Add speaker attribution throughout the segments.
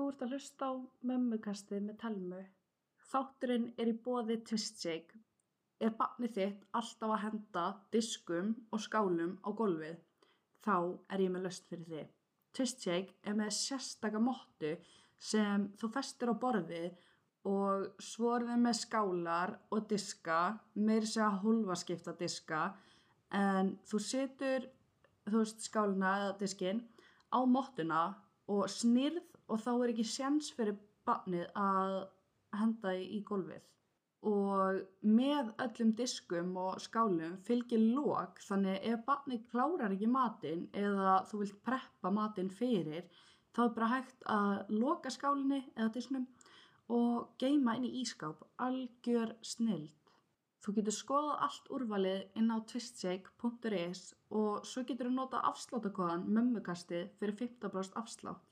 Speaker 1: að hlusta á Mömmukastið með Telmu. Þátturinn er í boði Twistshake. Er barnið þitt alltaf að henda diskum og skálum á gólfið? Þá er ég með löst fyrir þig. Twistshake er með sérstaka mottu sem þú festir á borðið og svo er þið með skálar og diska, meir segja hólfaskipta diska en þú setur þú veist skáluna eða diskin á mottuna og snýrð og þá er ekki séns fyrir barnið að henda í í gólfið og með öllum diskum og skálum fylgir lók þannig ef barnið klárar ekki matinn eða þú vilt preppa matinn fyrir þá er bara hægt að loka skálinni eða disnum og geima inn í ískáp algjör snild. Þú getur skoðað allt úrvalið inn á twistshake.is og svo getur þú nota afsláttakoðan mömmukastið fyrir 15% afslátt.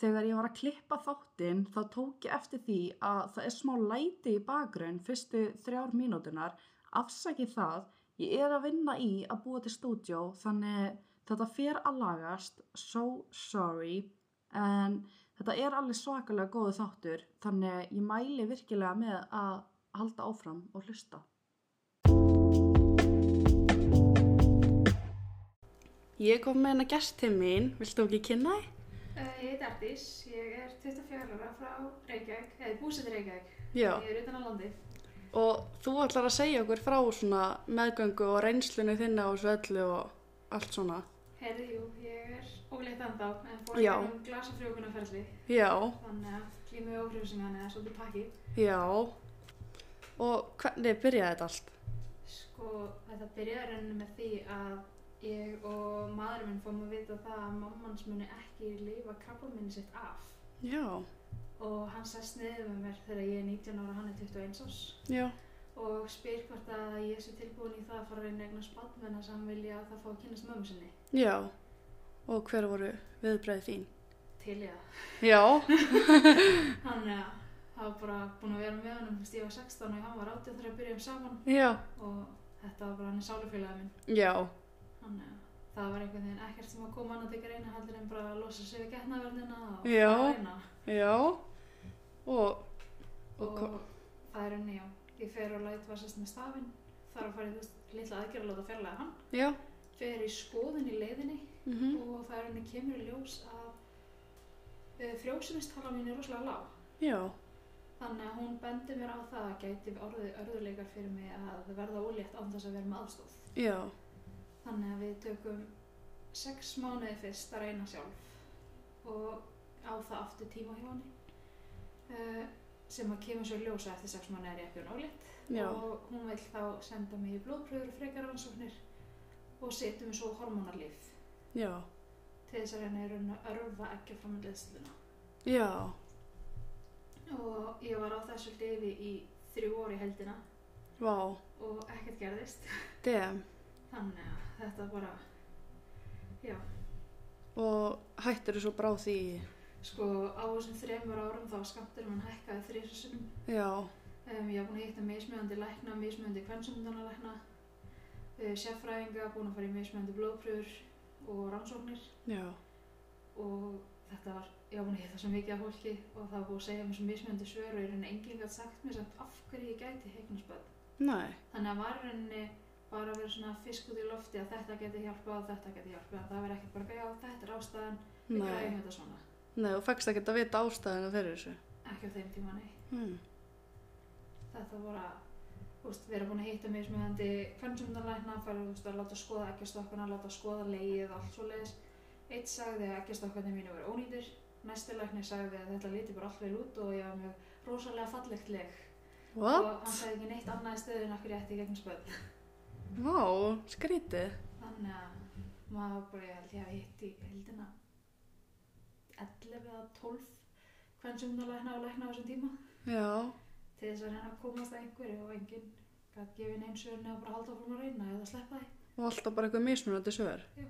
Speaker 1: Þegar ég var að klippa þáttinn þá tók ég eftir því að það er smá læti í bakgrunn fyrstu þrjár mínútunar. Afsaki það, ég er að vinna í að búa til stúdjó þannig þetta fer að lagast, so sorry, en þetta er alveg svakalega góðu þáttur þannig ég mæli virkilega með að halda áfram og hlusta. Ég kom með hennar gest til mín, viltu ekki kynna þið?
Speaker 2: Uh, Ég heit Ardís, ég er 24 ára frá Reykjavík, eða búsett í Reykjavík.
Speaker 1: Já.
Speaker 2: Ég er utan á landi.
Speaker 1: Og þú ætlar að segja okkur frá svona meðgöngu og reynslunni þinna og svo öllu og allt svona.
Speaker 2: Herði, jú, ég er óleitt ennþá, en
Speaker 1: Já.
Speaker 2: fór um glasafrjókunarferðli,
Speaker 1: Já,
Speaker 2: þannig að klímu óhrifsingan eða svolítið pakki.
Speaker 1: já. Og hvernig byrjaði þetta allt?
Speaker 2: Sko, þetta byrjaði rauninni með því að ég og maðurinn minn fórum að vita það að mammans muni ekki lifa krabba minni sitt af.
Speaker 1: Já,
Speaker 2: Og hann sest niður með mér þegar ég er 19 ára og hann er 21 árs.
Speaker 1: já,
Speaker 2: Og spyr hvort að ég sé tilbúin í það að fara að reyna eignar spatmenn að hann vilja að það fá að kynast mömmu sinni.
Speaker 1: já. Og hver voru viðbreið þín?
Speaker 2: Til ég það.
Speaker 1: Já,
Speaker 2: Þannig að það var bara búin að vera með honum fyrst ég var 16 og hann var 18 þegar við byrjum saman
Speaker 1: já,
Speaker 2: og þetta var bara hann í sálufélagið minn.
Speaker 1: já,
Speaker 2: Þannig að það var einhvern veginn ekkert sem að koma annað til greina heldur en bara að losa sig við getnaverðina og
Speaker 1: Já.
Speaker 2: fara að reyna.
Speaker 1: já. Og, og
Speaker 2: Og
Speaker 1: hva-
Speaker 2: það er henni, já. Ég fer og læt var sérst með stafinn, þarf að fara í þess litla aðgerð að láta fjarlæga hann.
Speaker 1: já,
Speaker 2: Fer í skoðun í leiðinni
Speaker 1: mhm,
Speaker 2: og það er henni kemur í ljós að frjósumistala mín er rosalega lág.
Speaker 1: já,
Speaker 2: Þannig að hún bendi mér á það að gæti orðið örðuleikar fyrir mig að verða ólétt án þess að vera með aðstóð.
Speaker 1: já,
Speaker 2: Þannig að við tökum sex mánuði fyrst að reyna sjálf og á það aftur tíma hjá henni uh, sem að kemur svo í ljósa eftir sex mánuði er ég ekki hún ólétt
Speaker 1: já,
Speaker 2: og hún vil þá senda mig í blóðpröfur og frekar rannsóknir og setjum svo hormonarlíf
Speaker 1: já,
Speaker 2: til þess að reyna í raun að örfa ekki fram með
Speaker 1: já,
Speaker 2: og ég var á þessu lifi í þrjú orði heldina
Speaker 1: vá,
Speaker 2: og ekkert gerðist
Speaker 1: dem.
Speaker 2: Þannig að þetta bara, já,
Speaker 1: Og hættir þú svo brá því?
Speaker 2: sko á þessum þremur árum þá skamtur mann hækkaði þrísunum.
Speaker 1: Já,
Speaker 2: Um, ég var búin að hitta mismjöndi lækna, mismjöndi kvennsumdanalækna, uh, sérfræðinga, búin að fara í mismjöndi blóðpröfur og rannsóknir
Speaker 1: já,
Speaker 2: og þetta var, ég var búin að hitta svo mikið af fólki og það var búin að segja mér svo mismjöndi svör og ég reyni enginn gætt sagt mér samt af hverju ég gæti heiknarsböð.
Speaker 1: nei,
Speaker 2: Þannig að var í rauninni bara að vera svona fisk út í lofti að þetta geti hjálpað og þetta geti hjálpað. Það verði ekkert bara, já, þetta er ástæðan, Við
Speaker 1: nei,
Speaker 2: græðum þetta hérna svona.
Speaker 1: nei, og fækst ekkert að vita ástæðina fyrir þessu.
Speaker 2: Ekki á þeim tíma, nei.
Speaker 1: Hmm.
Speaker 2: Þetta voru að, þú veist, við erum búin að hitta mér sem hefðandi kvöndsumdanlækna, fara, þú veist, að láta skoða ekkjastokkana, láta skoða leið og allt svo leiðis. Eitt sagði að ekkjastokkarnir mínu voru ónýtir. Næsti lækni sagði að þetta liti bara allt vel út og ég var mjög rosalega fallegt leg.
Speaker 1: What?
Speaker 2: Og hann sagði ekki neitt annað í stöðu en okkur ég ætti í gegnum spöð.
Speaker 1: Vá, skrítið.
Speaker 2: Þannig að maður bara, ég held ég hafi hitt í heldina 11 eða 12 kvöndsumdanlækna og lækna á þessum tíma.
Speaker 1: Já,
Speaker 2: til þess að reyna að komast að einhverju og enginn gæti gefið neinn svörni að bara halda fórum að reyna eða sleppa því.
Speaker 1: og alltaf bara eitthvað mismunandi svör.
Speaker 2: Já.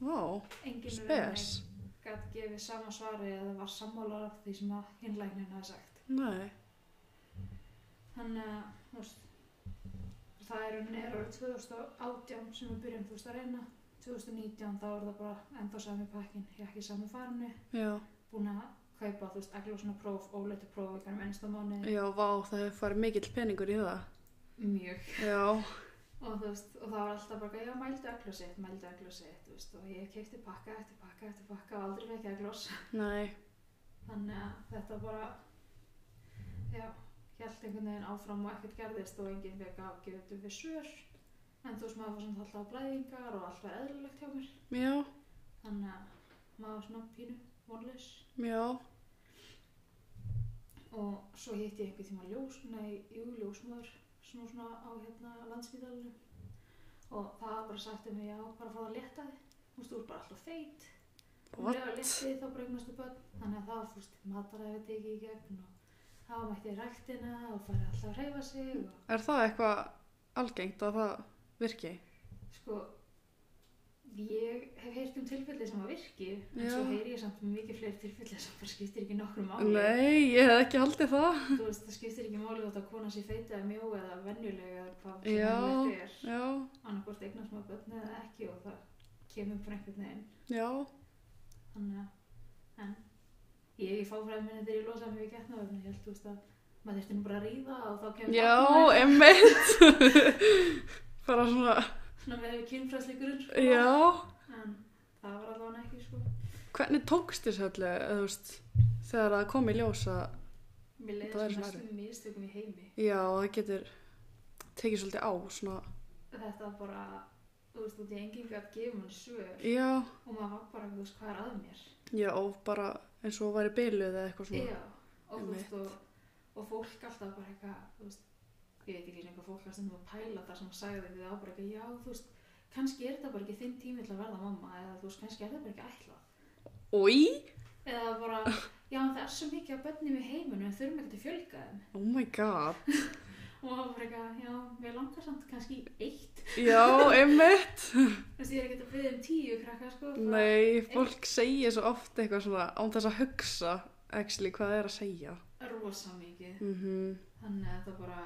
Speaker 1: Vá,
Speaker 2: Enginn
Speaker 1: spes.
Speaker 2: gæti gefið sama svari eða var sammálar af því sem að hinlægnin hafi sagt.
Speaker 1: Nei,
Speaker 2: Þannig að, þú veist, það er unni er árið 2018 sem við byrjum, þú veist, að reyna. 2019 þá er það bara ennþá sami pakkin, ég er ekki í sama farinu,
Speaker 1: já,
Speaker 2: búin að kaupa, þú veist, ekki svona próf, óleitu próf í hverjum einsta mánuði,
Speaker 3: Já, vá, það hefur farið mikill peningur í það.
Speaker 2: mjög
Speaker 3: Já,
Speaker 2: og þú veist, og það var alltaf bara já, mældu eglur sitt, mældu eglur sitt, þú veist og ég keipti pakka eftir pakka eftir pakka og aldrei fekk eglur
Speaker 3: nei,
Speaker 2: þannig að þetta bara já, held einhvern veginn áfram og ekkert gerðist og enginn fekk að gefa þetta við svör en þú veist maður var svona alltaf blæðingar og allt var eðlilegt hjá mér
Speaker 3: já,
Speaker 2: þannig að maður var svona pínu vonlaus
Speaker 3: já,
Speaker 2: og svo hitti ég einhvern tíma ljós nei, jú, ljósmaður svona, svona á hérna landsvítalinu og það var bara sagt um mig já, bara fá það létta þig þú veist, þú er bara alltaf feit og ef
Speaker 3: What?
Speaker 2: að létti þig þá bara eignastu börn þannig að það var fúst mataræði tekið í gegn og það var mætti í ræktina og farið alltaf að reyfa sig og
Speaker 3: er það eitthvað algengt að það virki?
Speaker 2: sko ég hef heyrt um tilfelli sem að virki en
Speaker 3: Já.
Speaker 2: svo heyri ég samt um mikið fleiri tilfelli sem bara skiptir ekki nokkrum máli
Speaker 3: Nei, ég hef ekki haldið það.
Speaker 2: þú veist, það skiptir ekki máli þótt að kona sé feita eða mjó eða venjulega eða hvað sem
Speaker 3: Já.
Speaker 2: þetta er
Speaker 3: Já,
Speaker 2: annarkvort eignast maður börn eða ekki og það kemur bara einhvern veginn
Speaker 3: já,
Speaker 2: þannig að en ég fá fræði minni þegar ég losaði mig við getnaverfni ég held þú veist að maður þurfti nú bara að ríða og þá kemur
Speaker 3: já,
Speaker 2: barnið.
Speaker 3: emmitt. Bara svona,
Speaker 2: svona með kynfræðsli grunn sko.
Speaker 3: já.
Speaker 2: en það var allavega ekki sko
Speaker 3: Hvernig tókst þér sérlega, eða þú veist, þegar það kom í ljós að,
Speaker 2: mér leiði
Speaker 3: Það er
Speaker 2: sem
Speaker 3: svona
Speaker 2: mestum mistökum í heimi
Speaker 3: já, það getur tekið svolítið á, svona,
Speaker 2: þetta bara þú veist þú veist enginn gætt gefið mann svör
Speaker 3: já,
Speaker 2: og maður var bara þú veist hvað er að mér
Speaker 3: já, og bara eins og væri byluð eða eitthvað svona.
Speaker 2: Já, og þú
Speaker 3: Einmitt.
Speaker 2: veist og, og fólk alltaf bara eitthvað þú veist, ég veit ekki lengur fólk að stundum að pæla það sem sagði við á bara eitthvað já, þú veist, kannski er þetta bara ekki þinn tími til að verða mamma eða þú veist, kannski er þetta bara ekki ætlað
Speaker 3: Í?
Speaker 2: eða bara, já, en það er svo mikið að bönnum í heiminu en þurfum ekki að fjölga þeim
Speaker 3: Oh my god.
Speaker 2: og það var bara eitthvað, já, við langar samt kannski í eitt
Speaker 3: Já, emmitt.
Speaker 2: þú veist, ég er ekki að byrja um tíu krakka sko, það-
Speaker 3: Nei, fólk segir svo oft eitthvað svona án þess að hugsa actually hvað það er að segja.
Speaker 2: er rosa mikið
Speaker 3: Mm
Speaker 2: þannig að það bara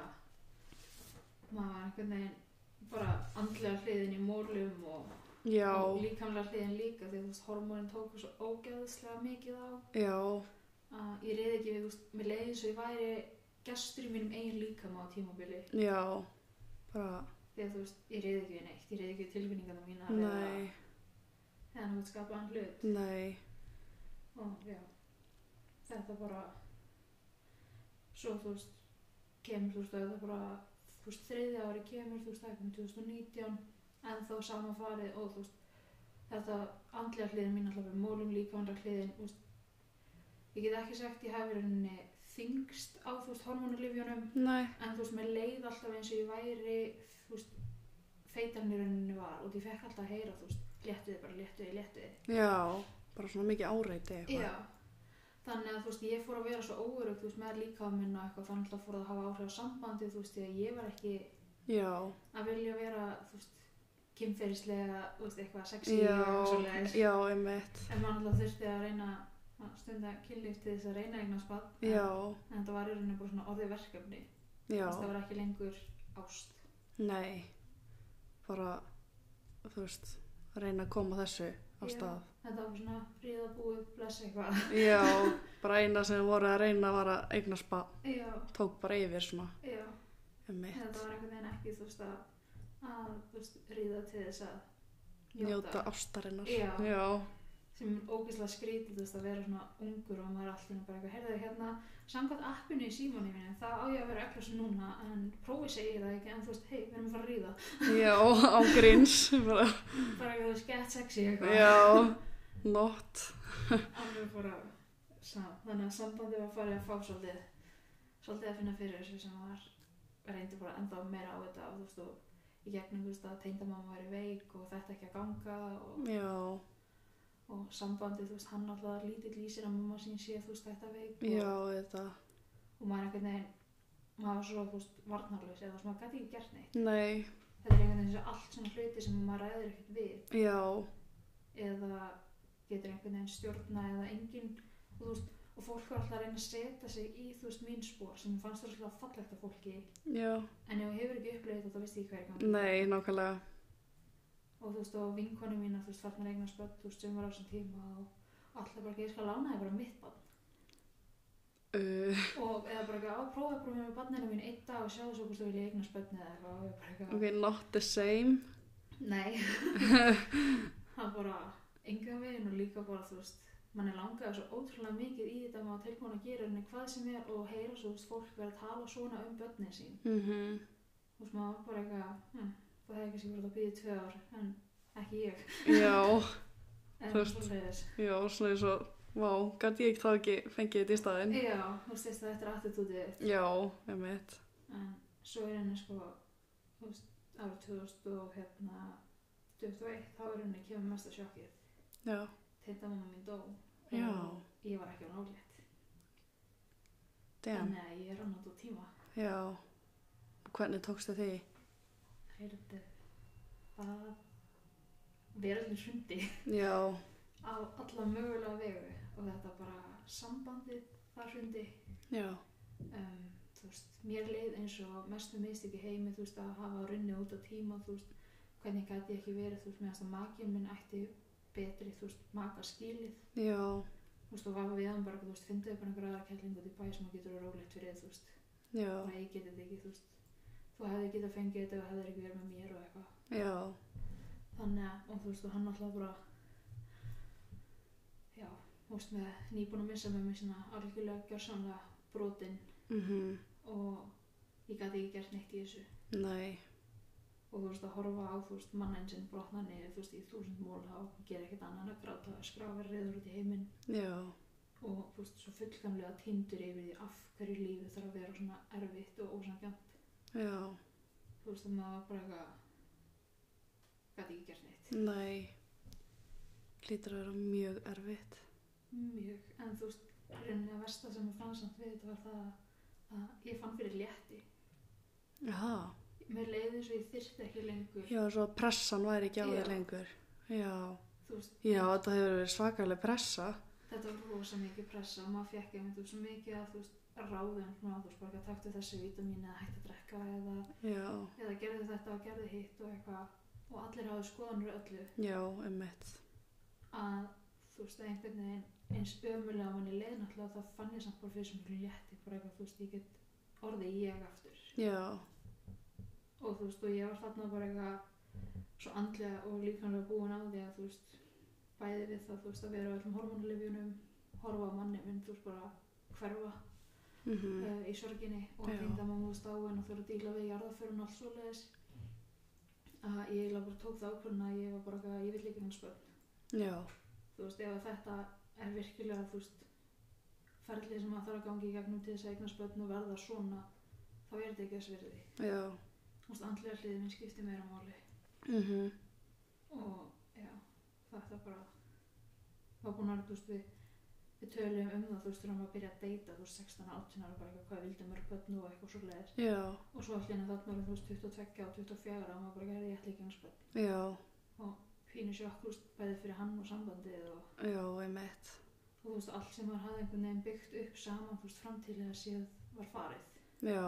Speaker 2: maður var einhvern veginn bara andlega hliðin í mólum og
Speaker 3: Já,
Speaker 2: og líkamlega hliðin líka því að þú veist hormónin tóku svo ógeðslega mikið á
Speaker 3: já,
Speaker 2: að ég reyði ekki við, þú veist, mér leiði eins og ég væri gestur í mínum eigin líkama á tímabili
Speaker 3: já, bara,
Speaker 2: því að þú veist, ég reyði ekki við neitt ég reyði ekki við tilfinningarna mína eða
Speaker 3: nei,
Speaker 2: eða hann út skapaðan hlut
Speaker 3: nei,
Speaker 2: og já, þetta bara svo þú veist kemur þú veist að það bara þú veist þriðja ári kemur þú veist það kom 2019 en þá sama farið og þú veist þetta andlega hliðin mín alltaf er mólum líkamlega hliðin þú veist ég get ekki sagt ég hafi rauninni þingst á þú veist hormonulifjunum
Speaker 3: nei,
Speaker 2: en þú veist mér leið alltaf eins og ég væri þú veist feitan í rauninni var og ég fekk alltaf að heyra þú veist léttu þið bara léttu þið léttu þið
Speaker 3: já, bara svona mikið áreiti eitthvað.
Speaker 2: Já, þannig að þú veist, ég fór að vera svo óörug, þú veist, með líka minn og eitthvað, þannig að fór það að hafa áhrif á sambandi, þú veist, því að ég var ekki
Speaker 3: Já,
Speaker 2: að vilja vera, þú veist, kynferðislega, þú veist, eitthvað sexy og eitthvað
Speaker 3: já,
Speaker 2: svoleiðis.
Speaker 3: já, einmitt,
Speaker 2: En maður alltaf þurfti að reyna að stunda kynlíf til þess að reyna eignan spad.
Speaker 3: já,
Speaker 2: En þetta var í rauninu bara svona orðið verkefni, þú veist, það
Speaker 3: já,
Speaker 2: var ekki lengur ást.
Speaker 3: nei, bara, þú veist, reyna að koma þessu á
Speaker 2: Já.
Speaker 3: stað.
Speaker 2: Þetta var svona fríðabúið, bless eitthvað.
Speaker 3: Já, bara eina sem voru að reyna var að eignast bara,
Speaker 2: Já,
Speaker 3: tók bara yfir svona,
Speaker 2: já,
Speaker 3: einmitt.
Speaker 2: þetta var einhvern veginn ekki, þú veist, að, að þú veist, ríða til þess að
Speaker 3: njóta ástarinnar
Speaker 2: Já.
Speaker 3: já,
Speaker 2: sem er ógeðslega skrítið þú veist að vera svona ungur og maður er alltaf bara eitthvað, heyrðu hérna, samkvæmt appinu í símónu minni, það á ég að vera ekkert svo núna en prófið segir það ekki, en þú veist hei, við erum að fara að ríða,
Speaker 3: já á gríns bara,
Speaker 2: bara eitthvað þú veist get sexy eitthvað,
Speaker 3: já, not
Speaker 2: alveg bara sam. þannig að sambandi var farið að fá svolítið, svolítið að finna fyrir þessu sem var, reyndi bara enda meira á þetta og þú veist og í gegnum þú veist að teyndamamma væri veik og þetta ekki að ganga og,
Speaker 3: já,
Speaker 2: og sambandi þú veist hann alltaf lítill lýsir að mamma sín sé þú veist þetta veik og,
Speaker 3: já, þetta
Speaker 2: og maður einhvern veginn maður var svo þú veist, varnarlaus eða þú veist, maður gæti ekki gert neitt
Speaker 3: nei,
Speaker 2: þetta er einhvern veginn svo allt svona hluti sem maður ræður ekkert við
Speaker 3: já,
Speaker 2: eða getur einhvern veginn stjórna eða enginn og þú veist og fólk var alltaf að reyna að setja sig í þú veist mín spór sem mér fannst það fallegt af fólki
Speaker 3: já
Speaker 2: en ef þú hefur ekki upplegið þetta þá veist ég hvað er í gangi
Speaker 3: nei, nákvæmlega
Speaker 2: og þú veist og vinkonu mín þú veist farnar eignar spött þú veist sem var á þessum tíma og alltaf bara ekki ég skal lána þér bara mitt bann
Speaker 3: uh,
Speaker 2: og eða bara eitthvað að prófa bara með barninu mín einn dag og sjá svo hvort þú vilja eignast börni eða eitthvað og ég bara eitthvað
Speaker 3: ok, not the same
Speaker 2: Nei Það bara engan veginn og líka bara þú veist mann er langaði svo ótrúlega mikið í þetta maður var tilbúin að gera henni hvað sem er og heyra svo þú veist fólk vera að tala svona um börnin sín
Speaker 3: mhm
Speaker 2: þú veist maður var bara eitthvað hm, það hefði kannski verið að býða í tvö ár en ekki ég
Speaker 3: já,
Speaker 2: en
Speaker 3: Þú veist.
Speaker 2: svoleiðis.
Speaker 3: já, svona eins og vá, gæti ég þá ekki fengið þetta í staðinn
Speaker 2: Já, þú veist þess að þetta er attitútið þitt.
Speaker 3: já, emitt
Speaker 2: en svo er henni sko þú veist ára 2000 og hérna 21 þá er henni kemur mesta sjokkið
Speaker 3: já,
Speaker 2: þetta mamma mín dó og
Speaker 3: já,
Speaker 2: ég var ekki á nálétt
Speaker 3: damn,
Speaker 2: þannig að ég rann út á tíma
Speaker 3: já hvernig tókstu því?
Speaker 2: heyrðu það verðin hrundi
Speaker 3: já,
Speaker 2: á alla mögulega vegu og þetta bara sambandið það hrundi
Speaker 3: já,
Speaker 2: um, þú veist, mér leið eins og mestu miðst ekki heimi, þú veist, að hafa runni út á tíma, þú veist, hvernig gæti ég ekki verið, þú veist, meðan að makinn minn ætti betri, þú veist, maka skilið
Speaker 3: já
Speaker 2: þú veist, og var við hann bara, þú veist, fynduðu bara einhverja aðra kellingu út í bæ sem að getur að rólegt fyrir þig, þú veist,
Speaker 3: já,
Speaker 2: bara ég geti þetta ekki, þú veist þú hefði getað fengið þetta og hefði ekki verið með mér og eitthvað,
Speaker 3: já
Speaker 2: þannig að, og þú veist, og hann alltaf bara já, þú veist, með nýbúin að missa með mig svona algjörlega gjörsamlega brotin
Speaker 3: mhm,
Speaker 2: og ég gæti ekki gert neitt í þessu
Speaker 3: nei
Speaker 2: og þú veist að horfa á þú veist mannin sinn brotna niður þú veist í þúsund mól þá gera ekkert annað en að gráta að skrafa reyður út í heiminn
Speaker 3: já,
Speaker 2: og þú veist svo fullkomlega tindur yfir því af hverju lífi þarf að vera svona erfitt og ósangjönd
Speaker 3: já,
Speaker 2: þú veist að maður var bara eitthvað gæti ekki gert neitt
Speaker 3: nei hlýtur að vera mjög erfitt
Speaker 2: mjög, en þú veist rauninni að versta sem ég fann samt við þetta var það að ég fann fyrir létti
Speaker 3: já,
Speaker 2: mér leiði eins og ég þyrfti ekki lengur
Speaker 3: já, svo að pressan væri ekki á
Speaker 2: Já.
Speaker 3: þig lengur já,
Speaker 2: þú veist,
Speaker 3: já, þetta hefur verið svakalega pressa
Speaker 2: þetta var rosa mikið pressa og maður fekk einmitt úr svo mikið að þú veist ráðum svona þú veist bara ekki að takta þessi vítamín eða hætti að drekka eða,
Speaker 3: já,
Speaker 2: eða gerðu þetta og gerðu hitt og eitthvað og allir hafðu skoðanur öllu
Speaker 3: já, emmitt
Speaker 2: að þú veist að einhvern veginn eins ömulega manni leið náttúrulega þá fann ég samt bara fyrir sem mjög létti bara eitthvað þú veist ég get orðið ég aftur
Speaker 3: já,
Speaker 2: og þú veist og ég var þarna bara eitthvað svo andlega og líkanlega búin á því að þú veist bæði við það þú veist að vera á öllum hormonalifjunum horfa á manni minn þú veist bara hverfa
Speaker 3: mhm
Speaker 2: uh, í sorginni og
Speaker 3: Já.
Speaker 2: reynda mamma úr stáin og þurfa að díla við jarðaförun og allt svoleiðis að ég eiginlega bara tók það ákvörðin að ég var bara eitthvað, ég vill ekki hans börn
Speaker 3: já,
Speaker 2: þú veist, ef að þetta er virkilega þú veist, ferlið sem að þarf að gangi í gegnum til þess að eignast börn og verða svona þá er þetta ekki þess virði
Speaker 3: já,
Speaker 2: þú veist, andlega hliðið minn skipti meira máli
Speaker 3: mhm
Speaker 2: og já, þetta bara var búin að, þú veist, við við töluðum um það, þú veist, þegar maður byrja að deyta þú veist, 16, 18 ára, bara eitthvað, hvað vildi mörg börn og eitthvað svoleiðis
Speaker 3: já,
Speaker 2: og svo allir þarna erum þú veist 22 og 24 og maður bara gerði ég ætla ekki hans börn
Speaker 3: já,
Speaker 2: pínu sjokkust bæði fyrir hann og sambandið og,
Speaker 3: já, emmitt
Speaker 2: og þú veist allt sem maður hafði einhvern veginn byggt upp saman þú veist framtíðlega séð var farið
Speaker 3: já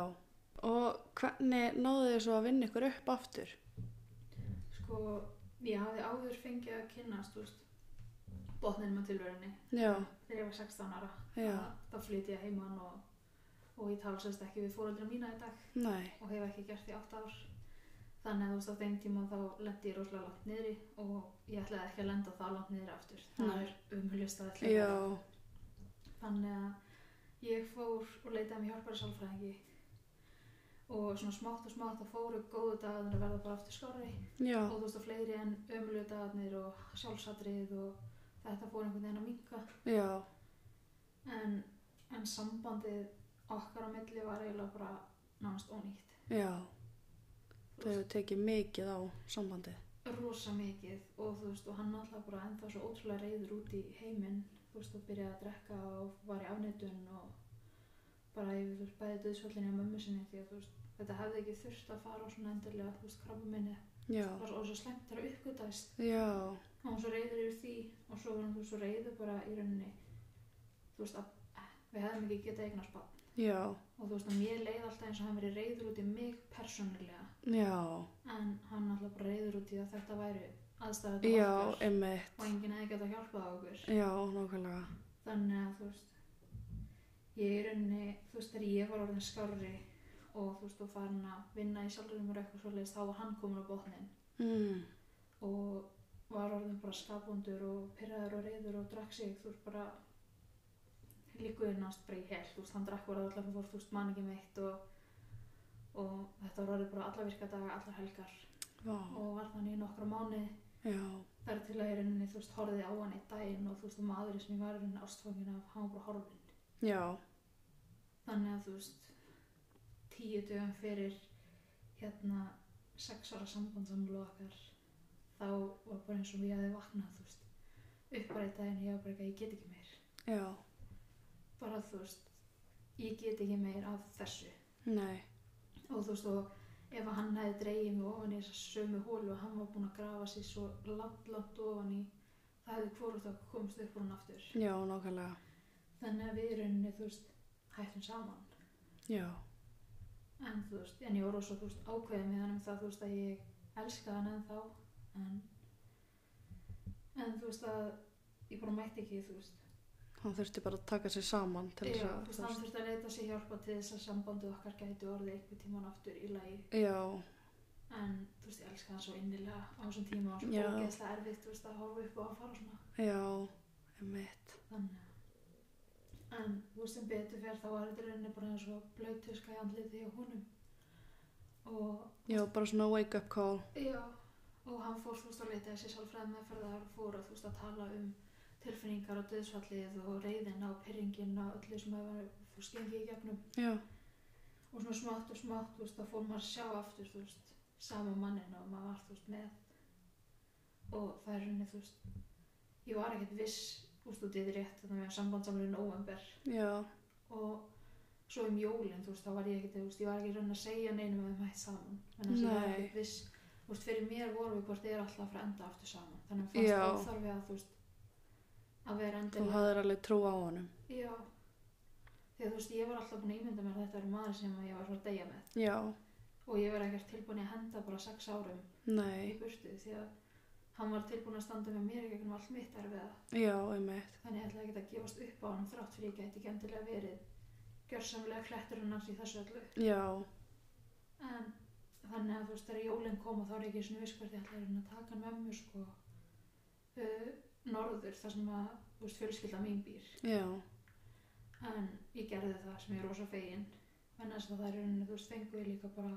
Speaker 3: og hvernig náðu þið svo að vinna ykkur upp aftur
Speaker 2: sko ég hafði áður fengið að kynnast þú veist botninum að tilverunni
Speaker 3: já,
Speaker 2: þegar ég var 16 ára
Speaker 3: Já.
Speaker 2: þá flytti ég heimann og, og ég talsast ekki við fóreldra mína í dag
Speaker 3: nei,
Speaker 2: og hef ekki gert því 8 ár þannig að þú veist á þeim tíma þá lendi ég rosalega langt niðri og ég ætlaði ekki að lenda það langt niðri aftur það
Speaker 3: Nei.
Speaker 2: er umhulust að ætla
Speaker 3: já
Speaker 2: þannig að ég fór og leitaði mér hjálpari sálfræðingi og svona smátt og smátt að fóru góðu dagarnir að verða bara aftur skári
Speaker 3: já,
Speaker 2: og þú veist að fleiri en ömulegu dagarnir og sjálfsatrið og þetta fór einhvern veginn að minka
Speaker 3: já,
Speaker 2: en, en sambandið okkar á milli var eiginlega bara nánast ónýtt
Speaker 3: já
Speaker 2: Þú
Speaker 3: þau hefur tekið mikið á sambandi
Speaker 2: rosa mikið og þú veist og hann alltaf bara enda svo ótrúlega reyður út í heiminn þú veist og byrjaði að drekka og var í afneitun og bara yfir þú veist bæði döðsvöldinni á mömmu sinni því að þú veist þetta hefði ekki þurft að fara á svona endurlega þú veist krabba minni
Speaker 3: já,
Speaker 2: og svo, og svo slæmt þar að uppgötaðist
Speaker 3: já,
Speaker 2: og hann var svo reyður yfir því og svo var hann þú veist svo reyður bara í rauninni þú veist að eh, við hefðum ekki getað eignast bann
Speaker 3: já
Speaker 2: og þú veist að mér leið alltaf eins og hann verið reyður út í mig persónulega
Speaker 3: já,
Speaker 2: en hann alltaf bara reyður út í að þetta væru aðstæður
Speaker 3: já, emmitt
Speaker 2: og enginn hefði gett að hjálpa það okkur
Speaker 3: já, nákvæmlega
Speaker 2: þannig að þú veist ég er rauninni, þú veist, þegar ég var orðin skárri og þú veist, og farin að vinna í sjálfurinn mér eitthvað svoleiðis, þá var hann komin á botnin
Speaker 3: Mm.
Speaker 2: og var orðin bara skapvondur og pyrraður og reyður og drakk sig, þú veist, bara líkuðinn hans bara í hel, þú veist, hann drakk voru allar fór, þú veist, man ekki meitt og, og þetta var orðið bara alla virkadaga, allar helgar
Speaker 3: Vá.
Speaker 2: og var þannig í nokkra mánuði
Speaker 3: Já.
Speaker 2: þar til að ég rauninni, þú veist, horfið á hann einn daginn og þú veist, og maðurinn sem ég var í rauninni ástfangin af, hann var bara horfinn.
Speaker 3: Já.
Speaker 2: Þannig að þú veist, tíu dögum fyrir hérna sex ára sambandsamlu okkar, þá var bara eins og ég hefði vaknað, þú veist, upprætt daginn, ég var bara ekki að ég get ekki meir.
Speaker 3: Já.
Speaker 2: Bara þú veist, ég get ekki meir af þessu.
Speaker 3: Nei.
Speaker 2: Og þú veist, og ef hann hefði dreigið mig ofan í þessa sömu hólu og hann var búinn að grafa sér svo langt, langt ofan í, það hefði hvort að komst upp úr hann aftur.
Speaker 3: Já, nákvæmlega.
Speaker 2: Þannig að við í rauninni, þú veist, hættum saman.
Speaker 3: Já.
Speaker 2: En þú veist, en ég voru svo, þú veist, ákveðið með hann um það, þú veist, að ég elska hann ennþá, en, en þú veist að ég bara mætti ekki, þú veist,
Speaker 3: Hann þurfti bara að taka sig saman til
Speaker 2: já,
Speaker 3: þess
Speaker 2: þú
Speaker 3: að,
Speaker 2: veist, hann þurfti að leita sér hjálpa til þess að sambandið okkar gæti orðið einhver tíman aftur í lagi,
Speaker 3: Já.
Speaker 2: en þú veist, ég elska hann svo innilega á þessum tíma og svo
Speaker 3: Já.
Speaker 2: ógeðslega erfitt, þú veist, að horfa upp og að fara svona,
Speaker 3: Já. Emitt.
Speaker 2: þannig að, en þú veist, sem betur fer þá var þetta í rauninni bara eins og blöytuska í andliti hjá honum og
Speaker 3: Já, bara svona wake up call.
Speaker 2: Já, og hann fór þú veist að leita þessi sálfræði meðferðar og fór að þú veist að tala um tilfinningar og döðsfallið og reyðina og pyrringina og öllu sem hefur þú veist gengið í gegnum
Speaker 3: Já.
Speaker 2: og svona smátt og smátt þú veist þá fór maður að sjá aftur þú veist sama mannin og maður var þú veist með og það er henni þú veist ég var ekkert viss úst út í því rétt þannig að sambandsamlun óvember
Speaker 3: Já.
Speaker 2: og svo um jólinn, þú veist, þá var ég ekkert, þú veist, ég var ekki raun að segja neinum að við mætt saman þannig að ég var
Speaker 3: Nei.
Speaker 2: ekkert viss, þú veist, fyrir mér vorum við hvort þið er alltaf að fara að enda aftur saman þannig að mér
Speaker 3: Já.
Speaker 2: fannst óþarfi að, þú veist, að vera
Speaker 3: Þú
Speaker 2: endilega
Speaker 3: hafðir alveg trú á honum.
Speaker 2: Já, þegar þú veist, ég var alltaf búin að ímynda mér að þetta er maður sem ég var að fara að deyja með
Speaker 3: Já.
Speaker 2: og ég var ekkert tilbúin í að henda bara sex árum í
Speaker 3: Nei.
Speaker 2: burtu því að hann var tilbúin að standa með mér í gegnum allt mitt erfiða
Speaker 3: Já, emitt.
Speaker 2: þannig ég ætlaði ekki að gefast upp á hann þrátt fyrir ég gæti ekki endilega verið gjörsamlega kletturinn hans í þessu öllu
Speaker 3: Já.
Speaker 2: en þannig að þú veist þegar jólinn kom og þá er ég ekki svona viss hvert ég ætla að reyna að taka hann með mér sko uh, norður þar sem að þú veist fjölskylda mín býr
Speaker 3: Já.
Speaker 2: en ég gerði það sem ég er rosa fegin en þess að það er rauninni þú veist fengu ég líka bara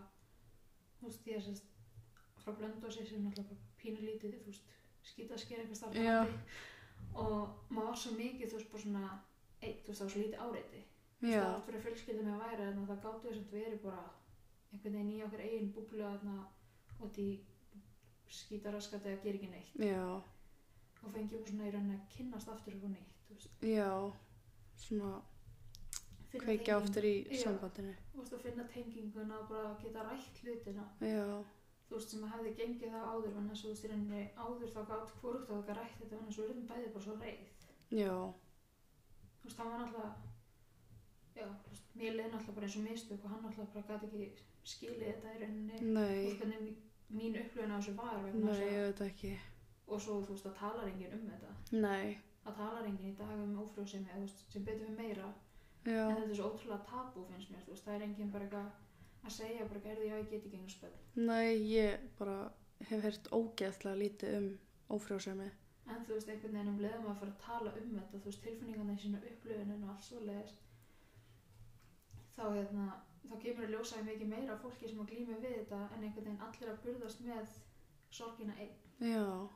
Speaker 2: þú veist ég er sérst frá blöndósi sem er náttúrulega bara pínulítið þú veist skítasker eitthvað
Speaker 3: Já.
Speaker 2: starfandi og maður var svo mikið þú veist bara svona eitt þú veist það var svo lítið áreiti
Speaker 3: Já.
Speaker 2: það átt Sko, fyrir að fjölskylda mig að væri en það gáttu þess að verið bara einhvern veginn í okkar eigin búblu þarna út í skítaraskati að gera ekki neitt
Speaker 3: Já.
Speaker 2: og fengi ég svona í rauninni að kynnast aftur eitthvað neitt þú veist.
Speaker 3: Já. Svona
Speaker 2: Finna
Speaker 3: kveikja
Speaker 2: tengingu-
Speaker 3: aftur í
Speaker 2: Já.
Speaker 3: sambandinu.
Speaker 2: þú veist, að finna tenginguna og bara geta rætt hlutina
Speaker 3: Já.
Speaker 2: þú veist sem að hefði gengið það áður en þess að þú veist í rauninni áður þá gátt hvort þá það rætt þetta en svo erum bæði bara svo reið
Speaker 3: Já.
Speaker 2: þú veist, hann var náttúrulega já, þú veist, mér leiði náttúrulega bara eins og mistök og hann náttúrulega bara gæti ekki skilið þetta í rauninni Þú
Speaker 3: Nei.
Speaker 2: veist hvernig mí- mín upplöfun á þessu var vegna
Speaker 3: Nei,
Speaker 2: þess
Speaker 3: ég
Speaker 2: að,
Speaker 3: veit ekki.
Speaker 2: og svo þú veist að talar enginn um þetta
Speaker 3: Nei.
Speaker 2: það talar enginn í dag um ófrjósemi eða, þú veist, sem betur við meira
Speaker 3: Já.
Speaker 2: en þetta er svo ótrúlega tabú finnst mér þú veist, það er enginn bara eitthvað að segja bara gerði já ég get ekki einhvers spöld
Speaker 3: Nei, ég bara hef hert ógeðslega lítið um ófrjósemi.
Speaker 2: en þú veist einhvern veginn um leiðum að fara að tala um þetta þú veist tilfinningarna í sína upplöfunin og allt svo leiðis þá hérna þá kemur að ljósa mikið meira af fólki sem að glýma við þetta en einhvern veginn allir að burðast með sorgina einn
Speaker 3: Já.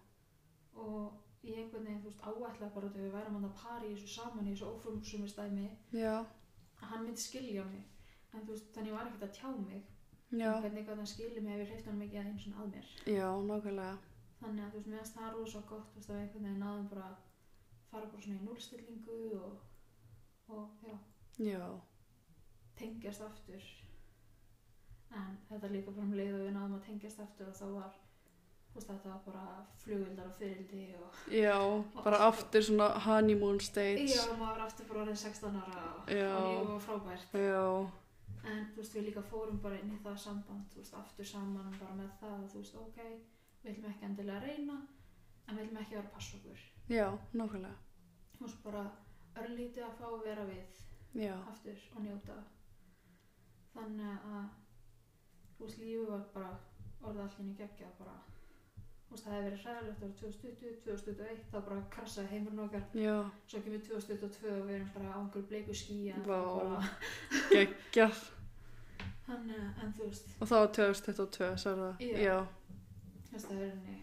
Speaker 2: og ég einhvern veginn, þú veist, áætlaði bara þegar við værum hann að pari í þessu saman í þessu ófrumsumi stæmi
Speaker 3: Já.
Speaker 2: að hann myndi skilja mig en þú veist, þannig ég var ekkert að tjá mig
Speaker 3: Já.
Speaker 2: En hvernig gæti hann skilja mig ef ég hreifti hann mikið að eins og að mér
Speaker 3: Já, nákvæmlega.
Speaker 2: þannig að þú veist, meðan það rosa gott þú veist, að við einhvern veginn náðum bara að fara bara svona í núlstillingu og, og já,
Speaker 3: Já.
Speaker 2: tengjast aftur en þetta er líka bara um leið og við náðum að tengjast aftur og þá var þú veist, þetta var bara flugvildar og fyrildi og
Speaker 3: Já, bara aftur svona honeymoon stage.
Speaker 2: já, maður var aftur bara orðin 16 ára og,
Speaker 3: Já.
Speaker 2: og ég var frábært
Speaker 3: Já.
Speaker 2: en þú veist við líka fórum bara inn í það samband þú veist aftur saman bara með það að þú veist ok, við viljum ekki endilega reyna en við viljum ekki vera að passa okkur
Speaker 3: Já, nákvæmlega.
Speaker 2: þú veist bara örlítið að fá að vera við
Speaker 3: já,
Speaker 2: aftur og njóta þannig að þú veist lífið var bara orðið allir í geggja bara þú veist það hefði verið hræðilegt það var 2020, 2021 þá bara krassaði heimurinn okkar
Speaker 3: já,
Speaker 2: svo kemur 2022 og við erum bara á einhverju bleiku skýja
Speaker 3: Vá.
Speaker 2: bara,
Speaker 3: geggja
Speaker 2: hann, en þú veist
Speaker 3: og það var 2022, sagði það
Speaker 2: Já.
Speaker 3: já,
Speaker 2: þú veist það er henni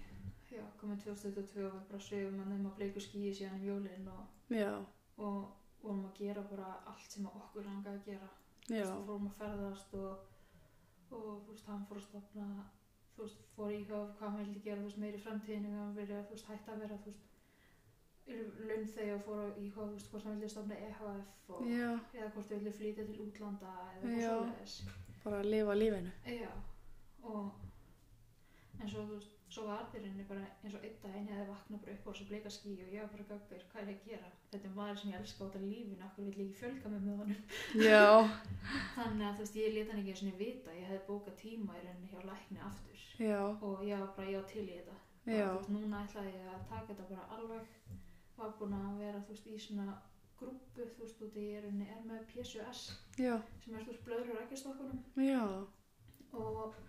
Speaker 2: já, komið 2022 og við bara svegum að nefnum á bleiku skýja síðan um jólin og,
Speaker 3: já,
Speaker 2: og vorum að gera bara allt sem að okkur langaði að gera Þú
Speaker 3: já,
Speaker 2: veist, við fórum að ferðast og, og þú veist, hann fór að stopna þú veist, fór í hvað, hvað hann vildi gera þú veist, meiri í framtíðinu við hann verið að þú veist, hætta að vera þú veist laun þegar fór að í hvað, þú veist, hvort hann vildi stopna EHF og,
Speaker 3: já
Speaker 2: eða hvort hann vildi flytja til útlanda eða
Speaker 3: Já.
Speaker 2: eitthvað svoleiðis
Speaker 3: bara að lifa lífinu
Speaker 2: Já, og en svo, þú veist, svo var þér henni bara eins og einn daginn hefði vaknað bara upp á þessu bleika skí og ég var bara gaggir, hvað er ég að gera? Þetta er maður sem ég elska út af lífinu, okkur vill ég ekki fjölga mig með honum
Speaker 3: já,
Speaker 2: Þannig að þú veist, ég leta hann ekki einu sinni vita, ég hefði bókað tíma í rauninni hjá lækni aftur
Speaker 3: já,
Speaker 2: og ég var bara, já til í þetta. Bara,
Speaker 3: já
Speaker 2: Þú veist, núna ætlaði ég að taka þetta bara alveg, var búin að vera, þú veist, í svona grúpu, þú veist, út í ég er, rauninni- er með PSUS
Speaker 3: já,
Speaker 2: sem er, þú veist, blöður rækjastokkunum
Speaker 3: já,
Speaker 2: og,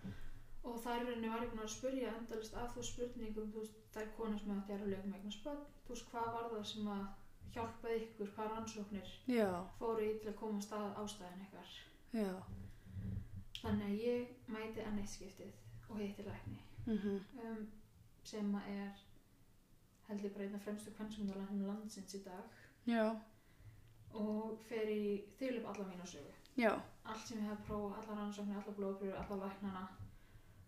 Speaker 2: og þar í rauninni var ég búin að spyrja endalist að þú veist, spurningum, þú veist, þær konur sem átti erulegum eignar spöld, þú veist, hvað var það sem að hjálpaði ykkur, hvað rannsóknir
Speaker 3: já,
Speaker 2: fóru í til að koma að stað ástæðan ykkar?
Speaker 3: já
Speaker 2: Þannig að ég mæti enn eitt skiptið og hitti lækni
Speaker 3: mhm,
Speaker 2: um, sem að er heldur bara einn af fremstu kvennsumdalæknum landsins í dag
Speaker 3: já,
Speaker 2: og fer í þýlum alla mína sögu.
Speaker 3: já,
Speaker 2: Allt sem ég hef prófað, alla rannsóknir, alla blóðpröfur, alla læknana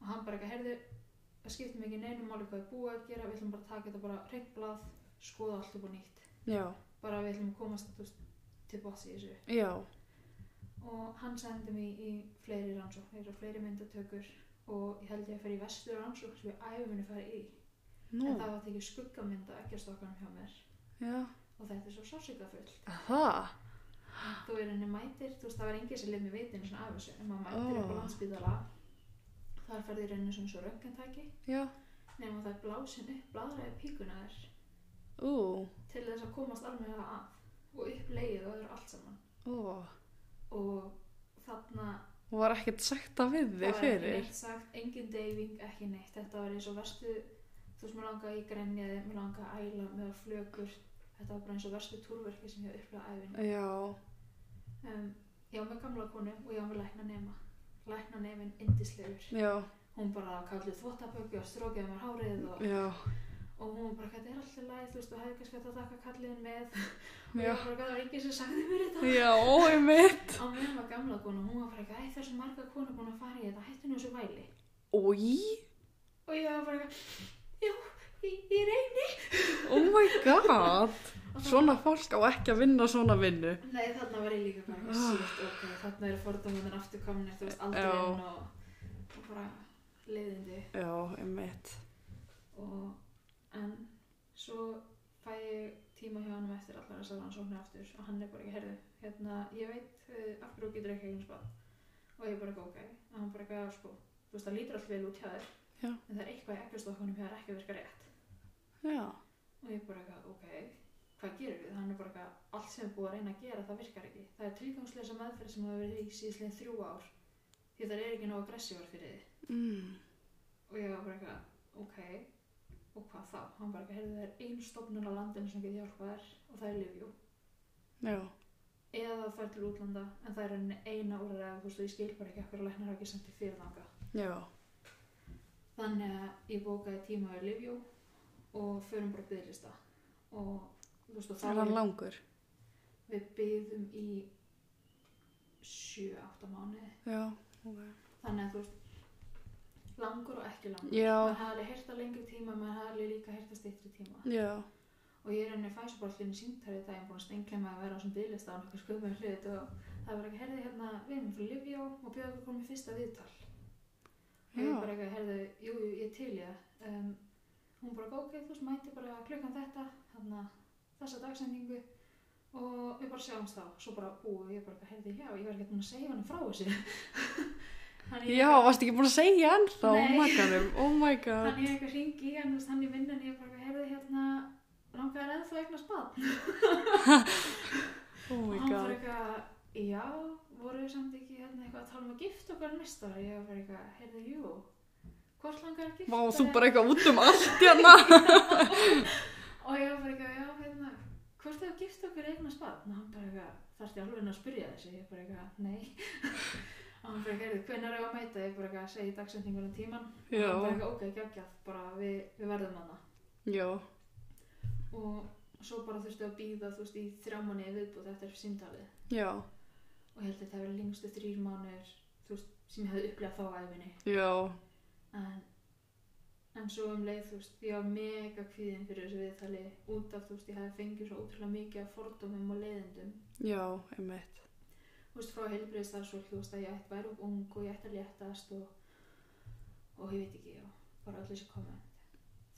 Speaker 2: og hann bara ekki heyrðu, það skiptir mig ekki neinu máli hvað er búið að gera, við ætlum bara að taka þetta bara hreint blað, skoða allt upp og nýtt.
Speaker 3: já,
Speaker 2: Bara við ætlum að komast þú veist, til bossi í þessu.
Speaker 3: já
Speaker 2: og hann sendi mig í fleiri rannsóknir og fleiri myndatökur og ég held ég að fara í vestur rannsókn sem ég æfuminu fara í
Speaker 3: nú,
Speaker 2: en það var tekið skuggamynda ekkjastokkanum hjá mér
Speaker 3: já
Speaker 2: og þetta er svo sásökafull
Speaker 3: það,
Speaker 2: þú er henni mætir, þú veist það var engin sem leið með vitin svona af þessu, en maður mætir
Speaker 3: Ó.
Speaker 2: upp á landsbytala þar ferði í rauninni svona svo röngantæki
Speaker 3: já,
Speaker 2: nema það er blásin upp bladraði píkuna þér
Speaker 3: ú,
Speaker 2: til þess að komast alveg að og upp leið og öðru allt saman
Speaker 3: ú
Speaker 2: og þarna
Speaker 3: og var ekkert sagt að við
Speaker 2: Það
Speaker 3: þig
Speaker 2: var ekki
Speaker 3: fyrir
Speaker 2: neitt sagt, engin deyfing, ekki neitt. Þetta var eins og verstu, þú veist, mér langaði í grenjaði, mér langaði að æla, mér var flögur. Þetta var bara eins og verstu túrverki sem ég hafði upplifað æfinn.
Speaker 3: já,
Speaker 2: Um, ég var með gamla konu og ég var með lækna nema. Lækna nefinn indislegur.
Speaker 3: já,
Speaker 2: Hún bara kallið þvottaböggi og strókjaði mér hárið og,
Speaker 3: já,
Speaker 2: og hún bara, þetta er alltaf læg, þú veist, og hefði kannski átt að taka kalliðin með. Og
Speaker 3: já
Speaker 2: ég var bara, það var enginn sem sagði mér þetta.
Speaker 3: já, ói mitt
Speaker 2: Á meðan var gamla konu, hún var bara, eitthvað, "Æ, það er svo marga konur búin að fara í þetta, hættu nú þessu væli.
Speaker 3: ói,
Speaker 2: og ég var bara eitthvað, já, ég, ég reyni
Speaker 3: oh my god
Speaker 2: Og þá-
Speaker 3: svona fólk á ekki að vinna svona vinnu
Speaker 2: nei, þarna var ég líka bara eitthvað
Speaker 3: Ah.
Speaker 2: sítt ok, þarna eru fordómaðin aftur komin þú veist, aldurinn og, og bara leiðindi
Speaker 3: já, einmitt
Speaker 2: og en svo fæ ég tíma hjá hann eftir allar þessar rannsóknir aftur og hann er bara ekki, herðu, hérna, ég veit uh, af hverju þú getur ekki eigin spað og ég bara eitthvað, ok, og hann bara eitthvað, sko þú veist, það lítur alltaf vel út hjá þér
Speaker 3: Já.
Speaker 2: en það er eitthvað í ekkjastokkunum hjá þér ekki að virka rétt
Speaker 3: já,
Speaker 2: og ég bara eitthvað, ok, hvað gerum við? Hann er bara eitthvað, allt sem er búið að reyna að gera það virkar ekki. Það er tilgangsleisa meðferð sem hafa verið í síðslegin þrjú ár því það er ekki nóg aggressívar fyrir þið.
Speaker 3: mm.
Speaker 2: Og ég var bara eitthvað, ok, og hvað þá? Hann bara eitthvað, heyrðu það er ein stofnun á landinu sem getur hjálpað þér og það er Livjú.
Speaker 3: já,
Speaker 2: Eða það fær til útlanda, en það er henni eina úrræða, þú veist, og ég skil bara ekki okkur að læknar hafa ekki samt í fyrir þanga.
Speaker 3: já,
Speaker 2: Þannig að ég bókaði tíma við Livjú og förum bara bygglista. Og, þú veist, og þá
Speaker 3: það er
Speaker 2: var ég
Speaker 3: hann langur
Speaker 2: Við byggðum í 7-8 mánuði.
Speaker 3: já, ok
Speaker 2: Þannig að þú veist, langur og ekki langur.
Speaker 3: já,
Speaker 2: Maður hafði alveg heyrt að lengri tíma, maður hafði alveg líka heyrt að stýttri tíma.
Speaker 3: já, og
Speaker 2: Og ég er henni fæs bara allir símtæri í dag, ég er búin að stengja með að vera á svona bygglista á nokkuð sköðum með hlut og það var ekki herði hérna, við erum frá Livjó og bjóðum okkur komið fyrsta viðtal. Og ég
Speaker 3: Já.
Speaker 2: bara ekki herði, jú, jú, ég til ég. Um, hún bara ok, þú veist, mæti bara klukkan þetta, þarna þessa dagsendingu og við bara sjáumst þá. Svo bara, ú, ég bara ekki herði, já, ég var ekki búin að segja hann frá þessu. Þannig ég-
Speaker 3: varst ekki búin að segja ennþá
Speaker 2: Nei.
Speaker 3: makanum, oh my god
Speaker 2: Þannig ég eitthvað ringi í hann, þú veist, hann í vinnan, ég bara, heyrðu hérna, langar þér ennþá að eignast bad?
Speaker 3: Oh
Speaker 2: og
Speaker 3: my
Speaker 2: hann var
Speaker 3: god.
Speaker 2: eitthvað, já, voru við samt ekki hérna eitthvað að tala um að gifta okkar næsta ári? Ég var bara eitthvað, heyrðu, jú, hvort langar að gifta?
Speaker 3: Vá, þú
Speaker 2: þig?"
Speaker 3: bara eitthvað út um allt hérna.
Speaker 2: Og ég var bara eitthvað, já, hérna, hvort þau gift okkur eigna spad? Og hann bara eitthvað, þarfti alveg að spyrja þessi, ég bara eitthvað, nei. og hann bara eitthvað, hvernig er ég að mæta? Ég bara eitthvað að segja dagsendingunum tíman. Og hann bara
Speaker 3: Já,
Speaker 2: eitthvað, ok, geggjað, bara við, við verðum hana.
Speaker 3: já,
Speaker 2: Og svo bara þurfti að býða, þú veist, í þrjá mánuði viðbúð eftir símtalið.
Speaker 3: já,
Speaker 2: Og ég held að þetta hefur lengstu þrýr mánuðir, þú veist, sem ég hefði upplegað þá á æfinni.
Speaker 3: já,
Speaker 2: en, en svo um leið þú veist, ég var mega kvíðin fyrir þessu viðtali út af þú veist, ég hefði fengið svo ótrúlega mikið af fordómum og leiðindum
Speaker 3: já, einmitt.
Speaker 2: þú veist, frá heilbreyðstarfsfólk, þú veist, að ég ætti væri of ung og ég ætti að léttast og, og ég veit ekki, já, bara allir sér komment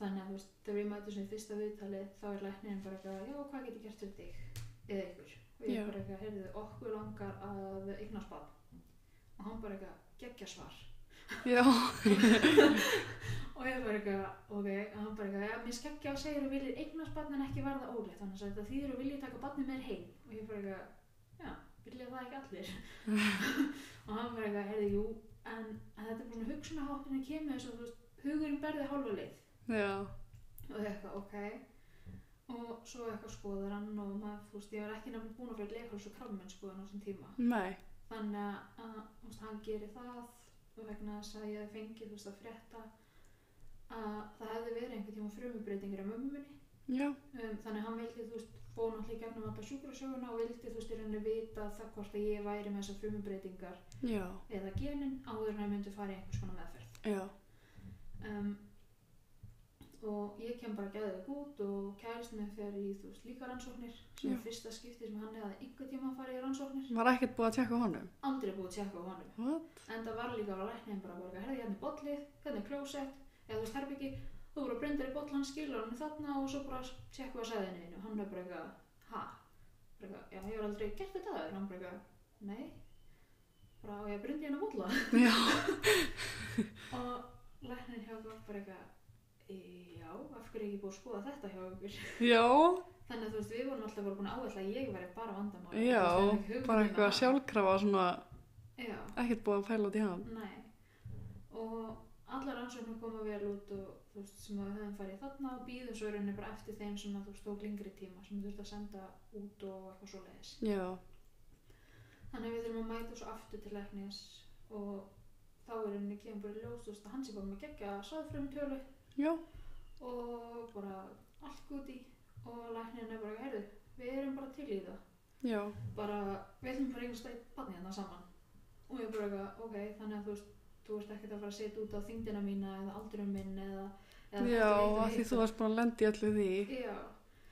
Speaker 2: þannig að þú veist, þegar ég mæti svona í fyrsta viðtali, þá er læknirinn bara eitthvað, já, hvað get ég gert fyrir þig eða ykkur, og ég
Speaker 3: Já.
Speaker 2: er bara eitthvað, heyrðu, okkur langar að eignast barn og hann bara eitthvað, geggja svar
Speaker 3: Já,
Speaker 2: og ég bara eitthvað, ok, og hann bara eitthvað, já, mér skeggja og segir að viljið eignast barn en ekki verða ólétt, þannig að þetta þýðir að viljið taka barnið mér heim og ég bara eitthvað, já, viljið það ekki allir og hann bara eitthvað, heyrðu, jú, en en þetta er bara svona hugsunaháttunni kemur þess að þú veist, hugurinn berði hálfa leið
Speaker 3: já,
Speaker 2: og ég eitthvað, ok og svo eitthvað skoðar hann og maður, þú veist, ég var ekki nefnilega búin að fyrir leikháls og krammenn skoðan á þessum tíma
Speaker 3: nei,
Speaker 2: þannig að, að þú veist, hann gerir það og vegna þess að ég fengi þú veist að frétta að það hefði verið einhvern tíma frumubreitingur á mömmu minni
Speaker 3: já,
Speaker 2: um, þannig að hann vildi þú veist fóna allir gegnum alla sjúkrasöguna og vildi þú veist í rauninni vita það hvort að ég væri með þessar frumubreitingar
Speaker 3: já,
Speaker 2: eða genin áður en að myndi fara í einhvers konar meðferð
Speaker 3: já,
Speaker 2: um, og ég kem bara gæðið út og kæristinu fer í þú veist líka rannsóknir sem
Speaker 3: Já.
Speaker 2: er fyrsta skipti sem hann hefði einhvern tíma farið í rannsóknir
Speaker 3: var ekkert búið að tjekka á honum.
Speaker 2: aldrei búið að tjekka á honum
Speaker 3: What?
Speaker 2: en það var líka á læknin bara að borga herði hérna er bollið, hérna er klósett eða þú veist herbyggi, þú voru að brenda í boll hann skilur hann þarna og svo bara tjekku að sæðinu og hann er bara eitthvað, ha bara eitthvað, já ég var aldrei gert þetta aður hann bara eitthvað, nei bara á ég að brenda hérna bolla
Speaker 3: Já,
Speaker 2: og læknin hjá okkur var bara eitthvað "E, já, af hverju er ekki búið að skoða þetta hjá okkur
Speaker 3: já,
Speaker 2: þannig að þú veist, við vorum alltaf bara búin að áætla að ég væri bara vandamál
Speaker 3: já, bara eitthvað sjálfkrafa svona
Speaker 2: um já,
Speaker 3: ekkert búið að pæla út í hann.
Speaker 2: Nei, og allar rannsóknir koma vel út og þú veist sem að við höfum farið þarna og býðum svo í rauninni bara eftir þeim sem að þú veist tók lengri tíma sem þú þurft að senda út og eitthvað svo leiðis.
Speaker 3: Já,
Speaker 2: Þannig að við þurfum að mæta svo aftur til læknis og þá er henni kemur bara í ljós, þú veist að hans er bara með gegja sáðfrömi tölu
Speaker 3: já,
Speaker 2: og bara allt gúti og læknin er bara, heyrðu, við erum bara til í það
Speaker 3: já,
Speaker 2: bara, við ætlum bara einhvers dag barnið hérna saman og ég bara eitthvað, ok, þannig að þú veist þú ert ekkert að fara að setja út á þyngdina mína eða aldurum minn eða, eða þetta
Speaker 3: já,
Speaker 2: eitt og
Speaker 3: að því
Speaker 2: hitt
Speaker 3: þú varst búin að lenda í öllu því.
Speaker 2: og- já,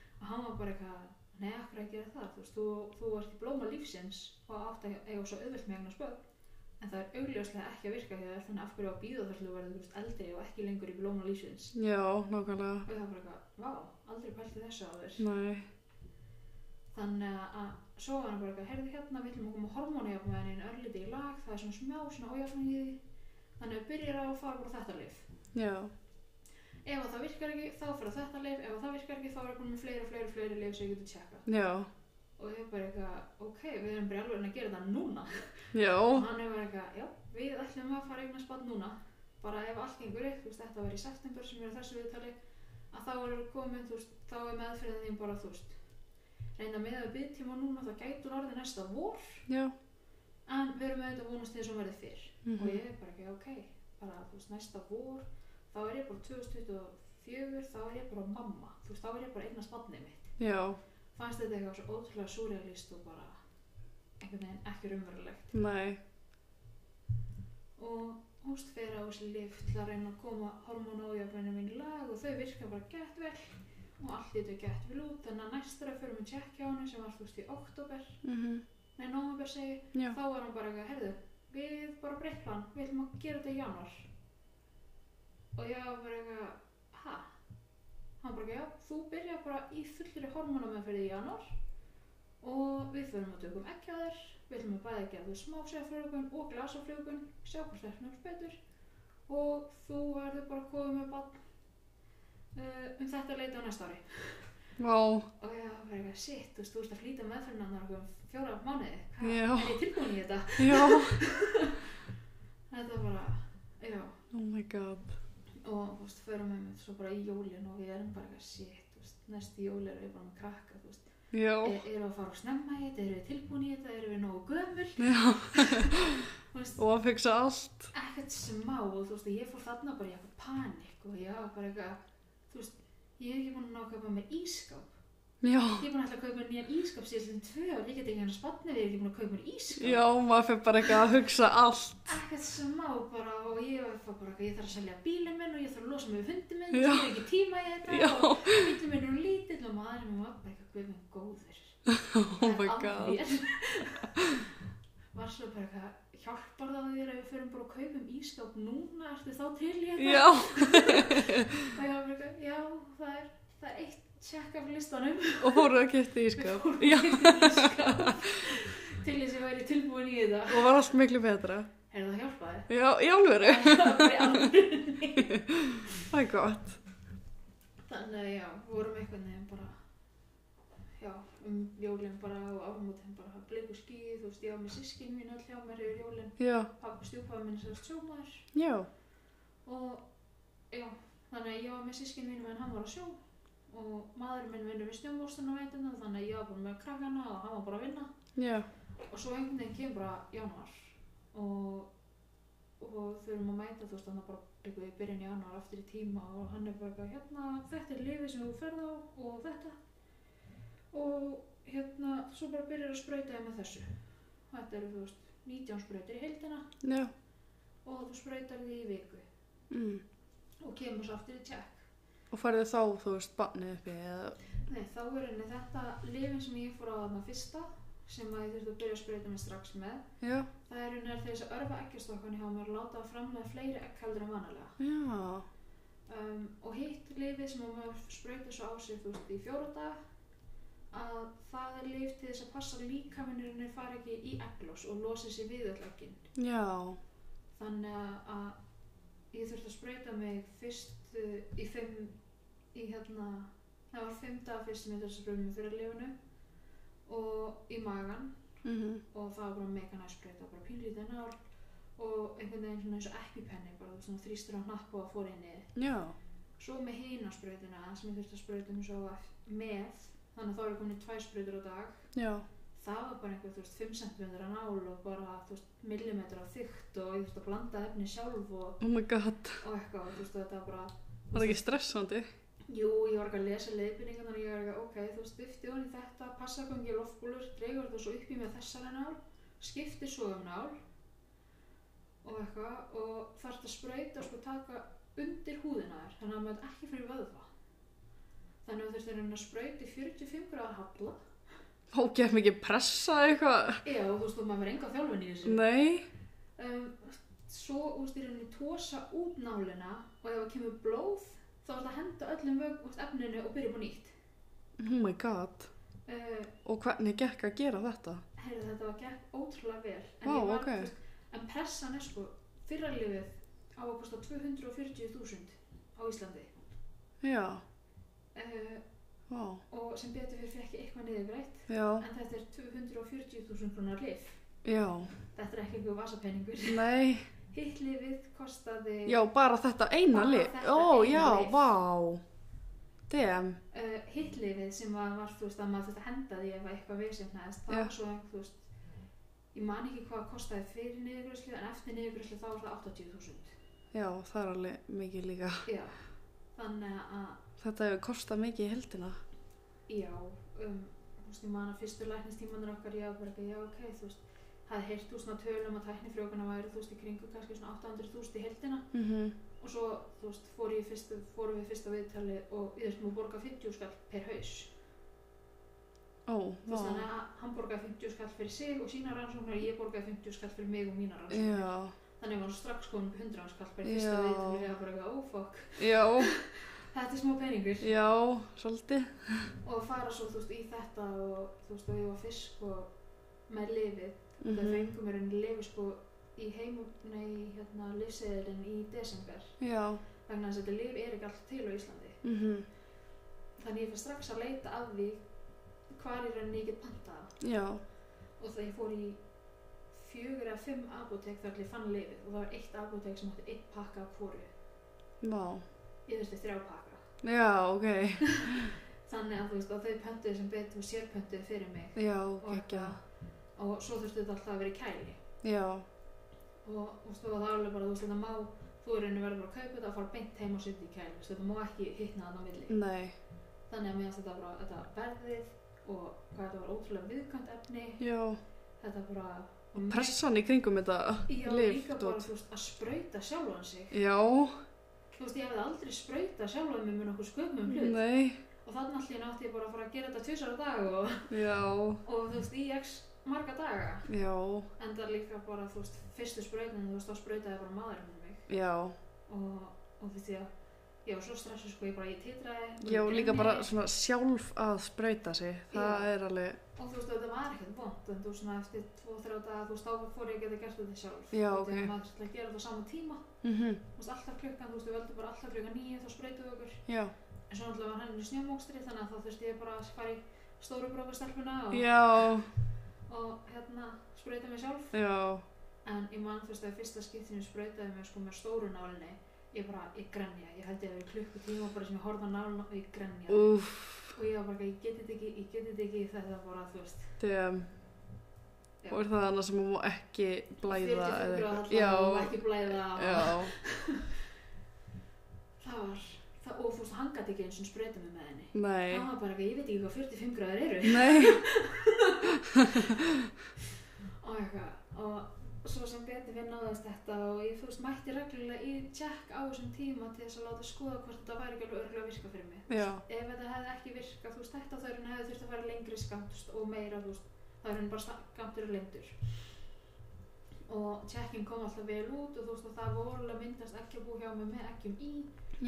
Speaker 2: og hann var bara eitthvað nei, akkur að gera það, þú veist, þú, þú ert í blóma lífsins og átt að eiga svo auðvelt með eignar spöð en það er augljóslega ekki að virka hjá þér þannig af hverju á býða þar til þú verður, þú veist, eldri og ekki lengur í blóma lífsins
Speaker 3: Já, nákvæmlega,
Speaker 2: og það var bara eitthvað, vá, aldrei pælti þessu á þér
Speaker 3: nei,
Speaker 2: þannig að svo var hann bara eitthvað heyrðu hérna, við ætlum að koma hormónjafnæðin örliti í lag, það er svona smjá, svona ójafnæði í því þannig að við byrjar á að fara bara á þetta lif
Speaker 3: já,
Speaker 2: ef að það virkar ekki, þá fyrir þetta lif ef að það virkar ekki, þá er komin með fleiri og fleiri og fleiri lif sem ég getur tjekka
Speaker 3: já,
Speaker 2: og ég bara eitthvað, ok, við erum bara alveg að gera þetta núna
Speaker 3: já,
Speaker 2: og hann er bara eitthvað, já, við ætlum að fara eignar spatt núna bara ef allt gengur upp, þú veist, þetta var í september sem er á þessu viðtali að þá er komin, þú veist, þá er meðferðin þín bara, þú veist reynda með að byggtíma núna, það gætur orðið næsta vor
Speaker 3: já,
Speaker 2: en við erum auðvitað að vonast til þess að hún verði fyrr
Speaker 3: mhm,
Speaker 2: og ég er bara ekki ok bara þú veist næsta vor þá er ég bara 2024 þá er ég bara mamma þú veist þá er ég bara eigna spannið mitt
Speaker 3: já,
Speaker 2: fannst þetta eitthvað svo ótrúlega súrealist og bara einhvern veginn ekki raunverulegt
Speaker 3: nei,
Speaker 2: og húst fer á þessi lif til að reyna að koma hormonójafninu mín í lag og þau virka bara gett vel og allt þetta gett vel út þannig að næstra fyrir mig tjekkja á henni sem var þú veist í oktober
Speaker 3: mhm,
Speaker 2: nei, nómabur segi
Speaker 3: já,
Speaker 2: þá var hann bara eitthvað, herðu, við bara breytt plan, við ætlum að gera þetta í januar og ég var bara eitthvað, ha? hann bara eitthvað, já, þú byrjar bara í fullri hormónamennferði í januar og við förum að tökum ekki að þér við ætlum að bæða ekki að þú smásegaflögun og glasaflögun, sjá hvort þetta er betur og þú verður bara eh, komið með bann uh, um þetta leita á næsta ári
Speaker 3: vá,
Speaker 2: og ég var það er eitthvað shit, þú veist, þú veist að flýta meðferðina þannig okkur um fjóra mánuði, hvað,
Speaker 3: Já.
Speaker 2: er ég tilbúin í þetta?
Speaker 3: Já.
Speaker 2: Þetta var bara, já,
Speaker 3: Oh my god.
Speaker 2: og þú veist, förum við með svo bara í jólin og við erum bara eitthvað shit, þú veist, næst í jólin erum við bara með krakka, þú veist,
Speaker 3: Já.
Speaker 2: er, erum við að fara á snemma í þetta, erum við tilbúin í þetta, erum við nógu gömul,
Speaker 3: Já.
Speaker 2: þú veist,
Speaker 3: Og að fixa allt.
Speaker 2: ekkert smá og þú veist, og ég fór þarna bara í eitthvað panik og ég var bara eitthvað, þú veist, ég er ekki búin að ná að kaupa með ískáp,
Speaker 3: Já.
Speaker 2: ég er búin að ætla að kaupa mér nýjan ískáp síðan tvö ár, ég get ekki hann að spanna við, ég er ekki búin að kaupa mér ískáp.
Speaker 3: Já, maður fyrir bara eitthvað að hugsa allt.
Speaker 2: ekkert smá bara og ég var bara ég þarf að selja bílinn minn og ég þarf að losa mig við fundin minn
Speaker 3: Já.
Speaker 2: ég er ekki tíma í þetta
Speaker 3: Já.
Speaker 2: og bílinn minn er lítill og maður minn var bara eitthvað guð minn góður
Speaker 3: Oh my god.
Speaker 2: god var svo bara eitthvað hjálpar það þér að við förum bara og kaupum ískáp núna ertu þá til í þetta
Speaker 3: Já.
Speaker 2: og ég var bara eitthvað já það er, það er eitt check af listanum
Speaker 3: Og fóruð að geta í skap. Já.
Speaker 2: ískáp til þess að ég væri tilbúin í þetta
Speaker 3: Og var allt miklu betra.
Speaker 2: er það hjálpaði?
Speaker 3: Já, í alvöru.
Speaker 2: það var bara í alvörunni
Speaker 3: Það er gott.
Speaker 2: Þannig að já, við vorum einhvern veginn bara, já, um jólinn bara og ámútin bara bleiku skýð, þú veist, ég var með sískinn mín öll hjá mér yfir jólinn,
Speaker 3: Já.
Speaker 2: pappa stjúpaði minn sem sjómaður
Speaker 3: Já.
Speaker 2: og já, þannig að ég var með sískinn mínum en hann var á sjó og maðurinn minn vinnur við snjómóstun á veitina þannig að ég var bara með krakkana og hann var bara að vinna
Speaker 3: Já.
Speaker 2: og svo einhvern veginn kemur bara januar og, og þurfum að mæta þú veist þannig bara byggjum við byrjun januar aftur í tíma og hann er bara eitthvað hérna þetta er lifið sem þú ferð á og þetta og hérna svo bara byrjar að sprauta þig með þessu þetta eru þú veist 19 sprautir í heildina
Speaker 3: Já.
Speaker 2: og þú sprautar því í viku
Speaker 3: Mm.
Speaker 2: og kemur svo aftur í tjekk
Speaker 3: Og farið þá, þú veist, barnið uppi eða...
Speaker 2: Nei, þá er henni þetta lifin sem ég fór á þarna fyrsta sem að ég þurfti að byrja að sprauta mig strax með
Speaker 3: Já.
Speaker 2: Það er raunar þess að örfa eggjastokkan hjá mér láta að framlega fleiri egg heldur en vanalega.
Speaker 3: Já.
Speaker 2: Um, og hitt lifið sem að maður sprautir svo á sig þú veist í fjóra dag að það er lif til þess að passa líkaminurinn er fara ekki í egglós og losi sér við öll eggin.
Speaker 3: Já.
Speaker 2: Þannig að- að ég þurfti að sprauta mig fyrst uh, í fimm, í hérna, það var fimm daga fyrst sem ég þurfti að sprauta mig fyrir lifinu og í magan
Speaker 3: Mhm.
Speaker 2: og það var bara mega næst breyta bara pínlítið nál og einhvern veginn svona eins og epipenni bara svona þrýstur á hnapp og að fór inni
Speaker 3: Já.
Speaker 2: svo með hina sprautina sem ég þurfti að sprauta mig svo af- með þannig að þá eru komin tvær sprautur á dag
Speaker 3: Já.
Speaker 2: það var bara einhver, þú veist, 5 cm nál og bara, þú veist, millimetra þykkt og ég þurfti að blanda efni sjálf og,
Speaker 3: Oh my god.
Speaker 2: og eitthvað, og þú veist, og þetta var bara
Speaker 3: Var það ekki stressandi?
Speaker 2: Jú, ég var ekki að lesa leiðbyrningarnar og ég var ekki að, ok, þú veist, vifti hún í þetta, passa gangi loftbúlur, dreigur þú svo upp í með þessari nál, skiptir svo um nál og eitthvað og þarf að sprauta og sko taka undir húðina þér, þannig að maður ekki fyrir vöðva. Þannig að þú þurftir að sprauta í 45 gráða halla.
Speaker 3: Hókjaf mikið pressa eitthvað.
Speaker 2: Já, þú veist, og maður verið enga þjálfin í þessu.
Speaker 3: Nei.
Speaker 2: Um, svo, þú veist, í rauninni tósa út nálina og ef það kemur blóð, þá er það að henda öllum vögg úr efninu og byrja upp á nýtt.
Speaker 3: Oh my god.
Speaker 2: Uh,
Speaker 3: Og hvernig gekk að gera þetta?
Speaker 2: Heyrðu, þetta var gekk ótrúlega vel. En
Speaker 3: Vá,
Speaker 2: ég var,
Speaker 3: ok.
Speaker 2: þú veist, En pressan er sko, fyrra lífið á að kosta 240.000 á Íslandi.
Speaker 3: Já.
Speaker 2: Uh,
Speaker 3: Vá.
Speaker 2: og sem betur fyrir fekk ég eitthvað niðurgreitt.
Speaker 3: Já.
Speaker 2: En þetta er 240.000 krónar lif.
Speaker 3: Já.
Speaker 2: Þetta er ekki einhver vasapenningur.
Speaker 3: Nei.
Speaker 2: Hitt lifið kostaði,
Speaker 3: Já, bara þetta eina
Speaker 2: Bara
Speaker 3: lið.
Speaker 2: þetta
Speaker 3: Ó,
Speaker 2: eina
Speaker 3: já,
Speaker 2: lið.
Speaker 3: vá. Damn.
Speaker 2: uh, hitt lifið sem var, var, þú veist, að maður þurfti að henda því ef að eitthvað vesefnaðist. Það
Speaker 3: Já.
Speaker 2: var svo, þú veist, ég man ekki hvað kostaði fyrir niðurgreislu en eftir niðurgreislu þá var það 80.000.
Speaker 3: Já, það er alveg mikið líka.
Speaker 2: Já, þannig að
Speaker 3: Þetta hefur kostað mikið í heldina.
Speaker 2: Já, um, þú veist, ég man að fyrstu læknistímanur okkar, ég var bara ekki, já, ok, þú veist, hafði heyrt úr svona tölum að tæknifrjókana væri, þú veist, í kringu kannski svona 800.000 í heldina
Speaker 3: Mm
Speaker 2: og svo, þú veist, fór ég fyrstu, fórum við fyrsta viðtali og við þurftum að borga 50 skall per haus.
Speaker 3: Ó,
Speaker 2: Þú veist,
Speaker 3: vá.
Speaker 2: þannig að hann borgaði 50 skall fyrir sig og sína rannsóknar og ég borgaði 50 skall fyrir mig og mína rannsóknar.
Speaker 3: Já.
Speaker 2: Þannig að við varum strax komin upp í 100 skall per fyrsta
Speaker 3: Já.
Speaker 2: viðtali og ég var bara ekki, oh fuck,
Speaker 3: Já,
Speaker 2: þetta er smá peningur.
Speaker 3: já, svolítið.
Speaker 2: Og fara svo, þú veist, í þetta og, þú veist, og ég var fisk og með lifið
Speaker 3: Mm
Speaker 2: Það fengum mér enn lifi sko í heimum, nei, hérna, lifseðilinn í desember
Speaker 3: Já.
Speaker 2: vegna þess að þetta lif er ekki alltaf til á Íslandi.
Speaker 3: Mm
Speaker 2: Þannig ég fyrir strax að leita að því hvar í rauninni ég get pantað það.
Speaker 3: já,
Speaker 2: og þegar ég fór í fjögur eða fimm apotek þar til ég fann lifið og það var eitt apotek sem átti eitt pakka af hvoru
Speaker 3: vá,
Speaker 2: ég þurfti þrjá pakka
Speaker 3: já, ok,
Speaker 2: þannig að þú veist og þau pöntuðu sem betur sérpöntuðu fyrir mig
Speaker 3: já,
Speaker 2: og,
Speaker 3: ekki,
Speaker 2: eitthvað. og svo þurfti þetta alltaf að vera í kæli
Speaker 3: já,
Speaker 2: og þú veist, það var alveg bara, þú veist, þetta má þú er einu verður bara að kaupa þetta og fara beint heim og setja í kæli, þú veist, þetta má ekki hittna þarna á milli
Speaker 3: nei,
Speaker 2: þannig að mér finnst þetta bara, þetta verðið og hvað þetta var ótrúlega viðkvæmt efni
Speaker 3: já,
Speaker 2: þetta bara og
Speaker 3: pressan í kringum þetta,
Speaker 2: ég var
Speaker 3: lyf,
Speaker 2: líka bara,
Speaker 3: dót.
Speaker 2: þú veist, að sprauta sjálfan sig
Speaker 3: já,
Speaker 2: þú veist, ég hefði aldrei sprautað sjálfan mig með nokkuð sköpum hlut
Speaker 3: nei,
Speaker 2: og þannig allir en átti ég bara að fara að gera þetta tvisar á dag og,
Speaker 3: já,
Speaker 2: og þú veist, í x marga daga
Speaker 3: já,
Speaker 2: en það líka bara, þú veist, fyrstu sprautin þú veist, þá sprautaði bara maðurinn með mig
Speaker 3: já,
Speaker 2: og, og þú veist ég að ég var svo stressuð sko, ég bara, ég titraði og
Speaker 3: já,
Speaker 2: ég
Speaker 3: líka
Speaker 2: greini.
Speaker 3: bara svona sjálf að sprauta sig, það
Speaker 2: Já.
Speaker 3: er alveg,
Speaker 2: og þú veist, þetta var ekkert vond en þú veist, svona eftir 2-3 daga, þú veist, þá fór ég að geta gert þetta sjálf
Speaker 3: Já,
Speaker 2: Þú veist,
Speaker 3: ok.
Speaker 2: ef maður ætlaði að gera þetta á sama tíma
Speaker 3: mhm,
Speaker 2: þú veist, alltaf klukkan, þú veist, við völdum bara alltaf klukkan nýju þá spreytum við okkur,
Speaker 3: já,
Speaker 2: en svo náttúrulega var hann í snjómókstri þannig að þá þurfti ég bara að fara í stóru brókastelpuna og,
Speaker 3: já,
Speaker 2: og hérna, spreyta mig sjálf
Speaker 3: já,
Speaker 2: en ég man, þú veist, að fyrsta skiptinu spreytaði mig sko með stóru nálinni ég bara, ég grenja, ég held ég að vera klukkutíma bara sem ég horfði á nálina og ég grenja
Speaker 3: uff,
Speaker 2: og ég var bara, eitthvað, ég geti þetta ekki, ég geti þetta ekki þetta var bara, þú veist,
Speaker 3: damn,
Speaker 2: Já.
Speaker 3: og er það annað sem hún má ekki blæða
Speaker 2: 45
Speaker 3: eða
Speaker 2: gráða
Speaker 3: eitthvað,
Speaker 2: það var
Speaker 3: já,
Speaker 2: ekki blæða
Speaker 3: já,
Speaker 2: það var, það, og þú veist, hann gæti ekki eins og spreyta mig með henni
Speaker 3: nei,
Speaker 2: það var bara, eitthvað, ég veit ekki hvað 45 gráðar eru
Speaker 3: nei,
Speaker 2: og eitthvað, og svo sem betur við náðast þetta og ég, þú veist, mætti reglulega í check á þessum tíma til þess að láta skoða hvort þetta væri ekki alveg örgulega að virka fyrir mig
Speaker 3: já,
Speaker 2: ef þetta hefði ekki virkað, þú veist, þetta þá er hann hefði þurft að fara lengri skamt og meira, þú veist, þá er hann bara sta- skamtur og lengdur. Og check-in kom alltaf vel út og þú veist, og það voru alveg að myndast ekki að bú hjá mig með ekkjum í,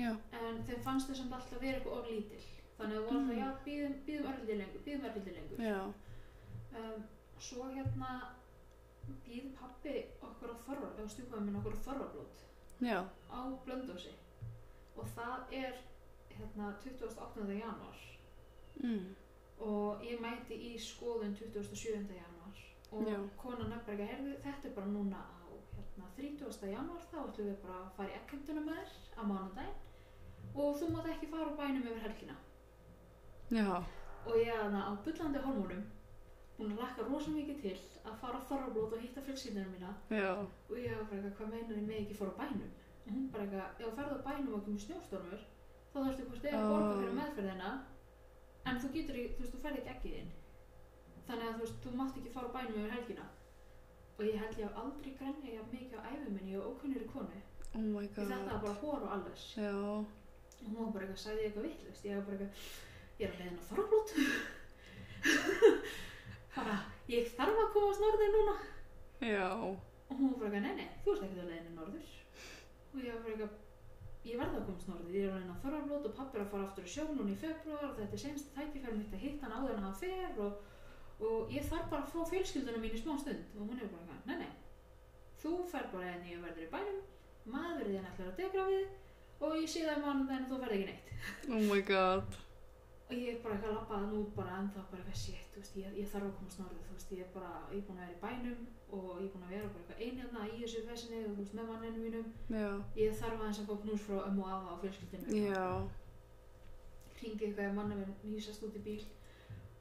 Speaker 3: já,
Speaker 2: en þeim fannst þau samt alltaf vera eitthvað of lítil. Þannig að það voru alltaf, já, býðum, býðum örlítið lengur, býðum örlítið lengur.
Speaker 3: já,
Speaker 2: Um, svo hérna býð pappi okkur á þorra, eða stjúpaði minn okkur á þorrablót
Speaker 3: já,
Speaker 2: á Blöndósi og það er hérna 28. janúar
Speaker 3: mm,
Speaker 2: og ég mæti í skoðun 27. januar og
Speaker 3: Já.
Speaker 2: konan er bara ekki að herðu þetta er bara núna á hérna, 30. januar þá ætlum við bara að fara í ekkenduna með þér á mánudaginn og þú mátt ekki fara úr bænum yfir helgina
Speaker 3: já,
Speaker 2: og ég er þarna á bullandi hormónum hún lakka rosa mikið til að fara á þorrablót og hitta fjölskyldunum mína
Speaker 3: já,
Speaker 2: og ég var bara eitthvað, hvað meinar ég með ekki fara á bænum og hún bara eitthvað, ef þú ferð á bænum og kemur snjóstormur þá þarfstu hvort eða að borga
Speaker 3: Ah.
Speaker 2: fyrir meðferðina en þú getur ekki, þú veist, þú ferð ekki ekki þinn þannig að þú veist, þú mátt ekki fara á bænum yfir helgina og ég held ég haf aldrei grænja ég mikið á æfum minni og ókunnir konu
Speaker 3: oh my
Speaker 2: því þetta
Speaker 3: god,
Speaker 2: var bara hór og alles
Speaker 3: já,
Speaker 2: og hún var bara eitthvað, sagði ég eitthvað vittlust ég var bara eitthvað, ég er að leiðin á þorflót bara, ég þarf að komast norðin núna
Speaker 3: já,
Speaker 2: og hún var bara eitthvað, nei, nei, þú ert ekkert á leiðinni norður og ég var bara eitthvað ég verða að komast norður, ég er á leiðinni á Þorrablót og pappi er að fara aftur á sjó núna í februar og þetta er senst tækifæri mitt að hitta hann áður en hann fer og, og ég þarf bara að fá fjölskyldunum mín í smá stund og hún er bara eitthvað, nei, nei þú fer bara en ég verður í bænum maður þinn ætlar að degra við þig og ég sé það mann en þú verð ekki neitt
Speaker 3: oh my god,
Speaker 2: og ég er bara eitthvað að labba þann út bara en það bara eitthvað shit, þú veist, ég, ég þarf að komast norður þú veist, ég er bara, ég er búin að vera í bænum og ég er búin að vera bara eitthvað einhjörna í þessu vesinni og þú veist, með manninu mínum
Speaker 3: já,
Speaker 2: ég þarf aðeins að fá knús frá ömmu og afa á fjölskyldinu
Speaker 3: já,
Speaker 2: hringi eitthvað að manna minn nýsast út í bíl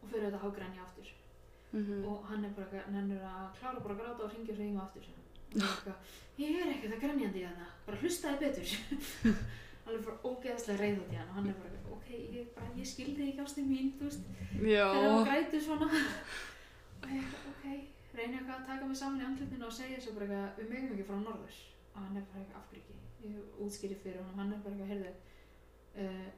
Speaker 2: og fyrir þetta hágrænja aftur
Speaker 3: mhm,
Speaker 2: og hann er bara eitthvað, nennur að klára bara að gráta og hringi og hringi aftur Og ég er eitthvað, ég er ekki það grænjandi í þarna hérna, bara hlustaði betur alveg bara ógeðslega reyð út í hann og hann er bara eitthvað, ok, ég, bara, ég skildi ekki ástin mín, þú veist þegar hún
Speaker 3: já,
Speaker 2: grætur svona og ég er ok, reyni eitthvað að taka mig saman í andlutinu og segja svo bara eitthvað við megum ekki frá norður og hann er bara eitthvað af hverju ekki ég útskýri fyrir honum, hann er bara eitthvað heyrðu, uh,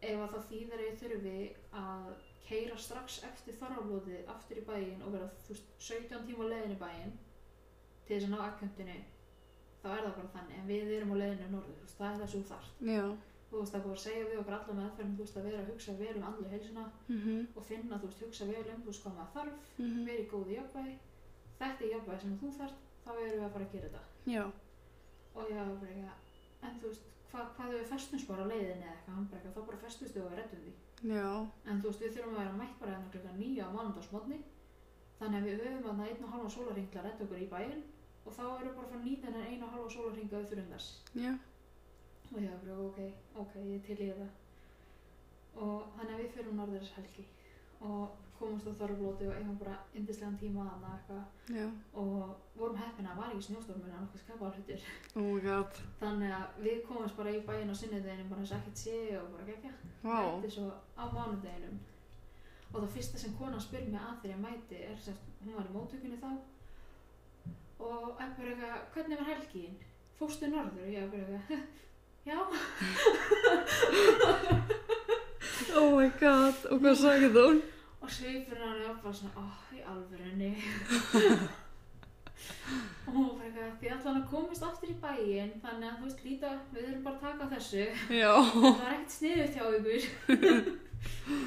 Speaker 2: ef að það þýðar að ég þurfi að keira strax eftir þorrablóðið aftur í bæinn og vera þú veist 17 tíma á leiðin í bæinn til þess að ná akkjöndinu þá er það bara þannig, en við erum á leiðinu norður, þú veist, það er það sem þú þarft
Speaker 3: já,
Speaker 2: þú veist, það er búið að segja við okkur alla meðferðin, þú veist, að vera að hugsa vel um andlu heilsuna
Speaker 3: mhm,
Speaker 2: og finna, þú veist, hugsa vel um, þú veist, hvað maður þarf,
Speaker 3: mhm,
Speaker 2: vera í góðu jafnvægi, þetta er jafnvægi sem þú þarf, þá erum við að fara að gera þetta.
Speaker 3: já,
Speaker 2: Og ég var bara eitthvað, en þú veist, hvað, hvað ef við festumst bara á leiðinni eða eitthvað, hann bara eitthvað, þá bara festumst við og við reddum því.
Speaker 3: já,
Speaker 2: En þú veist, við þurfum að vera mætt bara hérna klukkan á mánundagsmotni þannig að við höfum að það einn og halva sólarring til að redda okkur í bæinn og þá erum við bara frá nýta en einn og halva sólarring að við þurfum þess
Speaker 3: Já.
Speaker 2: og ég bara ok, ok, ég er til í þetta og þannig að við fyrir norður þess helgi og komumst á Þorflóti og eigum bara yndislegan tíma að eitthvað
Speaker 3: Já.
Speaker 2: og vorum heppin að það var ekki snjóstormur en okkur skapaðar hlutir
Speaker 3: Oh my god.
Speaker 2: Þannig að við komumst bara í bæinn á sunnudeginum bara eins og ekkert sé og bara gegja.
Speaker 3: Vá.
Speaker 2: Mætti svo á mánudeginum. Og það fyrsta sem konan spyr mig að þegar ég mæti er sem sagt, hún var í móttökunni þá. Og ég bara eitthvað, hvernig var helgin? Fórstu norður? Og ég bara eitthvað, já.
Speaker 3: Oh my god. Og hvað sagði þú?
Speaker 2: Og sveifurinn hann er bara svona, óh, í alvörunni. og hún var bara eitthvað, því allan að komist aftur í bæinn, þannig að þú veist, líta, við erum bara að taka á þessu.
Speaker 3: Já.
Speaker 2: Það var ekkert sniðut hjá ykkur.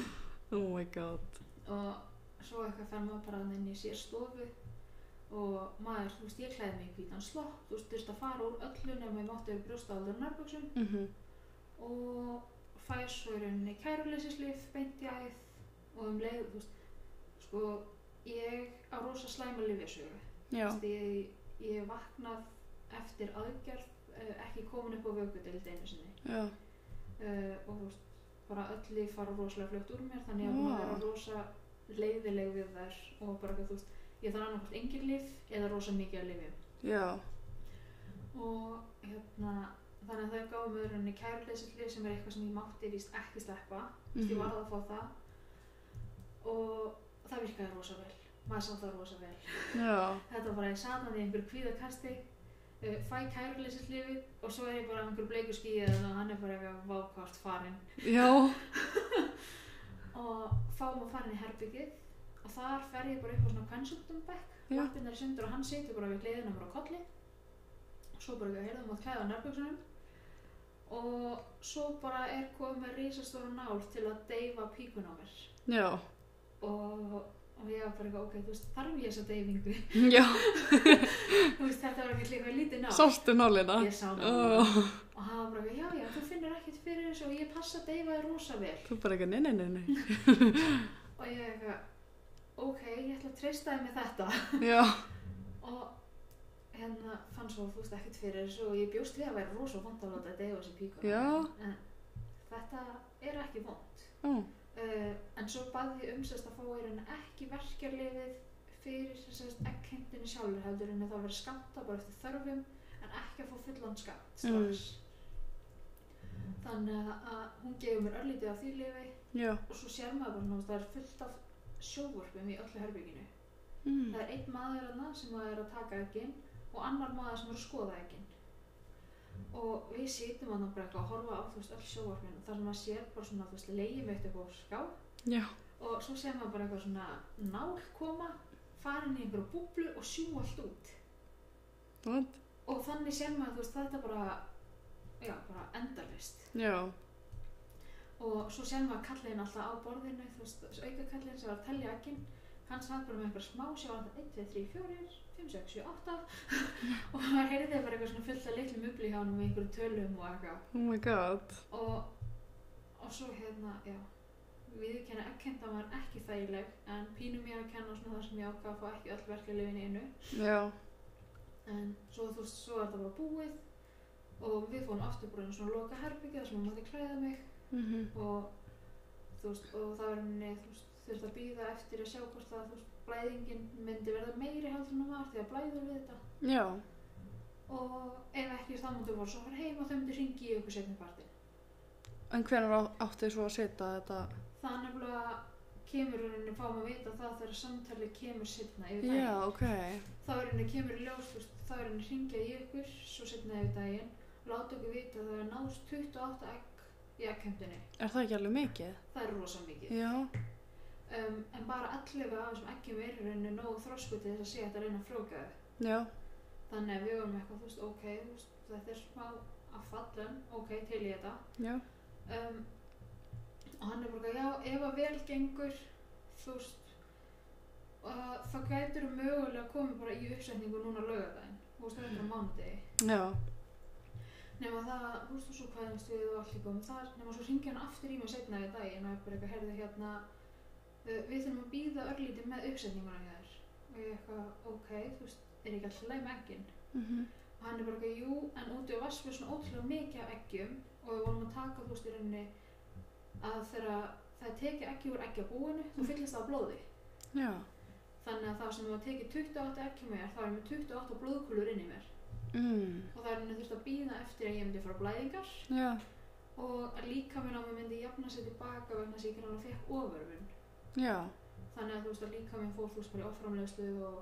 Speaker 3: Oh my god.
Speaker 2: og svo eitthvað fer maður bara þarna inn í sér stofu og maður, þú veist, ég klæði mig í hvítan slopp þú veist, þurfti að fara úr öllu nema ég mátti yfir brjóstaaldur og nærböksum
Speaker 3: Mm -hmm.
Speaker 2: og fæ svo í rauninni kæruleysislif, beint í æð og um leið, þú veist sko, ég á rosa slæma lifjasögu
Speaker 3: Já.
Speaker 2: Þú veist, ég, ég vaknað eftir aðgerð eh, ekki komin upp á vökudeild einu sinni
Speaker 3: Já.
Speaker 2: uh, og þú veist, bara öll líf fara rosalega fljótt úr mér þannig að maður
Speaker 3: Já.
Speaker 2: vera rosa leiðileg við þær og bara eitthvað, þú veist, ég þarf annarkvæmt engin líf eða rosa mikið að lifjum
Speaker 3: Já.
Speaker 2: og hérna þannig að þau gáðu með rauninni kæruleysilif sem er eitthvað sem ég mátti víst ekki sleppa mm ég
Speaker 3: Mhm.
Speaker 2: varð að fá það og það virkaði rosa vel maður sá það rosa vel
Speaker 3: Já.
Speaker 2: þetta var bara ég satan í einhverju kvíðakasti uh, fæ kæruleysilifið og svo er ég bara á einhverju bleiku skíða og hann er bara eitthvað vákvart farinn
Speaker 3: Já.
Speaker 2: og fáum að fara inn í herbyggið og þar fer ég bara upp á svona kvennsugdumbekk
Speaker 3: Já.
Speaker 2: lappinnar í sundur og hann situr bara við hliðina mér á kolli og svo bara ekki að heyrða um að klæða nærbyggsunum og svo bara er komið með risastóra nál til að deyfa píkun á mér
Speaker 3: Já.
Speaker 2: og, og ég var bara eitthvað ok, þú veist, þarf ég þessa deyfingu
Speaker 3: Já.
Speaker 2: þú veist, þetta var ekkert líka lítið nál
Speaker 3: Sástu nálina?
Speaker 2: ég sá nál
Speaker 3: Oh.
Speaker 2: og hann var bara eitthvað, já, já, þú finnur ekkert fyrir þessu og ég passa að deyfa þér rosa vel
Speaker 3: Þú bara ekki, nei, nei, nei, nei.
Speaker 2: og ég eitthvað, ok, ég ætla að treysta þið með þetta
Speaker 3: Já.
Speaker 2: og hérna fann svo þú veist ekkert fyrir þessu og ég bjóst við að vera rosa vond að láta deyfa þessi píkur
Speaker 3: Já.
Speaker 2: en þetta er ekki vond
Speaker 3: Ó.
Speaker 2: uh, en svo baði ég um sérst að fá í raun ekki verkjarlifið fyrir sérst ekkendinu sjálfur heldur en að það verið skamta bara eftir þörfum en ekki að fá fullan skamt strax þannig að hún gefur mér örlítið af því lifi
Speaker 3: Já.
Speaker 2: og svo sér maður bara náttúrulega það er fullt af sjóvorpum í öllu herbygginu
Speaker 3: Mm.
Speaker 2: Það er einn maður hana sem að er að taka ekkin og annar maður sem er að skoða ekkin. Og við sýtum hann bara eitthvað að horfa á þú veist öll sjóvarpin og þar sem maður sér bara svona þú veist leiðið eitt upp á ská
Speaker 3: Já.
Speaker 2: og svo sér maður bara eitthvað svona nál koma, farin í einhverju búblu og sjú allt út.
Speaker 3: What?
Speaker 2: Og þannig sér maður þú veist þetta bara, já bara endarlist.
Speaker 3: Já.
Speaker 2: og svo sér maður kallin alltaf á borðinu þú veist, þessi auka kallin sem var að telja ekkin hann satt bara með einhver smá sjá hann 1, 2, 3, 4, 5, 6, 7, 8 og maður heyrði bara eitthvað svona fullt af litlum ubli hjá hann með einhverjum tölum og eitthvað
Speaker 3: Oh my god.
Speaker 2: og, og svo hérna, já við kenna ekkenda var ekki þægileg en pínum ég að kenna svona það sem ég ákvað að fá ekki öll verkefliðin í einu
Speaker 3: Já.
Speaker 2: en svo þú veist, svo er það bara búið og við fórum aftur bara í svona loka herbyggja þar sem maður mátti klæða mig
Speaker 3: Mhm.
Speaker 2: og þú veist, og það var henni þú veist, þurfti að býða eftir að sjá hvort að þú veist, blæðingin myndi verða meiri heldur en hún var því að blæður við þetta
Speaker 3: Já.
Speaker 2: og ef ekki þá mútu voru svo að fara heim og þau myndi ringi í okkur setni partin
Speaker 3: En hvernig áttu þið svo að setja þetta?
Speaker 2: það er nefnilega kemur henni fáum að vita það þegar samtalið kemur setna yfir daginn
Speaker 3: Já, ok.
Speaker 2: þá er henni kemur í ljós þú veist, þá er henni ringja í ykkur svo setna yfir daginn láta okkur vita að það er náðst 28 egg í ekkendinni
Speaker 3: Er það ekki alveg mikið?
Speaker 2: það er rosa mikið
Speaker 3: Já.
Speaker 2: um, en bara allega af þessum eggjum er í rauninni nógu þrosku til þess að sé að þetta reyna að frjóka þau
Speaker 3: Já.
Speaker 2: þannig að við vorum eitthvað, þú veist, ok þú veist, þetta er smá að falla ok, til í þetta
Speaker 3: Já.
Speaker 2: um, og hann er bara, eitthvað, já, ef að vel gengur þú veist uh, þá gætur þú mögulega komið bara í uppsetningu núna laugardaginn þú veist, þetta er mándegi
Speaker 3: Já.
Speaker 2: nema það, þú veist, og svo hvaðumst við og allir komum þar nema svo ringi hann aftur í mig setna í daginn og er bara eitthvað, heyrðu hérna þau uh, við þurfum að býða örlítið með uppsetninguna hjá þér og ég eitthvað ok, þú veist, er ekki alltaf leið með eggin
Speaker 3: Mhm.
Speaker 2: og hann er bara eitthvað, jú, en úti á vass við svona ótrúlega mikið af eggjum og við vorum að taka, þú veist, í rauninni að þegar það er tekið eggi úr eggjabúinu, þú fyllist það á blóði
Speaker 3: Já.
Speaker 2: þannig að það sem þú var tekið 28 eggjum mér, þá er með 28 blóðkúlur inn í mér
Speaker 3: Mm.
Speaker 2: og það er henni þurft að býða eftir að ég myndi fara blæðingar
Speaker 3: Já.
Speaker 2: og að líka minn á mig myndi jafna sér tilbaka vegna þess að ég ekki alveg fekk ofurvun
Speaker 3: Já.
Speaker 2: þannig að þú veist að líka minn fór þú veist bara í offramlegslu og,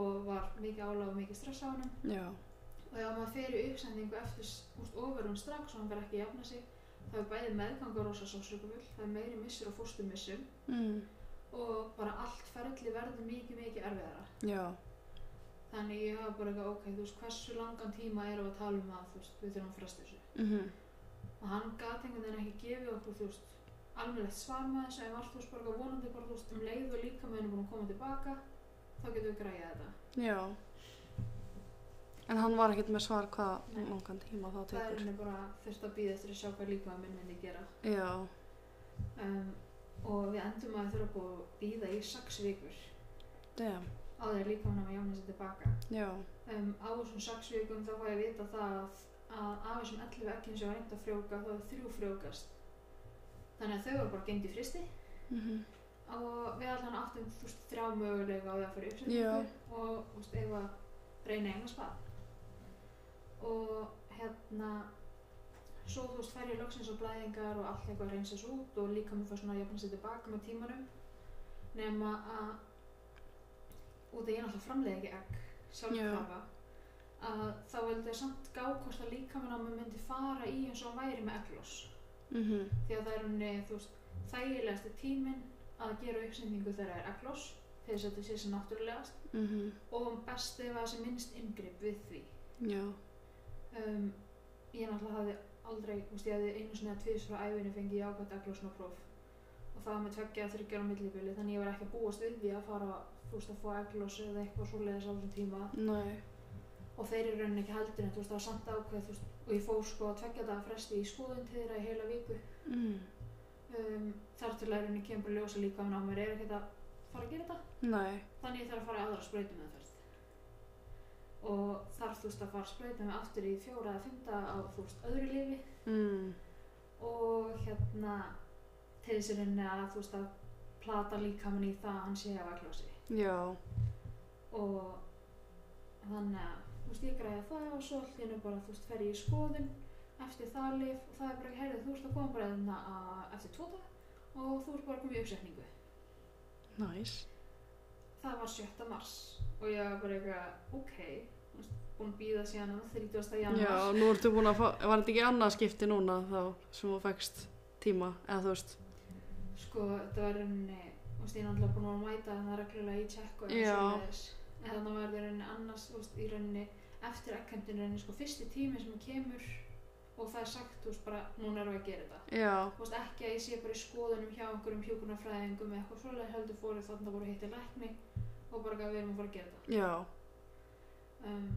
Speaker 2: og var mikið álag og mikið stress á hann
Speaker 3: Já.
Speaker 2: og ef maður fer í uppsendingu eftir úst, ofurvun strax og hann verð ekki að jafna sig þá er bæði meðgangur rosa sásökufull það er meiri missur og fóstumissum
Speaker 3: Mm.
Speaker 2: og bara allt ferli verður mikið mikið erfiðara
Speaker 3: Já.
Speaker 2: þannig ég hafa bara eitthvað ok, þú veist hversu langan tíma erum við að tala um að þú veist við þurfum að fresta þessu
Speaker 3: Mhm.
Speaker 2: og hann gat einhvern veginn ekki gefið okkur þú veist almennilegt svar með þessu en var þú veist bara eitthvað vonandi bara þú veist um leið og líka með henni búin að koma tilbaka þá getum við græjað þetta
Speaker 3: Já. En hann var ekkert með svar hvað
Speaker 2: Nei.
Speaker 3: langan tíma það
Speaker 2: það er
Speaker 3: tekur.
Speaker 2: henni bara þurft að býða eftir að sjá hvað líka að minn myndi gera
Speaker 3: Já.
Speaker 2: um, og við endum að þurfa búið að býða í sex vikur
Speaker 3: Damn.
Speaker 2: á því að líka hann að jána sér tilbaka
Speaker 3: Já.
Speaker 2: um, á þessum sex vikum þá fæ ég að vita það að, að af þessum 11 ekkjum sem var reynd að frjóka þá er þrjú frjókast þannig að þau var bara gengd í fristi
Speaker 3: Mhm.
Speaker 2: og við allan áttum þú veist þrjá möguleika á því að fara í
Speaker 3: Já.
Speaker 2: uppsetningu og þú veist ef að reyna eigna spað og hérna svo þú veist fer ég loksins og blæðingar og allt eitthvað reynsast út og líka mér fór svona að jafna sér tilbaka með tímanum nema að út að ég náttúrulega framleiði ekki egg sjálfkrafa að þá vildi ég samt gá hvort að líkaminn á mig myndi fara í eins og hann væri með eggloss
Speaker 3: Mhm.
Speaker 2: því að það er henni, þú veist, þægilegasti tíminn að gera uppsendingu þegar það er eglós til þess að þetta sé sem náttúrulegast
Speaker 3: Mhm.
Speaker 2: og best ef það sé minnst inngrip við því
Speaker 3: Já.
Speaker 2: um, ég náttúrulega hafði aldrei, þú veist, ég hafði einu sinni að tvis frá æfinu fengið jákvæmt eglósnapróf og það var með tveggja að þryggja á millibili þannig ég var ekki að búast við því að fara þú veist, að fá eglós eða eitthvað svoleiðis á þessum tíma
Speaker 3: Nei.
Speaker 2: og þeir eru raunin ekki heldur en þú veist, það var samt ákveð, þú veist, og ég fór sko tveggja daga fresti í skoðun til þeirra í heila viku
Speaker 3: Mm.
Speaker 2: um, þar til að henni kemur bara í ljós að líka hann á mér er ekkert að fara að gera þetta
Speaker 3: Nei.
Speaker 2: þannig ég þarf að fara í aðra sprautum með þvert og þarf þú veist að fara að sprauta mig aftur í fjóra eða fymta á þú veist öðru lífi
Speaker 3: Mm.
Speaker 2: og hérna til þess að henni að þú veist að plata líkamann í það að hann sé að vakla á sig
Speaker 3: Já.
Speaker 2: og þannig að þú veist ég græði það og svo allt hérna bara þú veist fer ég í skoðun eftir það lif og það er bara ekki heyrið þú veist að koma bara þarna að- eftir tvo dag og þú ert bara komið í uppsetningu
Speaker 3: Næs. Nice.
Speaker 2: það var 7. mars og ég var bara eitthvað, ok þú veist, búin að býða síðan á 30.
Speaker 3: Já,
Speaker 2: januar
Speaker 3: nú ertu búin að fá, var þetta ekki annað skipti núna þá sem þú fækst tíma, eða þú veist,
Speaker 2: sko, þetta var í rauninni þú veist, ég er náttúrulega búin að mæta þannig reglulega í tjekk og
Speaker 3: Já.
Speaker 2: svoleiðis. en þannig var þetta í rauninni annars þú veist, í rauninni eftir ekkendin rauninni sko, fyrsti tími sem kemur og það er sagt, þú veist, bara núna erum við að gera þetta
Speaker 3: já,
Speaker 2: þú veist, ekki að ég sé bara í skoðunum hjá einhverjum hjúkurnafræðingum eða eitthvað svolega heldur fóru þannig að voru hitti lækni og bara eitthvað, við erum að fara að gera þetta
Speaker 3: já,
Speaker 2: um,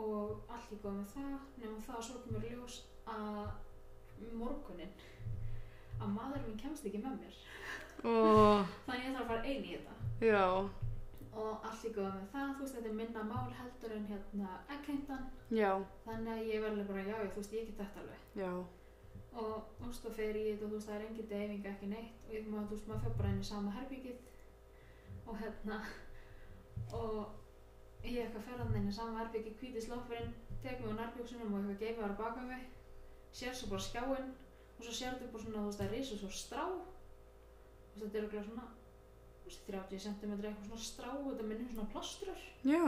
Speaker 2: og allt í góð með það nema það að svo kemur í ljós að morgunin að maður minn kemst ekki með mér
Speaker 3: og
Speaker 2: þannig ég þarf að fara ein í þetta
Speaker 3: já,
Speaker 2: og allt í góð með það, þú veist, þetta er minna mál heldur en hérna ekkeintan
Speaker 3: já,
Speaker 2: þannig að ég verður bara, já, já, þú veist, ég get þetta alveg
Speaker 3: já,
Speaker 2: og þú veist, þá fer ég í þetta og þú veist, það er engin deyfing ekki neitt og ég maður, þú veist, maður fer bara inn í sama herbyggið og hérna og ég eitthvað fer hann inn í sama herbyggið, hvíti sloppurinn tek mig á nærbjöksunum og eitthvað geifar að baka mig sér svo bara skjáinn og svo sér þetta bara svona, þú veist, það risa svo strá og þetta er okkur svona þú veist, 30 cm eitthvað svona strá og þetta minnir svona plastrur
Speaker 3: já,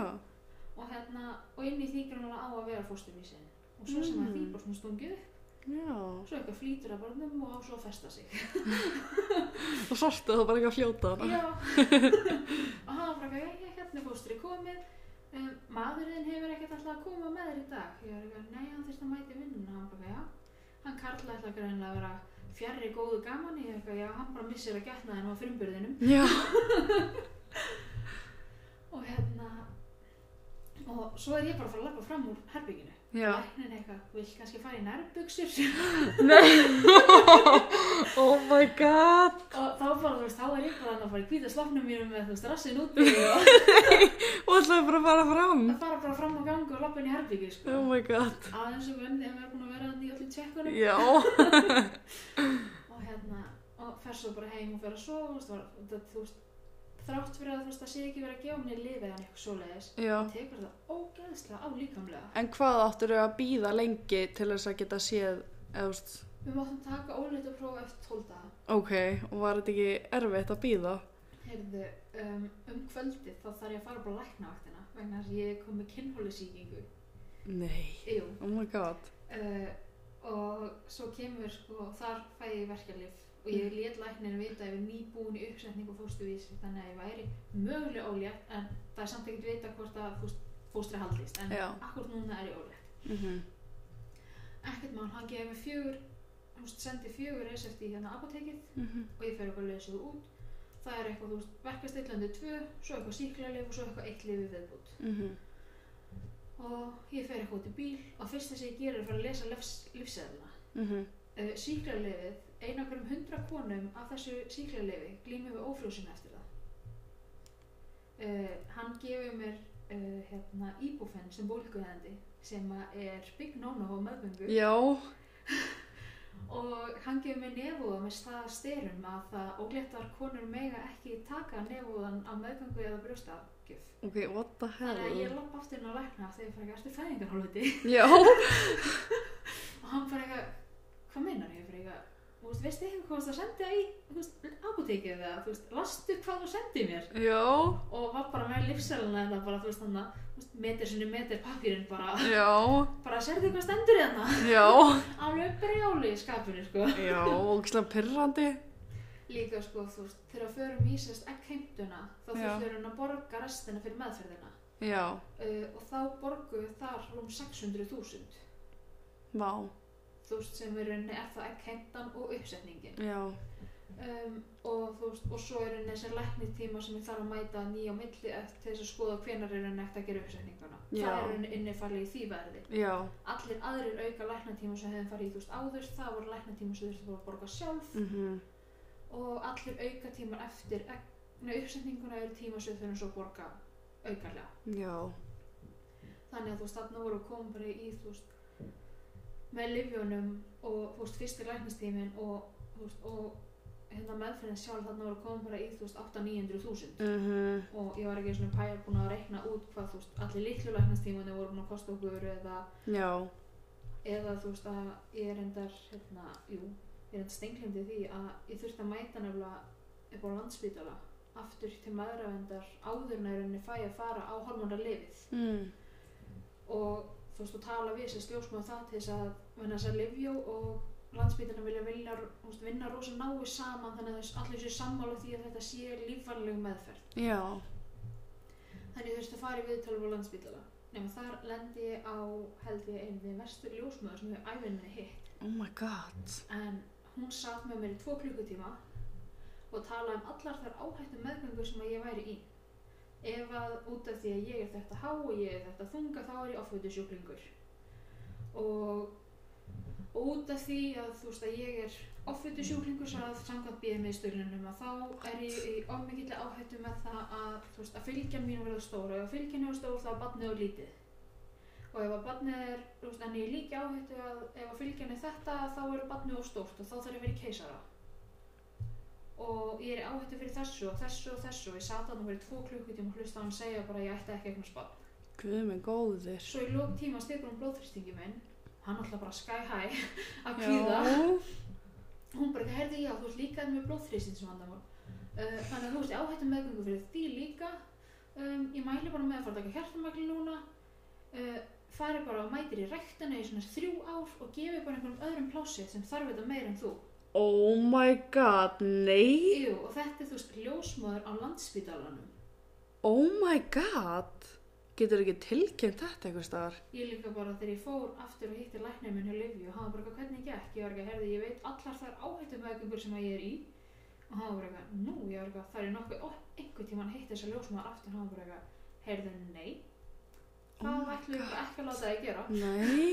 Speaker 2: og hérna, og inn í því grannlega á að vera fóstum í sinni og svo sem að því
Speaker 3: Mm.
Speaker 2: bara svona stungið upp
Speaker 3: já,
Speaker 2: svo eitthvað flýtur að barnum og á svo að festa sig
Speaker 3: og sortið það bara ekki að fljóta hana.
Speaker 2: já og hann var bara eitthvað, jæja, hérna er fóstri komið um, maðurinn hefur ekkert alltaf að koma með þér í dag ég var eitthvað, nei, hann þurfti að mæti vinnuna hann bara, já, hann karla alltaf greinlega að vera fjarri góðu gaman ég var eitthvað, já, hann bara missir að getna þennum á frumburðinum
Speaker 3: já,
Speaker 2: og hérna og svo er ég bara að fara að lappa fram úr herbygginu
Speaker 3: Já.
Speaker 2: læknin eitthvað, vill kannski fara í nærbuksur
Speaker 4: Oh my god
Speaker 2: og þá bara, þú veist, þá er ég bara þarna að fara í hvíta slopnum mínum með, þú veist, rassin úti og
Speaker 3: Og ætlaði bara að fara fram.
Speaker 2: að fara bara fram á gangu og lappa inn í herbyggi, sko
Speaker 3: Oh my god.
Speaker 2: aðeins og vönn þegar maður er búin að vera þannig í öllum tjekkunum
Speaker 3: Já.
Speaker 2: og hérna, og fer svo bara heim og fer að sofa, þú veist, var, það, þú veist þrátt fyrir að þú veist, það sé ekki verið að gefa mér lifið hann eitthvað svoleiðis
Speaker 3: Já.
Speaker 2: það tekur það ógeðslega á líkamlega
Speaker 3: En hvað áttur þau að býða lengi til þess að geta séð, eða þú veist,
Speaker 2: við máttum taka óleita prófa eftir 12 daga
Speaker 3: ok, og var þetta ekki erfitt að býða?
Speaker 2: Heyrðu, um, um kvöldið þá þarf ég að fara bara að lækna vaktina vegna þess að ég kom með kinnhólusýkingu.
Speaker 3: Nei.
Speaker 2: Jú,
Speaker 3: Oh my god.
Speaker 2: uh, og svo kemur sko, þar fæ ég verkjarlif og ég lét lækninu vita að ég var nýbúin í uppsetningu fóstuvísi þannig að ég væri möguleg ólétt en það er samt ekkert vita hvort að fóst, fóstri haldist en
Speaker 3: Já.
Speaker 2: akkur núna er ég ólétt.
Speaker 3: Mm
Speaker 2: Ekkert mál, hann gefið mér fjögur, þú veist, sendi fjögur resepti í hérna apotekið
Speaker 3: Mhm,
Speaker 2: og ég fer eitthvað að leysa þú út það er eitthvað, þú veist, verkastillandi 2 svo eitthvað síklarlif og svo eitthvað eitt lifi viðbútt
Speaker 3: mhm.
Speaker 2: og ég fer eitthvað út í bíl og fyrst þess að ég gerir er að fara að lesa lefs, lífseðla uh, síklarlifið eina hverjum hundra konum af þessu síklarlifi glýmum við ófrjósun eftir það uh, hann gefur mér uh, hérna, íbúfenn sem bólguðandi sem að er big no-no á meðgöngu
Speaker 3: Já.
Speaker 2: og hann gefur mér nefúða með staða styrum að það ógléttar konur mega ekki taka nefúðan á meðgangu eða brjóstafgjöf
Speaker 3: Ok, what the
Speaker 2: þannig að ég
Speaker 3: hell?
Speaker 2: lappa aftur inn á lækna þegar ég fara ekki eftir fæðingarhólfuti
Speaker 3: Já.
Speaker 2: og hann fara eitthvað, hvað meinar ég fyrir eitthvað þú veist, veistu eitthvað hvað það sendi í þú veist, apotekið eða, þú veist, lastu hvað þú sendi mér
Speaker 3: Já.
Speaker 2: og var bara með lífsæluna þetta bara, þú veist, þannig að þú veist, metir sinni metir pappirinn bara,
Speaker 3: Já.
Speaker 2: bara serðu hvað stendur hérna
Speaker 3: Já.
Speaker 2: alveg brjáli í skapinu, sko
Speaker 3: Já, ógislega pyrrandi.
Speaker 2: líka sko þú veist þegar við förum í sérst ekkheimtuna þá
Speaker 3: Já.
Speaker 2: þurftur hún að borga restina fyrir meðferðina
Speaker 3: Já.
Speaker 2: uh, og þá borguðu þar um 600.000
Speaker 3: Vá.
Speaker 2: þú veist sem í rauninni er það ekkheimtan og uppsetningin
Speaker 3: Já.
Speaker 2: um, og þú veist og svo er rauninni þessi læknitíma sem ég þarf að mæta nýja á milli eftir þess að skoða hvenar er rauninni eftir að gera uppsetninguna
Speaker 3: Já.
Speaker 2: það er rauninni innifalið í því verði
Speaker 3: Já.
Speaker 2: allir aðrir auka læknatíma sem hefðum farið í þú veist áður það voru læknatíma sem þurftu að borga sjálf
Speaker 3: Mm
Speaker 2: og allir aukatímar eftir eh, nei, uppsetninguna eru tímar sem þurfum svo að borga aukarlega
Speaker 3: Já.
Speaker 2: þannig að þú veist þarna voru komin bara í þú veist með livjónum og þú veist fyrsti læknistímin og þú veist og hérna meðferðin sjálf þarna voru komin bara í þú veist 8-900.000
Speaker 3: Mm
Speaker 2: og ég var ekki svona pæjar búin að reikna út hvað þú veist allir litlu læknistímanu voru búin að kosta okkur eða,
Speaker 3: Já.
Speaker 2: eða þú veist að ég er endar hérna, jú, ég er endar stenglimdi því að ég þurfti að mæta nefnilega upp á landspítala aftur til maðuravendar áður en að rauninni fæ að fara á hormónar lifið
Speaker 3: Mm.
Speaker 2: og þú veist, þú tala við sem sljósmaður það til þess að vinna þess að Livjó og landsbytina vilja vilja þú veist, vinna rosa nái saman þannig að þess allir séu sammála því að þetta sé lífvænleg meðferð
Speaker 3: Já.
Speaker 2: þannig þú veist að fara í viðtalum á landsbytala nema þar lendi ég á held ég einni vestur ljósmaður sem ég æfinni hitt
Speaker 3: Oh my god.
Speaker 2: en hún satt með mér í tvo klukkutíma og talaði um allar þær áhættu meðgöngur sem að ég væri í ef að út af því að ég er þetta há og ég er þetta þunga þá er ég ofvöldu sjúklingur og, og út af því að þú veist að ég er ofvöldu sjúklingur svo að samkvæmt býðið með stölunum að þá er ég í ofmikilli áhættu með það að þú veist að fylgjan mín verður stór og ef fylgjan er stór þá er barnið og lítið og ef að barnið er, þú veist, en ég er líka áhættu að ef að fylgjan er þetta þá er barnið of stórt og þá þarf ég að vera í keisara og ég er í áhættu fyrir þessu og þessu og þessu og ég sat hann og verið tvo klukkutíma og hlusta hann segja bara að ég ætti ekki eignast barn
Speaker 3: Guð minn góður.
Speaker 2: svo í lók tíma stekur hún blóðþristingi minn hann alltaf bara sky high að kvíða
Speaker 3: Já.
Speaker 2: hún bara, herði já, þú ert líka með blóðþrýstin sem vandamál uh, þannig að þú ert í áhættu meðgöngu fyrir því líka um, ég mæli bara með að fara að taka hjartamagli núna uh, fari bara og mætir í ræktina í svona þrjú ár og gefi bara einhverjum öðrum plásið sem þarf þetta meira en þú
Speaker 3: Oh my god. Nei.
Speaker 2: Jú, og þetta er þú veist ljósmaður á landspítalanum
Speaker 3: Oh my god. Getur ekki tilkynnt þetta einhvers staðar?
Speaker 2: Ég líka bara þegar ég fór aftur og hitti læknir minn hjá Livi og hann var bara eitthvað hvernig gekk, ég var ekki að herði, ég veit allar þær áhættu meðgöngur sem að ég er í og hann var bara eitthvað, nú, ég var eitthvað, það er nokkuð, ó, einhvern tímann hitti þess að ljósmaður aftur, hann var bara eitthvað, herðu, nei, það
Speaker 3: Oh my
Speaker 2: ætlum við bara ekki að láta það að gera
Speaker 3: Nei.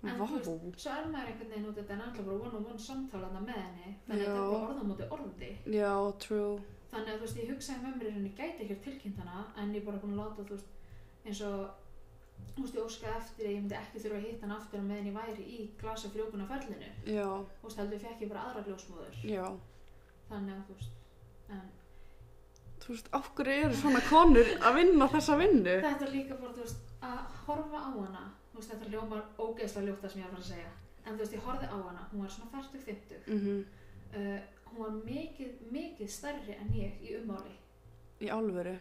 Speaker 2: En
Speaker 3: Vá.
Speaker 2: þú svo er maður einhvern veginn út þetta en alltaf bara one on one samtálanda með henni þannig að þetta er
Speaker 3: Já.
Speaker 2: bara orðamóti orði
Speaker 3: Já, true.
Speaker 2: þannig að þú veist, ég hugsaði með mér að henni gæti ekki tilkynnt hana en ég er bara búin að láta þú veist, eins og þú veist, ég óskaði eftir að ég myndi ekki þurfa að hitta hana aftur á meðan ég væri í glasa frjókuna ferlinu
Speaker 3: Já,
Speaker 2: þú veist, heldur fekk ég bara aðra gljósmóður
Speaker 3: já.
Speaker 2: þannig að þú veist, en
Speaker 3: Þú veist, af hverju eru svona konur að vinna þessa vinnu?
Speaker 2: þetta er líka bara, þú veist, að horfa á hana þú veist, þetta ljómar ógeðslega ljóta sem ég er að fara að segja en þú veist, ég horfði á hana, hún var svona 40-50
Speaker 3: Mm
Speaker 2: uh, hún var mikið, mikið stærri en ég í ummáli
Speaker 3: Í alvöru.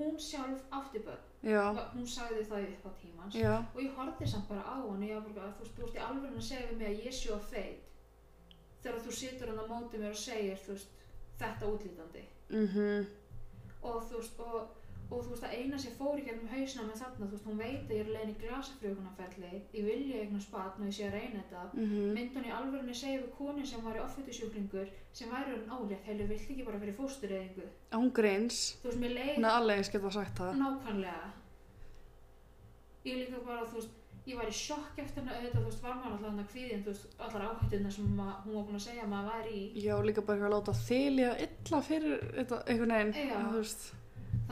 Speaker 2: hún sjálf átti börn
Speaker 3: Já,
Speaker 2: hún sagði það upp á tímans
Speaker 3: já.
Speaker 2: og ég horfði samt bara á hann og ég var bara, þú veist, þú ert í alveg að segja við mig að ég sé of feit þegar þú situr hann á móti mér og segir þú veist, þetta útlítandi
Speaker 3: Mm
Speaker 2: og þú veist, og, og þú veist að eina sem fór í gegnum hausna með þarna, þú veist, hún veit að ég er leiðin í glasafrjókunarferli ég vilja eignar spatn og ég sé að reyna þetta
Speaker 3: Mm
Speaker 2: myndi hún í alvörunni segja við konu sem var í offötusjúklingur sem væri hann álétt, heilu, vilt ekki bara fyrir fóstureyðingu
Speaker 3: Hún grins.
Speaker 2: þú veist, mér leið
Speaker 3: Hún er alveg eins getur að sagt það.
Speaker 2: nákvæmlega ég líka bara, þú veist ég var í sjokk eftir hennar auðvitað, þú veist, var maður alltaf hann að kvíðin, þú veist, allar áhættunar sem ma- hún var búin að segja að maður var í
Speaker 3: Já, líka bara eitthvað að láta þylja illa fyrir þetta, einhvern veginn.
Speaker 2: Já.
Speaker 3: Þú veist,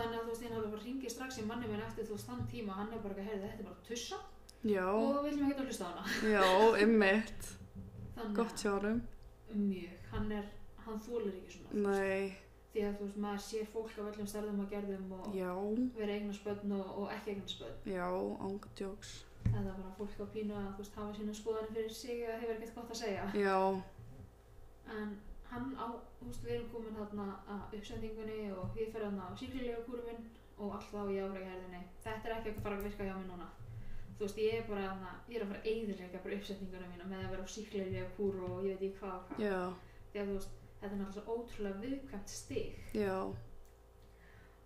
Speaker 2: þannig að þú veist, ég náttúrulega bara ringið strax í manni minn eftir, þú veist, þann tíma, hann er bara ekki að heyrða þetta er bara tussa
Speaker 3: já,
Speaker 2: og við viljum ekki að hlusta á hana
Speaker 3: já, ymmit.
Speaker 2: þannig
Speaker 3: Gott hjá honum.
Speaker 2: að- mjög, hann er, hann þólir ekki svona þú veist.
Speaker 3: Nei,
Speaker 2: því að þú veist, maður sér fólk af öllum stærðum og gerðum og
Speaker 3: já,
Speaker 2: vera eignarsbönn og, og ekki eignarsbönn
Speaker 3: já, ángdjóks.
Speaker 2: eða bara fólk á pínu að þú veist, hafa sína skoðan fyrir sig eða hefur ekkert gott að segja
Speaker 3: Já,
Speaker 2: en hann á, þú veist, við erum komin þarna að uppsendingunni og ég fer þarna á síklilega kúrfinn og allt þá í áreikherðinni þetta er ekki að fara að virka hjá mér núna þú veist, ég er bara þarna, ég er að fara að eigðurleika bara uppsetninguna mína með að vera á síklilega kúr og ég veit ekki hvað og hvað
Speaker 3: já,
Speaker 2: því að þú veist, þetta er náttúrulega svo ótrúlega viðkvæmt stig
Speaker 3: já,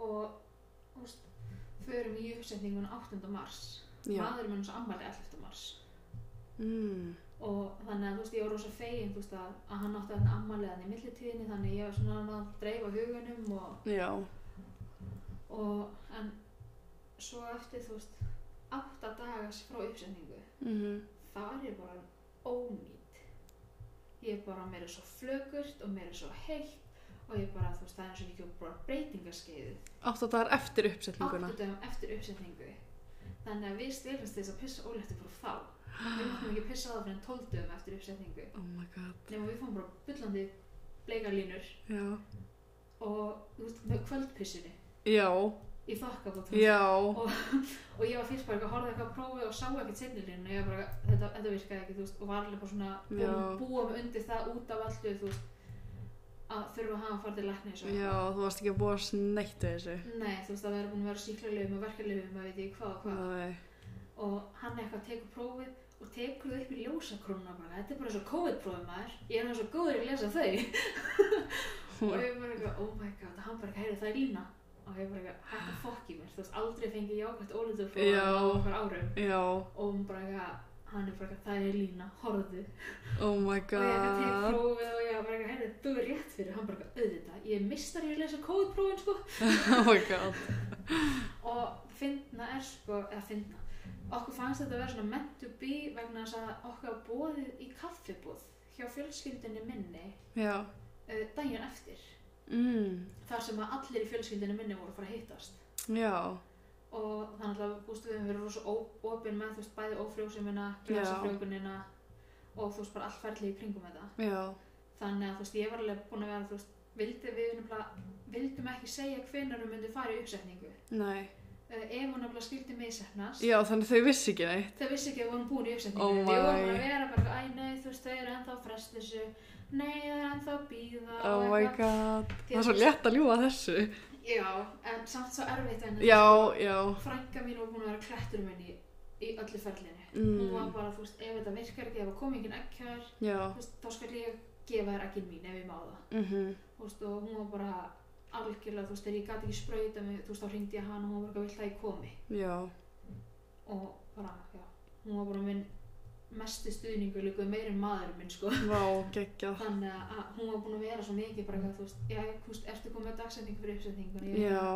Speaker 2: og, þú veist, förum í uppsetninguna 8. mars
Speaker 3: já.
Speaker 2: maðurinn minn svo ammali 11. mars
Speaker 3: Mm,
Speaker 2: og þannig að þú veist ég var rosa fegin þú veist að, að hann átti þarna ammaliðan í millitíðinni þannig að ég var svona að dreifa hugunum og,
Speaker 3: já,
Speaker 2: og en svo eftir þú veist átta dagas frá uppsendingu
Speaker 3: mhm,
Speaker 2: það er ég bara ónýtt ég er bara mér er svo flögurt og mér er svo heitt og ég bara þú veist það er eins og ég ekki bara breytingarskeiðu
Speaker 3: Átta dagar eftir uppsetninguna.
Speaker 2: áttu dögum eftir uppsendingu þannig að við stelumst þess að pissa óléttu frá þá við máttum ekki pissa á það fyrir en 12 dögum eftir uppsetningu
Speaker 3: Oh my god,
Speaker 2: nema við fáum bara byllandi bleikar línur
Speaker 3: já,
Speaker 2: og þú veist, með kvöldpissinu
Speaker 3: já,
Speaker 2: í þokkabótum
Speaker 3: já,
Speaker 2: og ég var fyrst bara ekki að horfa eitthvað að prófi og sá ekki seinni línuna og ég var bara, þetta, þetta virkaði ekki þú veist, og var alveg bara svona búin
Speaker 3: Já.
Speaker 2: að búa mig undir það út af allu þú veist, að þurfa að hafa að fara til læknis og
Speaker 3: já, þú varst ekki að búa sneitt við þessu.
Speaker 2: nei, þú veist, að vera búin að vera síklarlegum og verkarlegum og veit ég hvað og hvað
Speaker 3: Nei,
Speaker 2: og hann eitthvað tekur prófið og tekur það upp í ljósakrónuna bara, þetta er bara eins og COVID-prófið maður ég er hann svo góður í að lesa þau og ég bara eitthvað, oh my god, hann bara eitthvað, heyrðu það er lína og ég bara eitthvað, þetta fokk í mér, þú veist, aldrei fengið jákvæmt ólindu frá
Speaker 3: Já.
Speaker 2: hann á okkar árum
Speaker 3: já,
Speaker 2: og hún bara eitthvað, hann er bara eitthvað, það er lína, horfðu
Speaker 3: oh my
Speaker 2: og ég eitthvað tek
Speaker 3: god.
Speaker 2: prófið og ég bara eitthvað, heyrðu, þú er rétt fyrir hann bara eitthvað, auðvitað, ég mistar ég að lesa kóðprófin sko
Speaker 3: Oh my god.
Speaker 2: og fyndna er sko, eða fyndna okkur fannst þetta að vera svona meant to be vegna þess að okkar var boðið í kaffibúð hjá fjölskyldinni minni
Speaker 3: Já,
Speaker 2: uh, daginn eftir
Speaker 3: mm,
Speaker 2: þar sem að allir í fjölskyldinni minni voru að fara að hittast
Speaker 3: já,
Speaker 2: og þannig að þú veist við höfum verið rosa óopin með þú veist bæði ófrjósimina,
Speaker 3: Já.
Speaker 2: glasafrjókunina og þú veist bara allt ferlið í kringum þetta
Speaker 3: já,
Speaker 2: þannig að þú veist ég var alveg búin að vera þú veist vildi við nefnilega, vildum ekki segja hvenar við myndum fara í uppsetningu uh,
Speaker 3: nei.
Speaker 2: ef hún nefnilega skildi misefnast
Speaker 3: Já, þannig þau vissi ekki neitt.
Speaker 2: þau vissi ekki að við vorum búin í uppsetningu
Speaker 3: Oh
Speaker 2: við vorum
Speaker 3: my.
Speaker 2: að vera bara, æ nei þú veist þau eru ennþá að fresta þessu nei það er ennþá að býða
Speaker 3: Oh
Speaker 2: og
Speaker 3: my
Speaker 2: eitthvað.
Speaker 3: god.
Speaker 2: Því að
Speaker 3: Það er svo
Speaker 2: þú veist-
Speaker 3: létt að ljúa þessu.
Speaker 2: já, en samt svo erfitt en
Speaker 3: Já, já,
Speaker 2: frænka mín var búin að vera klættur minn í, í öllu ferlinu
Speaker 3: Mm.
Speaker 2: hún var bara, þú veist, ef þetta virkar ekki ef það kom engin ekkjar,
Speaker 3: já.
Speaker 2: þú veist, þá skal ég gefa þér ekkin mín ef ég má það
Speaker 3: Mm
Speaker 2: þú veist, og hún var bara algjörlega, þú veist, þegar ég gæti ekki sprauta mig þú veist, þá hringdi ég hann og hún var bara vill að ég komi
Speaker 3: Já,
Speaker 2: og bara, já, hún var bara minn mestu stuðningu líka meir en maðurinn minn sko
Speaker 3: Vá, geggjað.
Speaker 2: þannig að hún var búin að vera svo mikið bara eitthvað, þú veist, já, þú veist, ertu komið með dagsetningu fyrir uppsetningunni?
Speaker 3: Já.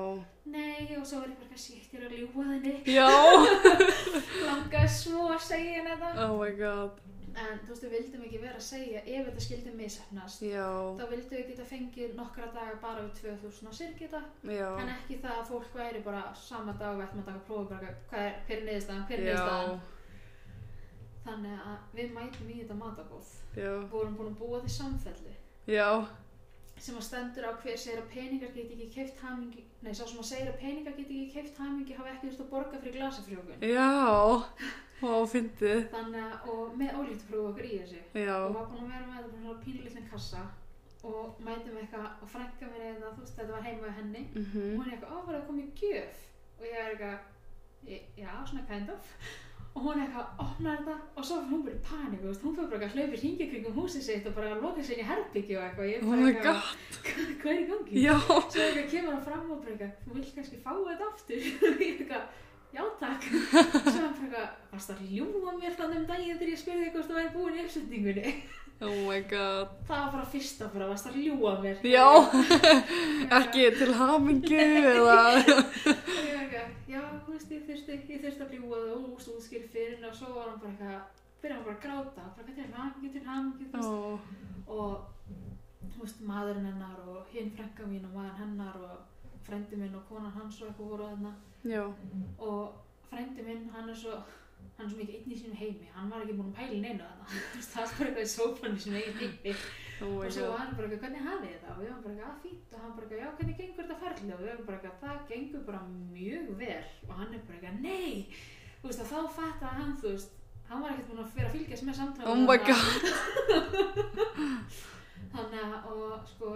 Speaker 2: Nei, og svo var ég bara eitthvað sýtt, ég er að ljúa þenni,
Speaker 3: Já.
Speaker 2: langaði svo að segja henni þetta.
Speaker 3: Oh my god.
Speaker 2: En þú veist, við vildum ekki vera að segja ef þetta skildi misefnast.
Speaker 3: Já.
Speaker 2: Þá vildum við geta fengið nokkra daga bara við 2000 að sirkita,
Speaker 3: Já.
Speaker 2: en ekki það að fólk væri bara sama dag og ættum að taka prófa bara eitthvað, hvað er, hver er niðurstaðan, hver er niðurstaðan.
Speaker 3: Já.
Speaker 2: Þannig að við mætum í þetta matabóð.
Speaker 3: Já.
Speaker 2: Við vorum búin að búa því samfellu
Speaker 3: Já.
Speaker 2: sem að stendur á hver segir að peningar geti ekki keift hamingi, nei, sá sem að segir að peningar geti ekki keift hamingi hafa ekki þurft að borga fyrir glasafrjókun.
Speaker 3: Já. Vá, fyndið.
Speaker 2: Þannig að, og með ólítupróf okkur í þessu. og
Speaker 3: Já.
Speaker 2: var búin að vera með þetta bara svona pínlítinn kassa og mætum við eitthvað og frænka mér eða þú veist þetta var heima við henni og
Speaker 3: Mhm.
Speaker 2: hún er eitthvað, ó, var það komið gjöf og ég er eitthvað, "Í- já, svona kind of og hún er eitthvað, opnar þetta og svo fyrir hún bara í panik, þú veist, hún fyrir bara eitthvað hlaupir hringi kringum húsið sitt og bara loka sér í herbyggju og eitthvað, ég er
Speaker 3: Oh
Speaker 2: bara
Speaker 3: my
Speaker 2: eitthvað,
Speaker 3: god.
Speaker 2: hvað er í gangi?
Speaker 3: Já.
Speaker 2: Svo eitthvað kemur hann fram og bara eitthvað, þú vilt kannski fá þetta aftur og ég eitthvað, já takk svo hann bara eitthvað, varst að ljúa mér þannig um daginn þegar ég spurði eitthvað þú væri búin í uppsetningunni
Speaker 3: Oh my god.
Speaker 2: Það var bara fyrsta bara, varst að ljúa mér.
Speaker 3: Já. Ekki til hamingju eða.
Speaker 2: Og ég var eitthvað, Já, þú veist, ég þurfti, ég þurfti að ljúa það og þú veist, útskýr fyrir henni og svo var hann bara eitthvað, byrjaði hann bara að gráta, bara hvað til hamingju, til hamingju, þú veist.
Speaker 3: Ó.
Speaker 2: Og, þú veist, maðurinn hennar og hinn frænka mín og maður hennar og frendi minn og konan hans og eitthvað voru þarna.
Speaker 3: Já.
Speaker 2: Og frendi minn, hann er svo, hann er svo mikið einn í sínum heimi, hann var ekki búin að pæla í neinu þarna. Þú veist, það er bara eitthvað í sófann í sínum eigin heimi.
Speaker 3: Oh my
Speaker 2: og svo var
Speaker 3: god.
Speaker 2: hann bara eitthvað, hvernig hafið þið það? Og við varum bara eitthvað, að fínt og hann bara eitthvað, já, hvernig gengur þetta ferli? Og við varum bara eitthvað, það gengur bara mjög vel og hann er bara eitthvað, nei! Þú veist, og þá fattaði hann, þú veist, hann var ekkert búin að vera að fylgjast með samtala
Speaker 3: Oh my god.
Speaker 2: Þannig að, og sko,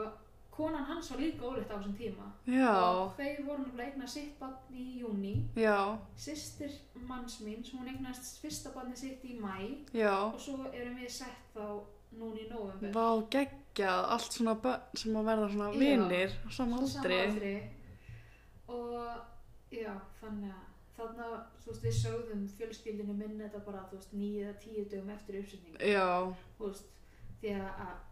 Speaker 2: konan hans var líka ólétt á þessum tíma
Speaker 3: Já.
Speaker 2: og þau voru náttúrulega eignað sitt barn í júni
Speaker 3: Já.
Speaker 2: systir manns mín, sem hún eignast fyrsta barni sitt í mæ
Speaker 3: Já.
Speaker 2: og svo erum við sett þá núna í november
Speaker 3: Vá, geggjað. Allt svona börn sem að verða svona
Speaker 2: Já.
Speaker 3: vinir. á Sama
Speaker 2: Svona sama
Speaker 3: aldri.
Speaker 2: aldri. og já, þannig að þannig að þú veist, við sögðum fjölskyldinu minn þetta bara þú veist, níu eða tíu dögum eftir uppsetningu
Speaker 3: Já.
Speaker 2: þú veist, því að að,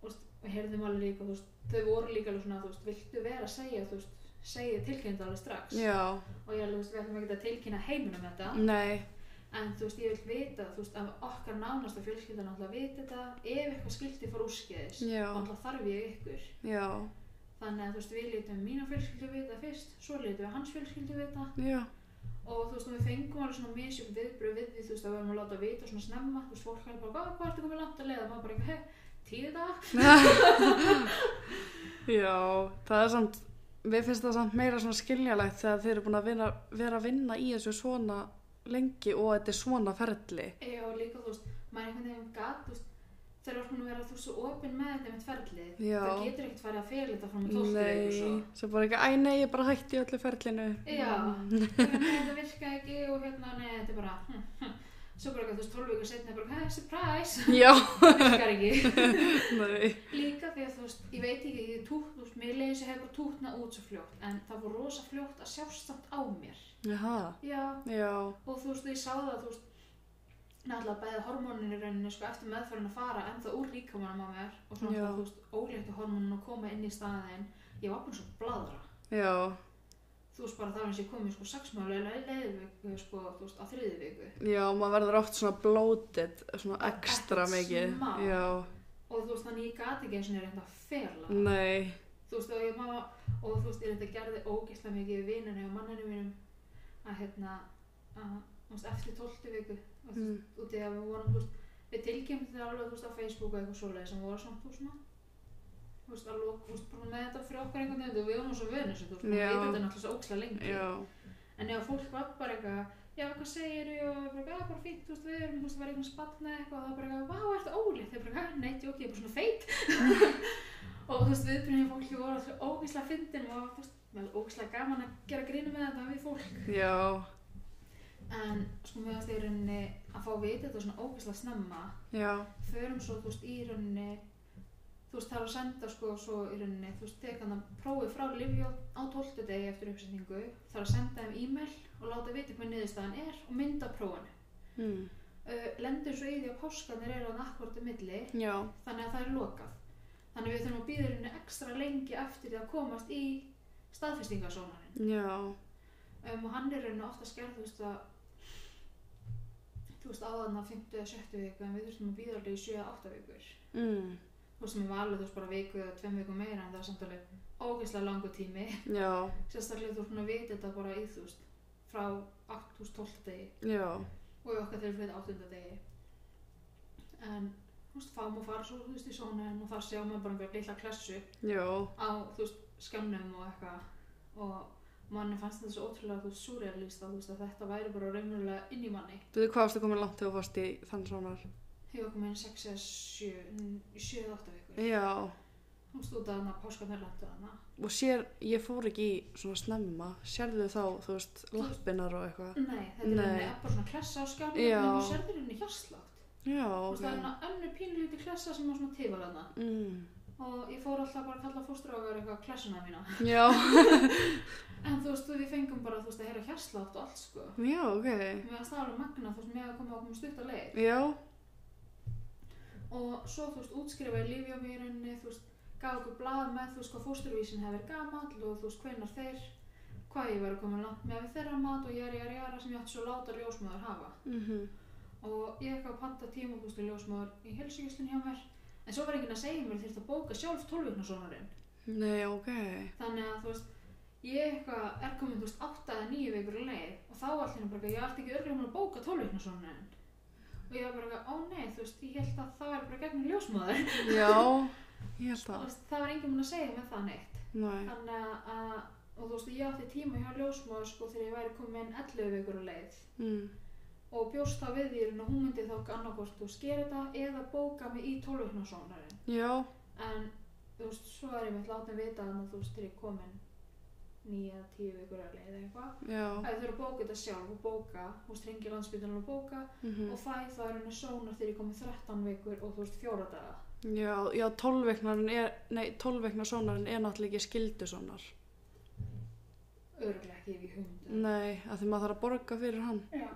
Speaker 2: þú veist, við heyrðum alveg líka þú veist, þau voru líka alveg svona þú veist, viltu vera að segja þú veist, segja tilkynnt alveg strax
Speaker 3: Já. Mm.
Speaker 2: og ég alveg, þú veist, við ætlum ekki að tilkynna heiminum þetta
Speaker 3: Nei.
Speaker 2: en þú veist, ég vil vita þú veist, að okkar nánasta fjölskyldan alltaf vita þetta ef eitthvað skildi fór úrskeiðis
Speaker 3: Já.
Speaker 2: alltaf þarf ég ykkur
Speaker 3: Já.
Speaker 2: Þannig að þú veist, við lítum mína fjölskyldu við þetta fyrst, svo lítum við hans fjölskyldu við þetta
Speaker 3: Já.
Speaker 2: og þú veist, og við fengum alveg svona misjum viðbröð við því, þú veist, að við erum að láta vita svona snemma, þú veist, fólk er bara, hvað, hvað ertu komið langt að leiða? Maður bara, hei, tíu dag?
Speaker 3: Já, það er samt við finnst það samt meira svona skiljalegt þegar þeir eru búin að vera, vera að vinna í þessu svona lengi og þetta er svona ferli
Speaker 2: Já, og líka, þú veist, maður einhvern veginn gat, þú veist, þeir eru svona að vera þú veist, svo opinn með þetta með ferlið,
Speaker 3: Já.
Speaker 2: það getur ekkert farið að fela þetta frá með tóltu og svo.
Speaker 3: Nei, sem bara ekki, æ nei, ég bara hætti í öllu ferlinu
Speaker 2: Já, bara, nei, þetta virka ekki og hérna, nei, þetta er bara, hm, hm. svo bara, eitthvað, þú veist, 12 vikur setna, bara, hey, surprise,
Speaker 3: Já,
Speaker 2: virkar ekki.
Speaker 3: nei
Speaker 2: Líka því að þú veist, ég veit ekki, ég tútt, þú veist, mér leiði sem hefur tútna út svo fljótt, en það voru rosa fljótt að sjást samt á mér.
Speaker 3: Jaha,
Speaker 2: Já,
Speaker 3: já,
Speaker 2: og þú veist, ég sá það, þú veist, náttúrulega bæði hormónin í rauninni, sko, eftir meðferðin að fara, en það úr líkamannum á mér, og svo
Speaker 3: Já.
Speaker 2: náttúrulega, þú veist, óléttu hormónin að koma inn í staðin, ég var bara svo bladra.
Speaker 3: já,
Speaker 2: Þú veist, bara það var eins og ég komið, sko, sexmálega leiðviku, sko, þú veist, á þriði viku.
Speaker 3: já, maður verður oft svona bloated, svona
Speaker 2: Bara
Speaker 3: ekstra
Speaker 2: ekkert
Speaker 3: mikið
Speaker 2: smá.
Speaker 3: Já,
Speaker 2: Og þú veist, þannig ég gati ekki eins og reynda að fela.
Speaker 3: nei,
Speaker 2: þú veist og ég má og þú veist ég þetta gerði ógeðslega mikið við vinnunni og manninu mínum að hérna að, þú veist, eftir 12 viku og þú
Speaker 3: Mm.
Speaker 2: veist út í að við vorum þú veist, við tilkynum þetta alveg þú veist á Facebook og eitthvað svoleið sem voru samt þú veist, svona, þú veist að lók þú veist bara með þetta fyrir okkar einhvern veginn og við vorum svo vönir sem þú veist
Speaker 3: Já.
Speaker 2: við veitum þetta náttúrulega svo ógeðslega lengi
Speaker 3: já,
Speaker 2: en ef fólk var bara eitthvað já hvað segir þú og bara eitthvað "Já, bara fínt þú veist við erum þú veist var eitthvað spanna eitthvað og það bara eitthvað vá ertu ólétt þeir bara eitthvað "Ha, nei djók ég er bara svona feit og þú veist viðbrunni fólki voru alltaf ógeðslega fyndin og þú veist mér var ógeðslega gaman að gera grínu með þetta við fólk
Speaker 3: já,
Speaker 2: en sko mér varst í rauninni að fá að vita þetta svona ógeðslega snemma
Speaker 3: já,
Speaker 2: förum svo þú veist í rauninni þú veist það er að senda sko svo í rauninni þú veist teka hann prófið frá Livjó á 12. degi eftir uppsetningu það er að senda þeim e-mail og láta vita hvað niðurstaðan er og mynda prófanu
Speaker 3: mm.
Speaker 2: uh, lendur svo í því að páskanir eru hann akkurat um milli
Speaker 3: já,
Speaker 2: þannig að það er lokað þannig að við þurfum að býða henni ekstra lengi eftir því að komast í staðfestingasónanin
Speaker 3: já,
Speaker 2: um, og hann er henni ofta skerð þú veist að þú veist áðan að 50 eða 70 viku en við þurfum að býða alveg í 7-8 vikur
Speaker 3: mm,
Speaker 2: þú veist með valið þú veist bara viku eða tveim viku meira en það er samt alveg ógeðslega langu tími
Speaker 3: já,
Speaker 2: sérstaklega þú ert búin að vita þetta bara í þú veist frá 8.12 degi
Speaker 3: já,
Speaker 2: og í okkar þegar fyrir 8. degi en þú veist fáum og fara svo þú veist í sónin og þar sjá maður bara einhver lilla klessu
Speaker 3: já,
Speaker 2: á þú veist skjánum og eitthvað og manni fannst þetta svo ótrúlega þú veist súrealist að þú veist að þetta væri bara raunverulega inn í manni
Speaker 3: þú veit hvað varstu komin langt þegar þú varst í þann svonar,
Speaker 2: hefur okkur með 6 eða mm, 7 7-8 vikur
Speaker 3: já,
Speaker 2: þú veist út af hann að páskarnir landur hann
Speaker 3: og sér, ég fór ekki í svona snemma, sérðu þá, þú veist, lappinnar og eitthvað,
Speaker 2: Nei, þetta er
Speaker 3: Nei.
Speaker 2: henni bara svona klessa á skjánum
Speaker 3: Já.
Speaker 2: en þú serður henni hjárslátt
Speaker 3: já,
Speaker 2: og
Speaker 3: ok,
Speaker 2: það er henni önnur pínlíti klessa sem var svona tifar hana
Speaker 3: mm,
Speaker 2: og ég fór alltaf bara að kalla fóstráður eitthvað klessuna mína
Speaker 3: já,
Speaker 2: en þú veist, við fengum bara, þú veist, að heyra hjárslátt og allt sko
Speaker 3: já, ok,
Speaker 2: mér varst það alveg magna, þú veist, mér að koma að koma stutt að leið
Speaker 3: já,
Speaker 2: og svo, þú veist, útskrifaði lífi á mér henni, þú veist, gaf okkur blað með, þú veist, hvað fóstrávísin hefur gamall og þú veist, hvenar þeir hvað ég var að koma langt með þeirra mat og jæri, jæri, jæra sem ég átti svo láta ljósmaður hafa
Speaker 3: mhm,
Speaker 2: og ég ekki að panta tímabústu ljósmaður í helsugjustin hjá mér en svo var enginn að segja mér þurft að bóka sjálf 12 vikna sonarinn
Speaker 3: nei, ok,
Speaker 2: þannig að þú veist ég eitthvað er komin þú veist 8 eða 9 vikur í leið og þá allir bara eitthvað, ég ætti ekki örgulega mér að bóka 12 vikna sonarinn og ég var bara eitthvað, ó nei, þú veist, ég held að það væri bara gegnum ljósmaður
Speaker 3: já, ég held
Speaker 2: Þú
Speaker 3: það,
Speaker 2: veist, það var enginn mun að segja mér það neitt
Speaker 3: næ,
Speaker 2: þannig að, og þú veist, ég átti tíma hjá ljósmaður sko þegar ég væri komin 11 vikur í leið
Speaker 3: mm,
Speaker 2: og bjóst þá við því að hún myndi þá annarkvort þú sker þetta eða bóka mig í tólvöknarsónarinn
Speaker 3: já,
Speaker 2: en þú veist, svo er ég mitt látin vita að þú veist, þegar ég er komin nýja, tíu vikur að leiða eitthvað
Speaker 3: já,
Speaker 2: að ég þurf að bóka þetta sjálf og bóka þú veist, ringi landsbytunum og bóka
Speaker 3: mhm,
Speaker 2: og fæ það er henni sónar þegar ég er komin 13 vikur og þú veist, fjóra daga
Speaker 3: já, já, tólveiknarinn er, nei, tólveiknarsónarinn er náttúrulega ekki skildusónar,
Speaker 2: örglega ekki ef ég hundu
Speaker 3: nei, að því maður þarf að borga fyrir hann,
Speaker 2: Já.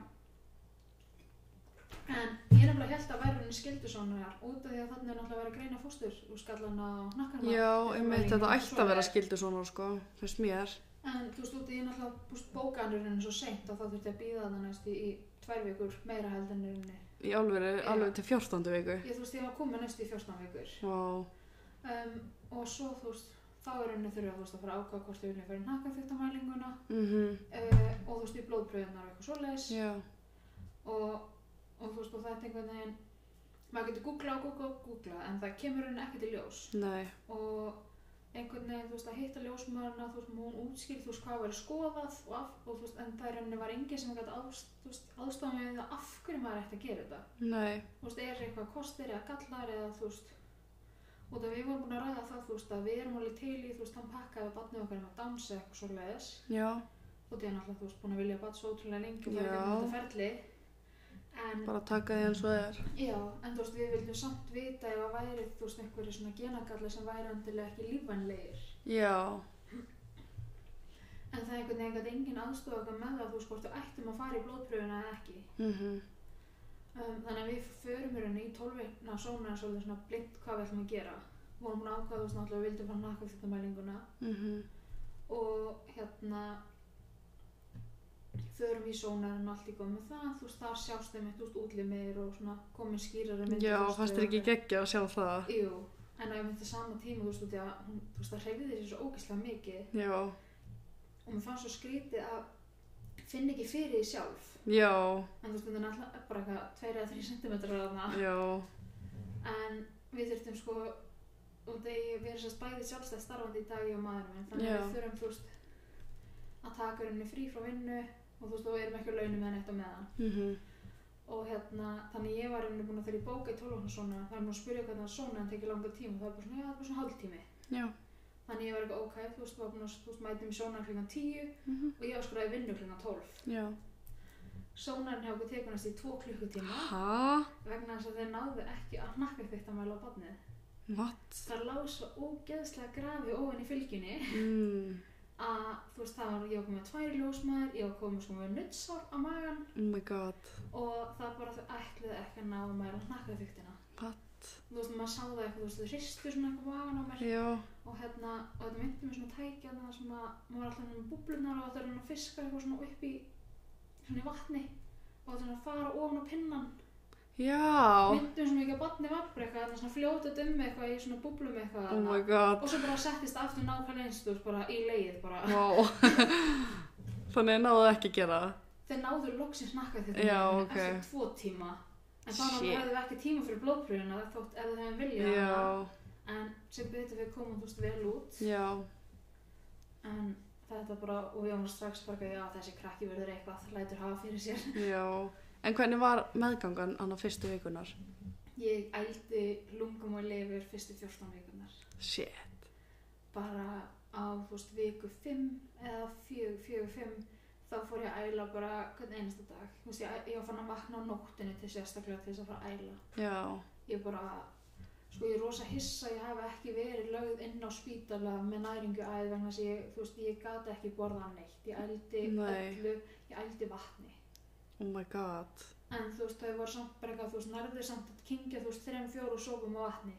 Speaker 2: En ég er nefnilega held að væri henni skildu út af því að þannig er náttúrulega að vera að greina fóstur úr skallana og hnakkarna.
Speaker 3: Já,
Speaker 2: Þetta
Speaker 3: um
Speaker 2: væri
Speaker 3: þetta
Speaker 2: engin
Speaker 3: ætti að vera
Speaker 2: svoleiðis.
Speaker 3: skildu svona, sko, finnst mér.
Speaker 2: En þú veist, út af því ég náttúrulega búst bókanurinn svo seint og þá þurfti að býða þannig næst í, í tvær vikur meira held en rauninni.
Speaker 3: Í alveg,
Speaker 2: Já.
Speaker 3: alveg til 14. viku.
Speaker 2: Ég þú veist, ég var komið næst í 14 vikur.
Speaker 3: Vá,
Speaker 2: Um, og svo þú veist, þá er rauninni þurfa þú veist að fara að ákvæða hvort þau vilja fyrir nakafjöktamælinguna
Speaker 3: mhm,
Speaker 2: uh, og þú veist, í blóðpröðunar og eitthvað svoleiðis.
Speaker 3: já,
Speaker 2: Og, og þú veist, og þetta einhvern veginn, maður getur googlað og googlað og googlað en það kemur rauninni ekkert í ljós.
Speaker 3: nei,
Speaker 2: og einhvern veginn, þú veist, að hitta ljósmaðurna, þú veist, hún útskýr, þú veist, hvað var skoðað og, af, og þú veist, en það er henni var engin sem gæti aðstofað með það af hverju maður ætti að gera þetta.
Speaker 3: nei,
Speaker 2: Þú veist, er eitthvað kostir eða gallar eða, þú veist, og það við vorum búin að ræða það, þú veist, að við erum alveg til í, þú veist, hann pakkaði barnið okkar með dansa eitthvað svo leiðis
Speaker 3: já,
Speaker 2: og það er náttúrulega, þú veist, búin að vilja barn svo ótrúlega lengi og það
Speaker 3: Já.
Speaker 2: er þetta ferli. En,
Speaker 3: bara taka því eins og það er.
Speaker 2: já, en þú veist, við viljum samt vita ef að væri, þú veist, einhverju svona genagallar sem væri endilega ekki lífvænlegir.
Speaker 3: Já,
Speaker 2: En það er einhvern veginn að enginn aðstofa okkur með það, þú veist, hvort þú ættum að fara í blóðpröfuna eða ekki.
Speaker 3: mhm,
Speaker 2: Um, þannig að við förum í rauninni í tólveikna sóna svolítið svona blind hvað við ætlum að gera. Vorum búin að ákvaða þú veist náttúrulega að við vildum fara nakka þetta mælinguna
Speaker 3: mhm,
Speaker 2: og hérna förum í sónar en allt í góð með það, þú veist, þar sjást þeim eitt út útlimir og svona komin skýrara mynd.
Speaker 3: já, fannst þér ekki geggja að sjá það.
Speaker 2: Jú, en að ég myndi sama tíma, þú veist, út í að hún, þú veist, það hreyfði þessi svo ógeðslega mikið
Speaker 3: Já,
Speaker 2: og mér fannst svo skrítið að finna ekki fyrir því sjálf.
Speaker 3: já,
Speaker 2: en þú veist, þetta er náttúrulega bara eitthvað 2 eða 3 cm ráðna
Speaker 3: já,
Speaker 2: en við þurftum sko og þegar við erum sérst bæði sjálfstæð starfandi í dag ég og maður minn þannig
Speaker 3: Já.
Speaker 2: að við þurfum þú veist að taka henni frí frá vinnu og þú veist, og við erum ekki á launum með neitt á meðan
Speaker 3: mhm,
Speaker 2: og hérna, þannig ég var henni búin að þegar ég bóka í 12 okkur svona það er nú að spyrja hvernig það svona en tekið langa tíma og það er bara svona, já, það er bara svona hálftími
Speaker 3: já,
Speaker 2: þannig ég var eitthvað ok, þú veist, var búin að þú veist, um mæti mig sjónan klingan 10
Speaker 3: mhm,
Speaker 2: og ég var skoraði vinnu klingan 12
Speaker 3: já.
Speaker 2: sjónan hjá okkur tekunast í 2 klukkutíma
Speaker 3: Hæ?
Speaker 2: vegna þess að þeir náðu ekki að hnakka þitt að mæla á barnið.
Speaker 3: What?
Speaker 2: Það lág svo ógeðslega grafi ofan í fylginni
Speaker 3: Mm,
Speaker 2: að þú veist það var, ég var komið með tvær ljósmaður, ég var komið sko með nuttsár á magan
Speaker 3: Oh my god.
Speaker 2: og það bara þau ætluðu ekki að ná að mæla hnakkaðvíktina.
Speaker 3: What?
Speaker 2: Þú veist, maður sá það eitthvað, þú veist, þau hristu svona eitthvað magan á mér
Speaker 3: Já.
Speaker 2: og hérna, og þetta myndi mér svona tækja það sem að maður var alltaf hérna með búblunar og þetta er að fiska eitthvað svona upp í svona í vatni og þetta er að fara ofan á pinnan.
Speaker 3: Já.
Speaker 2: Myndi mér svona ekki að batni vabri eitthvað, þarna svona fljótið um eitthvað í svona búblum eitthvað.
Speaker 3: Oh
Speaker 2: þarna.
Speaker 3: my god.
Speaker 2: og svo bara settist aftur nákvæmlega eins, þú veist, bara í leið bara.
Speaker 3: Vá. Þannig náðu ekki að gera það.
Speaker 2: þeir náðu loksins nakka þetta
Speaker 3: Já, ok.
Speaker 2: eftir tvo tíma en þá
Speaker 3: Shit.
Speaker 2: náttúrulega hefðu við ekki tíma fyrir blóðpröfuna þótt ef þau hefðu viljað hana.
Speaker 3: Já.
Speaker 2: en sem betur við komum þú veist vel út
Speaker 3: Já.
Speaker 2: en þetta bara, og ég var strax bara já þessi krakki verður eitthvað, lætur hafa fyrir sér
Speaker 3: Já. En hvernig var meðgangan annað fyrstu vikunar?
Speaker 2: ég ældi lungum og lifur fyrstu 14 vikunar
Speaker 3: Shit.
Speaker 2: bara á þú veist viku 5 eða 4, 4, 5 þá fór ég að æla bara hvern einasta dag þú veist ég, ég var fann að vakna á nóttinu til sérstaklega til þess að fara að æla
Speaker 3: Já.
Speaker 2: ég bara sko ég er rosa hissa að ég hafi ekki verið lögð inn á spítala með næringu æð vegna þess að ég, þú veist, ég gata ekki borða neitt ég ældi
Speaker 3: Nei.
Speaker 2: öllu, ég ældi vatni
Speaker 3: Oh my god.
Speaker 2: en þú veist, þau voru samt bara eitthvað, þú veist, nærðu samt að kingja þú veist, þrem, fjóru sópum á vatni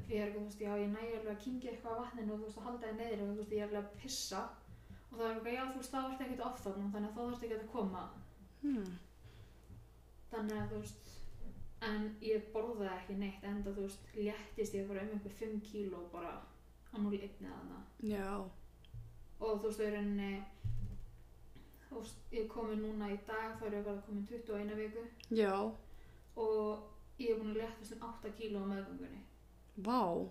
Speaker 2: og ég er eitthvað, þú veist, já, ég nægja alveg að kingja eitthvað á vatninu og þú veist, að halda þið neyðir og þú veist, ég er alveg að pissa og það er eitthvað, já, þú veist, það vart ekkert oft þarna þannig að það vart ekkert að koma
Speaker 3: Hmm.
Speaker 2: þannig að þú veist en ég borðaði ekki neitt enda þú veist léttist ég bara um einhver 5 kíló bara á 0,1 eða hana
Speaker 3: Já.
Speaker 2: og þú veist þau er henni þú veist ég er komin núna í dag þá er ég bara komin 21 viku
Speaker 3: Já.
Speaker 2: og ég er búin að léttast um 8 kíló á meðgöngunni
Speaker 3: Vá.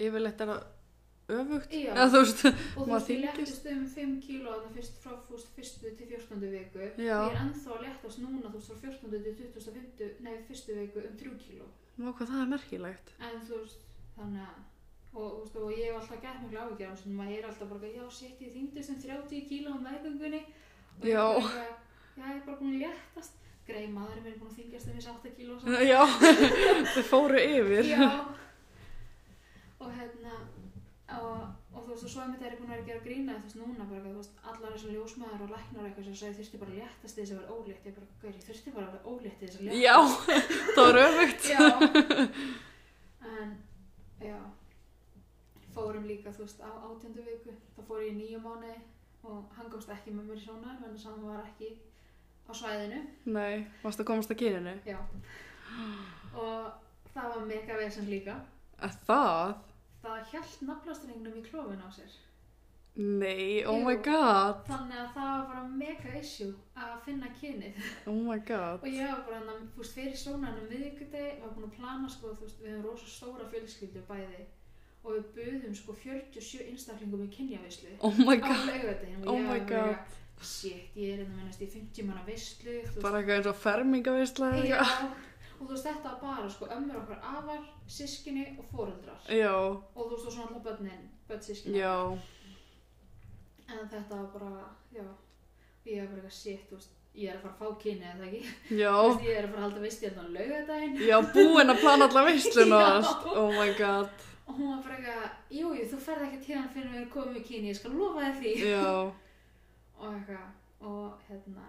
Speaker 3: Yfirleitt er það öfugt.
Speaker 2: Já.
Speaker 3: Eða þú veist.
Speaker 2: og þú
Speaker 3: Maður
Speaker 2: veist ég
Speaker 3: þyngist.
Speaker 2: léttist um 5 kíló þarna fyrst frá þú veist, fyrstu til 14. viku
Speaker 3: Já.
Speaker 2: ég er ennþá að léttast núna þú veist frá 14. til 25. nei fyrstu viku um 3 kíló
Speaker 3: Vá hvað það er merkilegt.
Speaker 2: en þú veist, þannig að og, þú veist, og ég hef alltaf gett mjög áhyggjur á þessum maður er alltaf bara, já, sétt ég þyngdist um 30 kíla á meðgöngunni og ég
Speaker 3: Já.
Speaker 2: bara eitthvað, já, ég er bara búin að léttast grei maðurinn minn er búin að þyngjast um þessi 8 kíla og svona
Speaker 3: Já. Þau fóru yfir.
Speaker 2: já og hérna og, og þú veist, og svo einmitt er ég búin að vera að gera grína þú veist, núna bara, þú veist, allar þessar ljósmaður og læknar eitthvað sem sagði, þurfti bara að léttast til þess að vera ólétt, ég bara, gaur, ég þurfti bara að vera ólétt til þess að léttast
Speaker 3: Já. Það var öfugt.
Speaker 2: já en já fórum líka þú veist á átjöndu viku þá fór ég í nýju mánu og hann komst ekki með mér í svona þannig að hann var ekki á svæðinu
Speaker 3: Nei. Varst að komast að kyninu?
Speaker 2: já og það var mega vesen líka
Speaker 3: Að það?
Speaker 2: það hjælt naflastrengnum í klófin á sér
Speaker 3: Nei, oh my
Speaker 2: Jú.
Speaker 3: god.
Speaker 2: þannig að það var bara mega issue að finna kynið
Speaker 3: Oh my god.
Speaker 2: Og ég var bara, þarna, þú veist, fyrir sónanum miðvikudegi, var búin að plana, sko, þú veist, við hefum rosa stóra fjölskyldu bæði og við buðum, sko, 47 einstaklingum í kynjavislu
Speaker 3: Oh my
Speaker 2: á
Speaker 3: god.
Speaker 2: laugadegin
Speaker 3: Oh
Speaker 2: og ég
Speaker 3: my
Speaker 2: var bara, shit, ég er hérna minnast í 50 manna vislu, þú
Speaker 3: Bara eitthvað eins og fermingavisla eða
Speaker 2: já,
Speaker 3: eitthvað.
Speaker 2: og þú veist, þetta var bara, sko, ömmur okkar afar, sískinni og foreldrar
Speaker 3: Já,
Speaker 2: og þú veist, og svona alltaf börnin, börn sískinni,
Speaker 3: já,
Speaker 2: en þetta var bara, já, ég var bara, eitthvað, shit, þú veist, ég er að fara að fá kynið, eða ekki,
Speaker 3: já.
Speaker 2: þú veist, ég er að fara að halda vislu hérna á laugadegin
Speaker 3: Já, búinn að plana alla visluna og
Speaker 2: Já.
Speaker 3: allt. Oh my god.
Speaker 2: og hún var bara eitthvað, jú, jú, þú ferð ekki til hann fyrir að við komum í kyni, ég skal lofa þér því
Speaker 3: Já,
Speaker 2: og eitthvað og hérna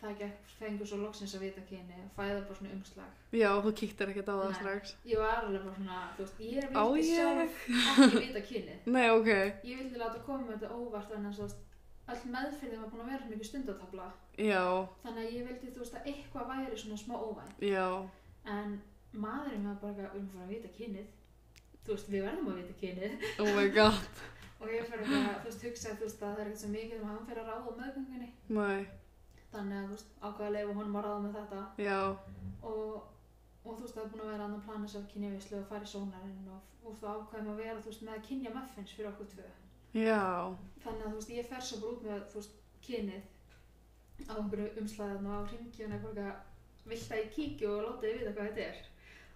Speaker 2: það gekk fengur svo loksins að vita kyni og fæða bara svona umslag
Speaker 3: já, þú kíktir ekkert á það
Speaker 2: Nei.
Speaker 3: strax.
Speaker 2: ég var alveg bara svona, þú veist, ég
Speaker 3: Á
Speaker 2: vildi
Speaker 3: ég?
Speaker 2: sjálf ekki vita kyni
Speaker 3: Nei, ok.
Speaker 2: ég vildi láta koma með þetta óvart en þess að all meðfyrðin var búin að vera svo mikið stundatabla
Speaker 3: Já,
Speaker 2: þannig að ég vildi, þú veist, að eitthvað væri svona smá óvænt
Speaker 3: já,
Speaker 2: en maðurinn var bara eitthvað, við erum fyrir að vita kynið þú veist, við verðum að vita kynið
Speaker 3: oh my god.
Speaker 2: og ég fyrir að þú veist hugsa þú veist að það er ekkert svo mikið um að hann fyrir að ráða á meðgöngunni
Speaker 3: Nei,
Speaker 2: þannig að þú veist ákveða leifu honum að ráða með þetta
Speaker 3: já,
Speaker 2: og, og þú veist það er búin að vera annan planis af kynjavislu og fara í sónarinn og, og þú ákveðum að vera þú veist með kynja muffins fyrir okkur tvö
Speaker 3: já,
Speaker 2: þannig að þú veist ég fer svo bara út með þú veist kynið á einhverju umslæðan og á ringjun eitthvað vilt að ég kíkja og láta þið vita hvað þetta er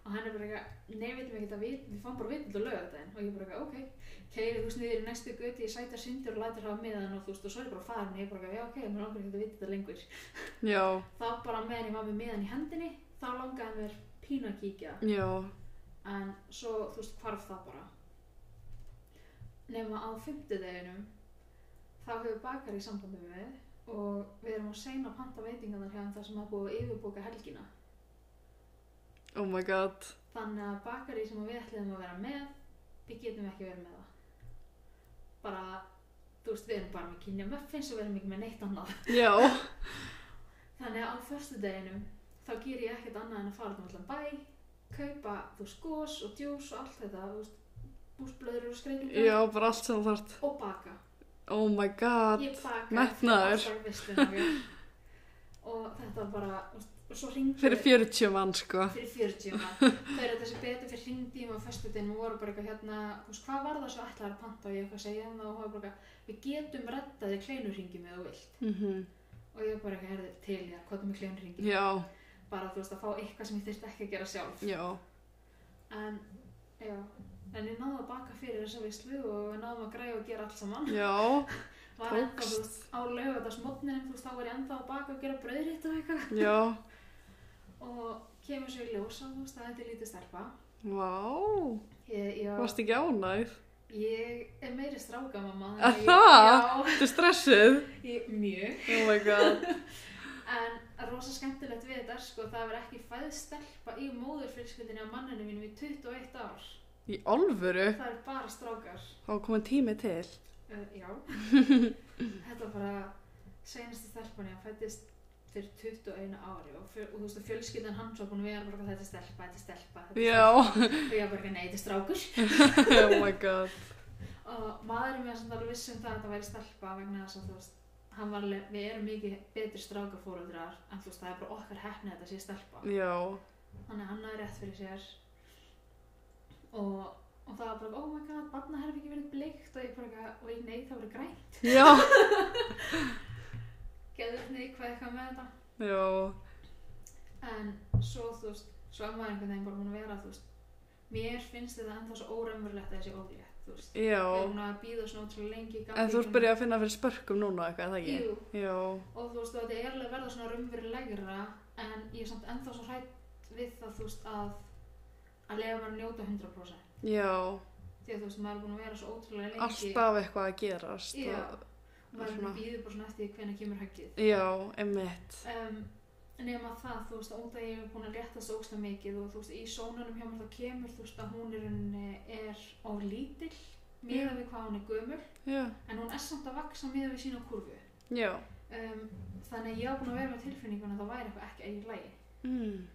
Speaker 2: og hann er bara eitthvað nei, við veitum ekki að við, við fáum bara vitund og löga þetta og ég bara eitthvað, ok, keiri þú veist niður í næstu göti, ég sæta syndur og lætur hafa miðan og þú veist, og svo er ég bara farin og ég bara eitthvað, já, ok, mér langar ekki að vita þetta lengur
Speaker 3: já,
Speaker 2: þá bara meðan ég var með miðan í hendinni þá langaði mér pínu að kíkja
Speaker 3: já,
Speaker 2: en svo, þú veist, hvarf það bara nema á fymtudeginum þá hefur bakari sambandi með og við erum á seina að panta veitingarnar hjá hann þar sem það er búið að yfirbóka helgina
Speaker 3: Oh my god.
Speaker 2: þannig að bakari sem við ætliðum að vera með við getum ekki verið með það bara þú veist við erum bara með kynja muffins og við erum ekki með neitt annað
Speaker 3: Já.
Speaker 2: þannig að á föstudeginum þá ger ég ekkert annað en að fara út um allan bæ kaupa þú veist gos og djús og allt þetta þú veist búsblöður og skreiningar
Speaker 3: Já, bara allt sem þú þart.
Speaker 2: og baka
Speaker 3: Oh my god.
Speaker 2: ég bakaði
Speaker 3: metnaður.
Speaker 2: fyrir allar veisluna mín. og þetta var bara og svo ringdi
Speaker 3: Fyrir 40 mann, sko.
Speaker 2: fyrir 40 mann. þegar þessi betur fyrir ringdi í mig á föstudinn og voru bara eitthvað hérna þú veist, hvað var það svo ætlaði að panta og ég eitthvað segja um það og hafa bara eitthvað við getum rettaði kleinurringjum eða þú vilt
Speaker 3: Mm
Speaker 2: og ég bara eitthvað herði til ég að hvað er með kleinurringjum
Speaker 3: Já,
Speaker 2: bara þú veist að fá eitthvað sem ég þyrfti ekki að gera sjálf
Speaker 3: já.
Speaker 2: en já en ég náði að baka fyrir þessa veislu og við náðum að græja og gera allt saman
Speaker 3: Já,
Speaker 2: var ennþá
Speaker 3: Tókst.
Speaker 2: þú veist á lögadagsmotnin þú veist þá var ég ennþá að baka og gera brauðrétt og eitthvað
Speaker 3: já.
Speaker 2: og kemur svo í ljós að þú veist að þetta er lítið stelpa
Speaker 3: Vá.
Speaker 2: ég, ég,
Speaker 3: Varst ekki ánægð?
Speaker 2: ég er meiri stráka mamma
Speaker 3: Er
Speaker 2: þannig
Speaker 3: það?
Speaker 2: að ég,
Speaker 3: Þú stressuð?
Speaker 2: já, ég, mjög
Speaker 3: Oh my god.
Speaker 2: en rosa skemmtilegt við þetta er sko það verður ekki fæð stelpa í móðurfylskundinni á manninu mínum í 21 ár
Speaker 3: Í alvöru?
Speaker 2: það er bara strákar
Speaker 3: Þá er komin tími til.
Speaker 2: uh, já þetta var bara seinasta stelpan ég fættist fyrir 21 ári og, fjö, og þú veist að fjölskyldan hans var búin að vera bara eitthvað, þetta er stelpa, þetta er stelpa, þetta er
Speaker 3: Já.
Speaker 2: stelpa. og ég var bara eitthvað, nei, þetta er strákur
Speaker 3: Oh my god.
Speaker 2: og maðurinn mér samt alveg viss um það að þetta væri stelpa vegna þess að þú veist hann var alveg, við erum mikið betri strákafóruðrar en þú veist það er bara okkar hefni að þetta sé stelpa
Speaker 3: Mm. Já.
Speaker 2: þannig að hann er rétt fyrir sér og, og það var bara oh my god, barna herfi ekki verið bleikt og ég bara eitthvað, og ég nei það verið grænt
Speaker 3: Já.
Speaker 2: geður neikvæð eitthvað með þetta
Speaker 3: Já.
Speaker 2: en svo þú veist, svo er maður einhvern veginn bara búin að vera þú veist, mér finnst þetta ennþá svo óraunverulegt að þessi ólétt þú veist,
Speaker 3: Já.
Speaker 2: við erum að býða svona ótrúlega lengi í
Speaker 3: En þú ert
Speaker 2: ganginum.
Speaker 3: byrjað að finna fyrir spörkum núna eitthvað, er það
Speaker 2: Jú.
Speaker 3: ekki? Jú.
Speaker 2: og þú veist, og þetta er alveg að verða svona raunverulegra en ég er samt ennþá svo hrætt við það, þú veist, að að lega maður að njóta 100%
Speaker 3: Já. Já.
Speaker 2: því að þú veist, maður er búin að vera svo ótrúlega lengi
Speaker 3: Alltaf eitthvað að gerast.
Speaker 2: Já,
Speaker 3: og-
Speaker 2: og maður er búin
Speaker 3: svona.
Speaker 2: að býða bara svona eftir hvenær kemur höggið
Speaker 3: Já, emmitt.
Speaker 2: um, nema það, þú veist, óta ég er búin að léttast ógsta mikið og þú veist, í sónunum hjá mér þá kemur, þú veist, að hún er, er of lítill miðað við hvað hún er gömul
Speaker 3: Já.
Speaker 2: en hún er samt að vaksa miðað við sína kurvu
Speaker 3: Já.
Speaker 2: um, þannig að ég var búin að vera með tilfinninguna að það væri eitthvað ekki eigin lægi
Speaker 3: Mm.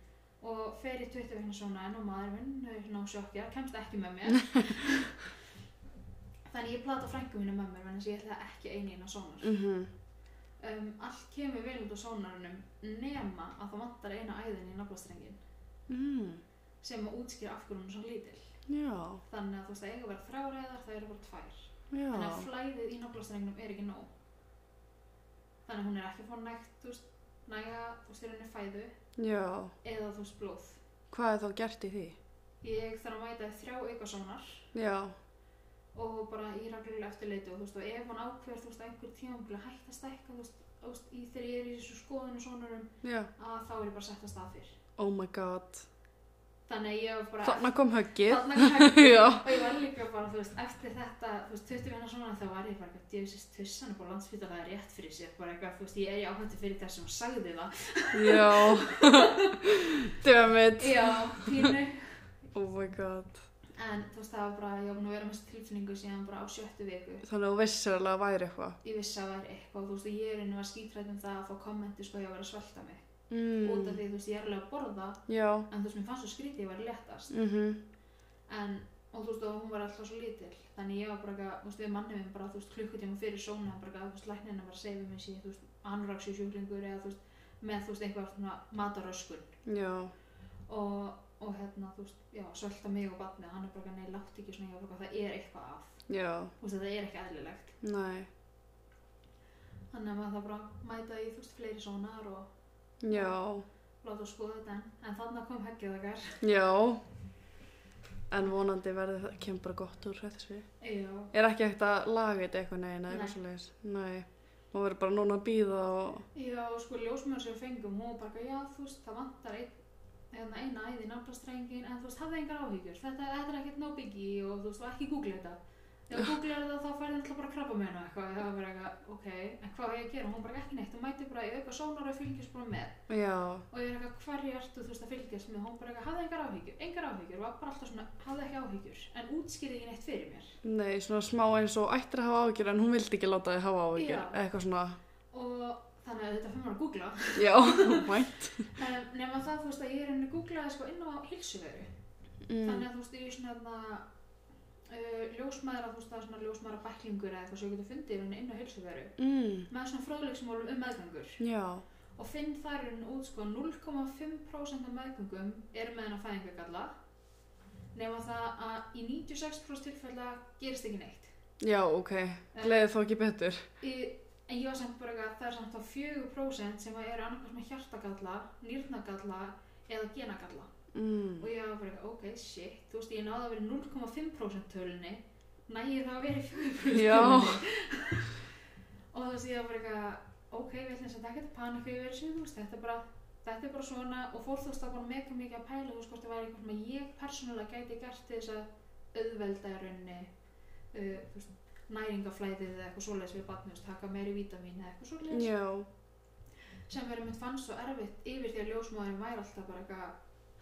Speaker 2: og fer í 20 vegna svona en og maður minn er ná sjokkja, kemst ekki með mér þannig ég plata frængu mínu með mér þannig að ég ætla ekki einu inn á sónar
Speaker 3: Mm
Speaker 2: um, allt kemur vel út á sónarunum nema að það vantar eina æðin í naflastrengin
Speaker 3: mm.
Speaker 2: sem að útskýra af hverju hún er svo lítil
Speaker 3: Já.
Speaker 2: þannig að þú veist að eiga að vera þráræðar það eru bara tvær
Speaker 3: Já.
Speaker 2: þannig að flæðið í naflastrengnum er ekki nóg þannig að hún er ekki að fá nægt þú veist, næga, þú veist, í rauninni fæðu
Speaker 3: Já.
Speaker 2: eða þú veist, blóð
Speaker 3: Hvað er þá gert í því?
Speaker 2: ég þarf að mæta í þrjá auka sónar
Speaker 3: Já.
Speaker 2: og bara í reglulega eftirleiti og þú veist og ef hún ákveður þú veist að einhver tíma að hætta að stækka þú veist, þú veist í þegar ég er í þessu skoðun og svonarum
Speaker 3: Já.
Speaker 2: að þá er ég bara sett að stað fyrr
Speaker 3: Oh my god.
Speaker 2: þannig að ég var bara
Speaker 3: Þarna kom höggið.
Speaker 2: þarna hægt
Speaker 3: Já.
Speaker 2: og ég var líka bara þú veist eftir þetta þú veist 20 vinna svona þá var ég bara eitthvað djöfisist tussan og bara landsbytalaði rétt fyrir sér bara eitthvað þú veist ég er í áhættu fyrir þessum og sagði það
Speaker 3: Já. Dömmit.
Speaker 2: já pínu
Speaker 3: Oh my god.
Speaker 2: en þú veist það var bara ég var búin að vera með þessu tilfinningu síðan bara á sjöttu viku
Speaker 3: Þannig að þú vissir alveg að væri eitthvað.
Speaker 2: ég vissi að það er eitthvað þú veist og ég er inn og var skítrætt um það að fá kommenti sko ég var að svelta mig út af
Speaker 3: Mm.
Speaker 2: því þú veist ég er alveg að borða
Speaker 3: Já.
Speaker 2: en þú veist mér fannst svo skrítið ég var léttast
Speaker 3: Mm
Speaker 2: en og þú veist og hún var alltaf svo lítil þannig ég var bara eitthvað, þú veist við mannum minn bara þú veist klukkutíma fyrir sónu hann bara eitthvað, þú veist læknirna bara segja við mig síðan þú veist anraksjú sjúklingur eða þú veist með þú veist eitthvað svona mataröskun
Speaker 3: Já.
Speaker 2: og, og hérna þú veist já svelta mig og barnið hann er bara eitthvað, nei látt ekki svona ég var bara eitthvað, það er eitthvað að
Speaker 3: Já.
Speaker 2: þú veist þetta er ekki eðlilegt
Speaker 3: Nei.
Speaker 2: þannig að maður það bara mæta í þú veist fleiri sónar og
Speaker 3: Já.
Speaker 2: láta skoða þetta en, en þannig kom heggið okkar
Speaker 3: Já. En vonandi verði það kemur bara gott úr þessu.
Speaker 2: já
Speaker 3: Er ekki hægt að laga þetta eitthvað neginn eða eitthvað
Speaker 2: Nei.
Speaker 3: svo leiðis? Nei. Má verður bara núna að býða og...
Speaker 2: Já, sko, ljósmjörn sem við fengum, hún var bara, eitthvað, já, þú veist, það vantar einn, eða eina æði í nafnastrengin, en þú veist, hafði engar áhyggjur, þetta, þetta er ekkert no biggie og þú veist, og ekki googla þetta. Þegar þú googlar það þá færði alltaf bara krabba og eitthvað. Það var bara eitthvað, ok, en hvað á ég að gera? Hún bara ekki neitt, hún mæti bara í auka sónar og fylgjast bara með.
Speaker 3: Já,
Speaker 2: Og ég er eitthvað, hverju ertu þú veist að fylgjast með? Hún bara eitthvað, hafði engar áhyggjur, engar áhyggjur, var bara alltaf svona, hafði ekki áhyggjur, en útskýrði ekki neitt fyrir mér.
Speaker 3: nei, svona smá eins og ættir að hafa áhyggjur en hún vildi ekki láta þið hafa áhyggjur,
Speaker 2: Já.
Speaker 3: eitthvað svona,
Speaker 2: Og þannig að þetta fyrir maður að googla.
Speaker 3: já, mænt.
Speaker 2: Um, nema það, þú veist, að ég er henni googlaði sko inn á hilsuveru.
Speaker 3: Mm.
Speaker 2: Þannig að þú veist, ég er svona þarna, uh, ljósmaður, þú veist, það er svona ljósmaður eða eitthvað sem ég getur fundið henni inn á hilsuveru.
Speaker 3: Mm.
Speaker 2: Með svona fróðleiksmálum um meðgangur.
Speaker 3: Já,
Speaker 2: Og finn þar henni út sko 0,5% af meðgangum eru með henni að fæðingagalla. Nema það að í 96% tilfella gerist ekki neitt.
Speaker 3: já, ok,
Speaker 2: Eh.
Speaker 3: gleðið þá ekki betur.
Speaker 2: Í, en ég var samt bara eitthvað að það er samt þá 4% sem að eru annarkvæmst með hjartagalla, nýrnagalla eða genagalla.
Speaker 3: Mm.
Speaker 2: Og ég var bara eitthvað, ok, shit, þú veist, ég náði að vera í 0,5% tölunni, nægir það að vera í 4%
Speaker 3: Já.
Speaker 2: tölunni. og þú veist, ég var bara eitthvað, ok, við ætlum þess að þetta panika yfir þessu, þú veist, þetta er bara, þetta er bara svona og fór þú veist að bara mega mikið að pæla, þú veist, hvort það væri eitthvað sem að ég persónulega gæti gert til þess að auðvelda í rauninni, uh, þú veist, næringaflæðið eða eitthvað svoleiðis við barnið, þú veist, taka meiri vítamín eða eitthvað svoleiðis
Speaker 3: Já,
Speaker 2: sem verður mitt fannst svo erfitt yfir því að ljósmaðurinn væri alltaf bara eitthvað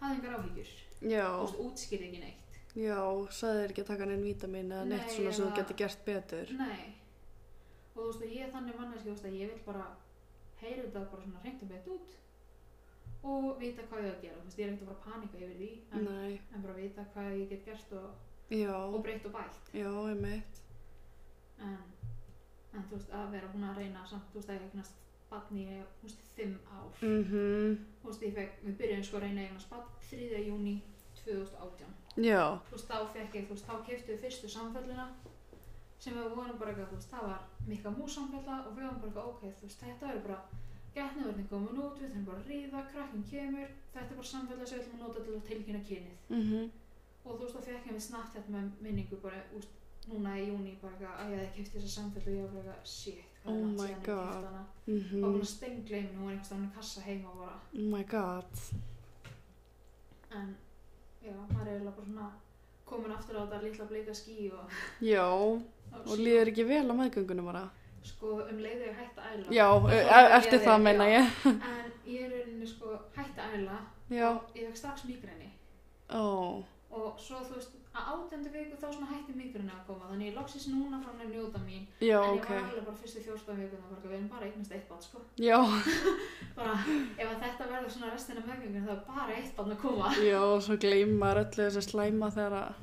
Speaker 2: hafði engar áhyggjur,
Speaker 3: já,
Speaker 2: þú veist, útskýrði ekki neitt
Speaker 3: já, sagði þér ekki að taka neinn vítamin eða neitt
Speaker 2: Nei,
Speaker 3: svona sem þú
Speaker 2: eða-
Speaker 3: getur gert betur.
Speaker 2: Nei og þú veist að ég er þannig manneski, þú veist að ég vil bara heyra þetta bara svona hreint og bett út og vita hvað ég á að gera, þú veist, ég er ekkert að bara panika yfir því en,
Speaker 3: Nei,
Speaker 2: en bara vita hvað ég get gert og,
Speaker 3: já,
Speaker 2: og breytt og bætt
Speaker 3: já, ég meitt.
Speaker 2: en, en þú veist að vera hún að reyna samt, þú veist að ég eignast barni í, þú veist, fimm ár
Speaker 3: Mm
Speaker 2: þú veist, ég fekk, við byrjum sko að reyna að eignast barn 3. júni 2018
Speaker 3: Já,
Speaker 2: þú veist, þá fekk ég, þú veist, þá keftu við fyrstu samfellina sem við vorum bara eitthvað, þú veist, það var mikla músamfella og við vorum bara eitthvað, ok, þú veist, þetta er bara getnaverðin komin út, við þurfum bara að ríða, krakkin kemur, þetta er bara samfella sem við ætlum að nota til að tilkynna kynið
Speaker 3: mm
Speaker 2: og þú veist, þá fekk ég við snart þetta með minningu bara, úst, núna í júni bara eitthvað, að ég hefði kefti þessa samfella og ég var bara eitthvað, shit, hvað
Speaker 3: Oh
Speaker 2: er
Speaker 3: my
Speaker 2: langt síðan ég
Speaker 3: God.
Speaker 2: kefti hana
Speaker 3: mm
Speaker 2: og hún var steingleim, hún var einhvers staðar í kassa heima og bara,
Speaker 3: oh my god,
Speaker 2: en já, maður er eiginlega bara svona komin aftur á þetta litla bleika ský og,
Speaker 3: já, og líður ekki vel á meðgöngunum bara.
Speaker 2: sko um leiðu ég hætt að æla
Speaker 3: Já,
Speaker 2: Og
Speaker 3: e-
Speaker 2: þá
Speaker 3: eftir
Speaker 2: byrjaði-
Speaker 3: það meina
Speaker 2: já.
Speaker 3: ég.
Speaker 2: en ég er í rauninni sko hætt að æla
Speaker 3: Já,
Speaker 2: og ég fekk strax migræni
Speaker 3: ó,
Speaker 2: og svo þú veist að átjöndu viku þá svona hætti migræni að koma þannig ég loksist núna frá hann að njóta mín
Speaker 3: já,
Speaker 2: en ég
Speaker 3: ok.
Speaker 2: var alveg bara fyrstu fjórstofn viku þannig að við erum bara eignast eitt bann sko
Speaker 3: Já,
Speaker 2: bara ef að þetta verður svona restina meðgöngur þá er bara eitt bann að koma
Speaker 3: já, og svo gleymar öllu þessi slæma þegar að,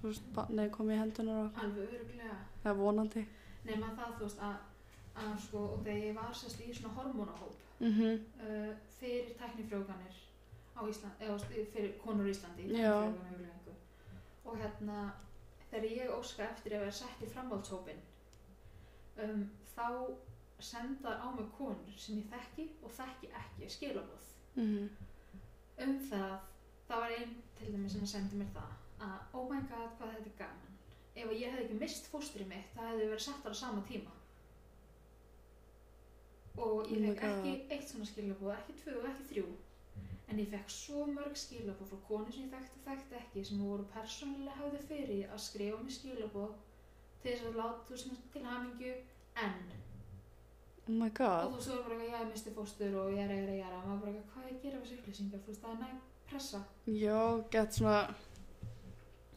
Speaker 3: þú veist, barnið kom í hendunar og
Speaker 2: alveg öruglega
Speaker 3: það er vonandi.
Speaker 2: nema það þú veist að, að sko og þegar ég var sérst í svona hormónahóp
Speaker 3: Mm
Speaker 2: uh, fyrir tæknifrjókanir á Íslandi, eða þú veist, fyrir konur á Íslandi í
Speaker 3: Já.
Speaker 2: tæknifrjókanarhugleiðingu. og hérna þegar ég óska eftir að vera sett í framhaldshópin um, þá senda á mig konur sem ég þekki og þekki ekki skilabóð
Speaker 3: -hmm.
Speaker 2: um það, það var einn til dæmis sem sendi mér það að oh my god hvað þetta er gaman ef ég hefði ekki mist fóstrið mitt það hefði verið settar á sama tíma og
Speaker 3: Oh
Speaker 2: ég
Speaker 3: my
Speaker 2: fekk ekki eitt svona skilabóð ekki tvö og ekki þrjú en ég fekk svo mörg skilabóð frá konu sem ég þekkti og þekkti ekki sem voru persónulega hafði fyrir að skrifa mér skilabóð til þess að láta þú sem til hamingju en
Speaker 3: Oh my
Speaker 2: og
Speaker 3: god,
Speaker 2: þú svo er bara eitthvað, já, ég misti fóstur og ég er eða, ég er eða, maður bara eitthvað, hvað er að gera við þessu upplýsingar, þú veist, það er næg pressa.
Speaker 3: já, gett svona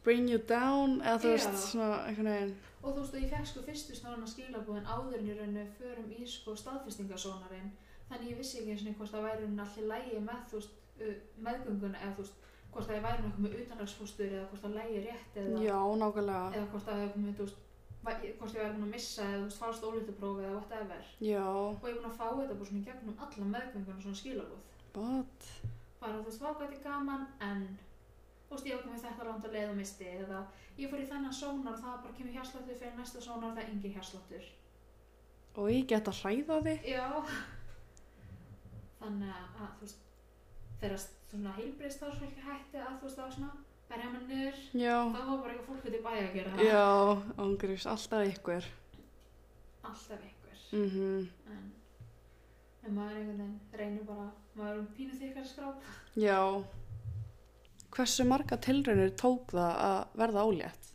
Speaker 3: bring you down, eða þú
Speaker 2: Já.
Speaker 3: veist, svona einhvern veginn.
Speaker 2: Og þú veist, og ég fekk sko fyrstu snáðan að skilabúðin áður en í rauninu förum í sko staðfestingasónarinn, þannig ég vissi ekki eins og hvort það væri hún allir lægi með, þú veist, uh, meðgönguna eða, þú veist, hvort það væri nokkuð með utanlagsfóstur eða hvort það lægi rétt eða,
Speaker 3: Já, nákvæmlega.
Speaker 2: eða hvort það væri komið, þú veist, væ- hvort ég væri búin að missa eða, þú veist, fást ólítuprófi eða whatever.
Speaker 3: Já,
Speaker 2: Og ég er búin að fá þetta bara svona í gegnum alla meðgönguna svona skilabúð.
Speaker 3: but,
Speaker 2: bara þú veist, vá hvað þetta er gaman en þú veist, ég var komið þetta langt að leið og misti eða ég fór í þennan sónar það bara kemur hjarsláttur fyrir næsta sónar það er engin hjarsláttur
Speaker 3: og ég get að hræða þig.
Speaker 2: já þannig að þú veist þegar svona heilbreyðstarfsfólki hætti að þú veist það var svona berja mann niður
Speaker 3: Já.
Speaker 2: það var bara eitthvað fólk út í bæja að gera það
Speaker 3: Já, ángriðs, alltaf ykkur.
Speaker 2: alltaf einhver
Speaker 3: Mm
Speaker 2: en, en maður einhvern veginn reynir bara maður er um pínu þykkar skráp
Speaker 3: Já. Hversu marga tilraunir tók það að verða ólétt?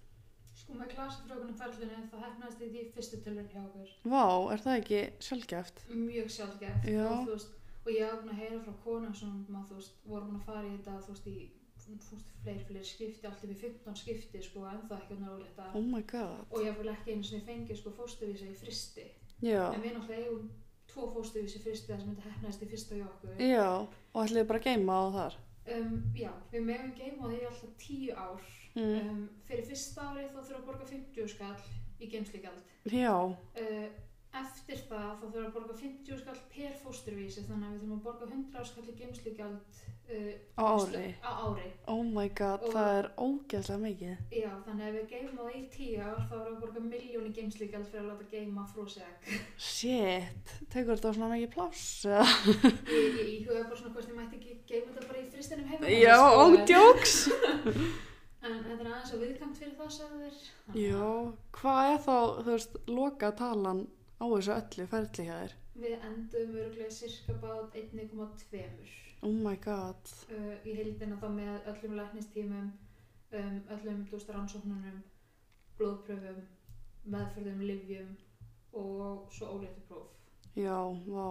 Speaker 2: Sko með glasafrjókunum ferlinu þá hefnaðist ég því í fyrstu tölun hjá okkur.
Speaker 3: Vá, er það ekki sjálfgeft?
Speaker 2: Mjög sjálfgeft.
Speaker 3: Já.
Speaker 2: Og, þú veist, og ég hafði búin að heyra frá konum sem maður, þú veist, voru búin að fara í þetta, þú veist, í þú veist, fleiri, fleiri skipti, allt upp í 15 skipti, sko, en það ekki nálega
Speaker 3: Oh my god.
Speaker 2: Og ég vil ekki einu sinni fengið, sko, fóstuvísa í fristi.
Speaker 3: Já,
Speaker 2: En við náttúrulega eigum tvo fóstuvísi fristi þar sem þetta hefnaðist í fyrsta hjá okkur.
Speaker 3: já, og ætliði bara að geima á þar.
Speaker 2: Um, já, við meðum geima því alltaf tíu ár.
Speaker 3: Mm.
Speaker 2: Um, fyrir fyrsta árið þá þurfa að borga 50 skall í geimsligjald.
Speaker 3: Já,
Speaker 2: Uh, eftir það þá þurfa að borga 50 skall per fósturvísi þannig að við þurfum að borga 100 skall í geimsligjald uh,
Speaker 3: á ári.
Speaker 2: á ári.
Speaker 3: Oh my god,
Speaker 2: Og-
Speaker 3: það er ógeðslega mikið.
Speaker 2: Já, þannig að ef við geima því í tíu ár þá erum við að borga miljóni geimsligjald fyrir að láta geima frósegg.
Speaker 3: Shit, tekur þetta svona mikið pláss? eða?
Speaker 2: Ég, ég íhuga bara svona hvort ég mætti ekki geima þetta bara í fristinum heima.
Speaker 3: Já, óndjóks.
Speaker 2: En þetta er aðeins og viðkamt fyrir það, sagðu þér.
Speaker 3: Já, hvað er þá, þú veist, loka talan á þessu öllu ferli hjá þér?
Speaker 2: Við endum öruglega cirka bát 1,2.
Speaker 3: Oh my god.
Speaker 2: uh, í heildina þá með öllum læknistímum, um, öllum dúst rannsóknunum, blóðpröfum, meðferðum, livjum og svo óléttu próf.
Speaker 3: Já, vá.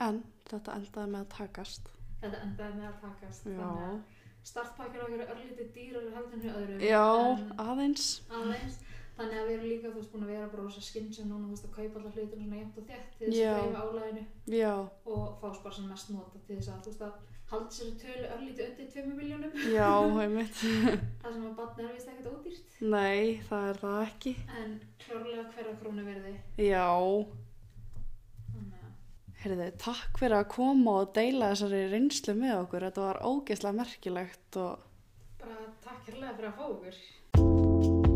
Speaker 3: En þetta endaði með að takast.
Speaker 2: Þetta endaði með að takast.
Speaker 3: Já.
Speaker 2: Þannig að startpakkar okkar eru örlítið dýrar heldur en öðrum.
Speaker 3: Já,
Speaker 2: en
Speaker 3: aðeins.
Speaker 2: Aðeins. Þannig að við erum líka, þú veist, búin að vera bara rosa skinn sem núna, þú veist, að kaupa allar hlutum svona jæmt og þétt til þess
Speaker 3: Já.
Speaker 2: að breyfa álæðinu
Speaker 3: Já,
Speaker 2: og fá spara sem mest nota til þess að, þú veist, að halda sér tölu örlítið undir 2 miljónum.
Speaker 3: já, heimitt.
Speaker 2: Það sem að batna er vist ekkert ódýrt.
Speaker 3: Nei, það er það ekki.
Speaker 2: En klárlega hverja krónu verði.
Speaker 3: Já,
Speaker 2: Þannig að
Speaker 3: heyrðu, takk fyrir að koma og deila þessari reynslu með okkur. Þetta var ógeðslega merkilegt og
Speaker 2: bara takk hérlega fyrir að fá okkur.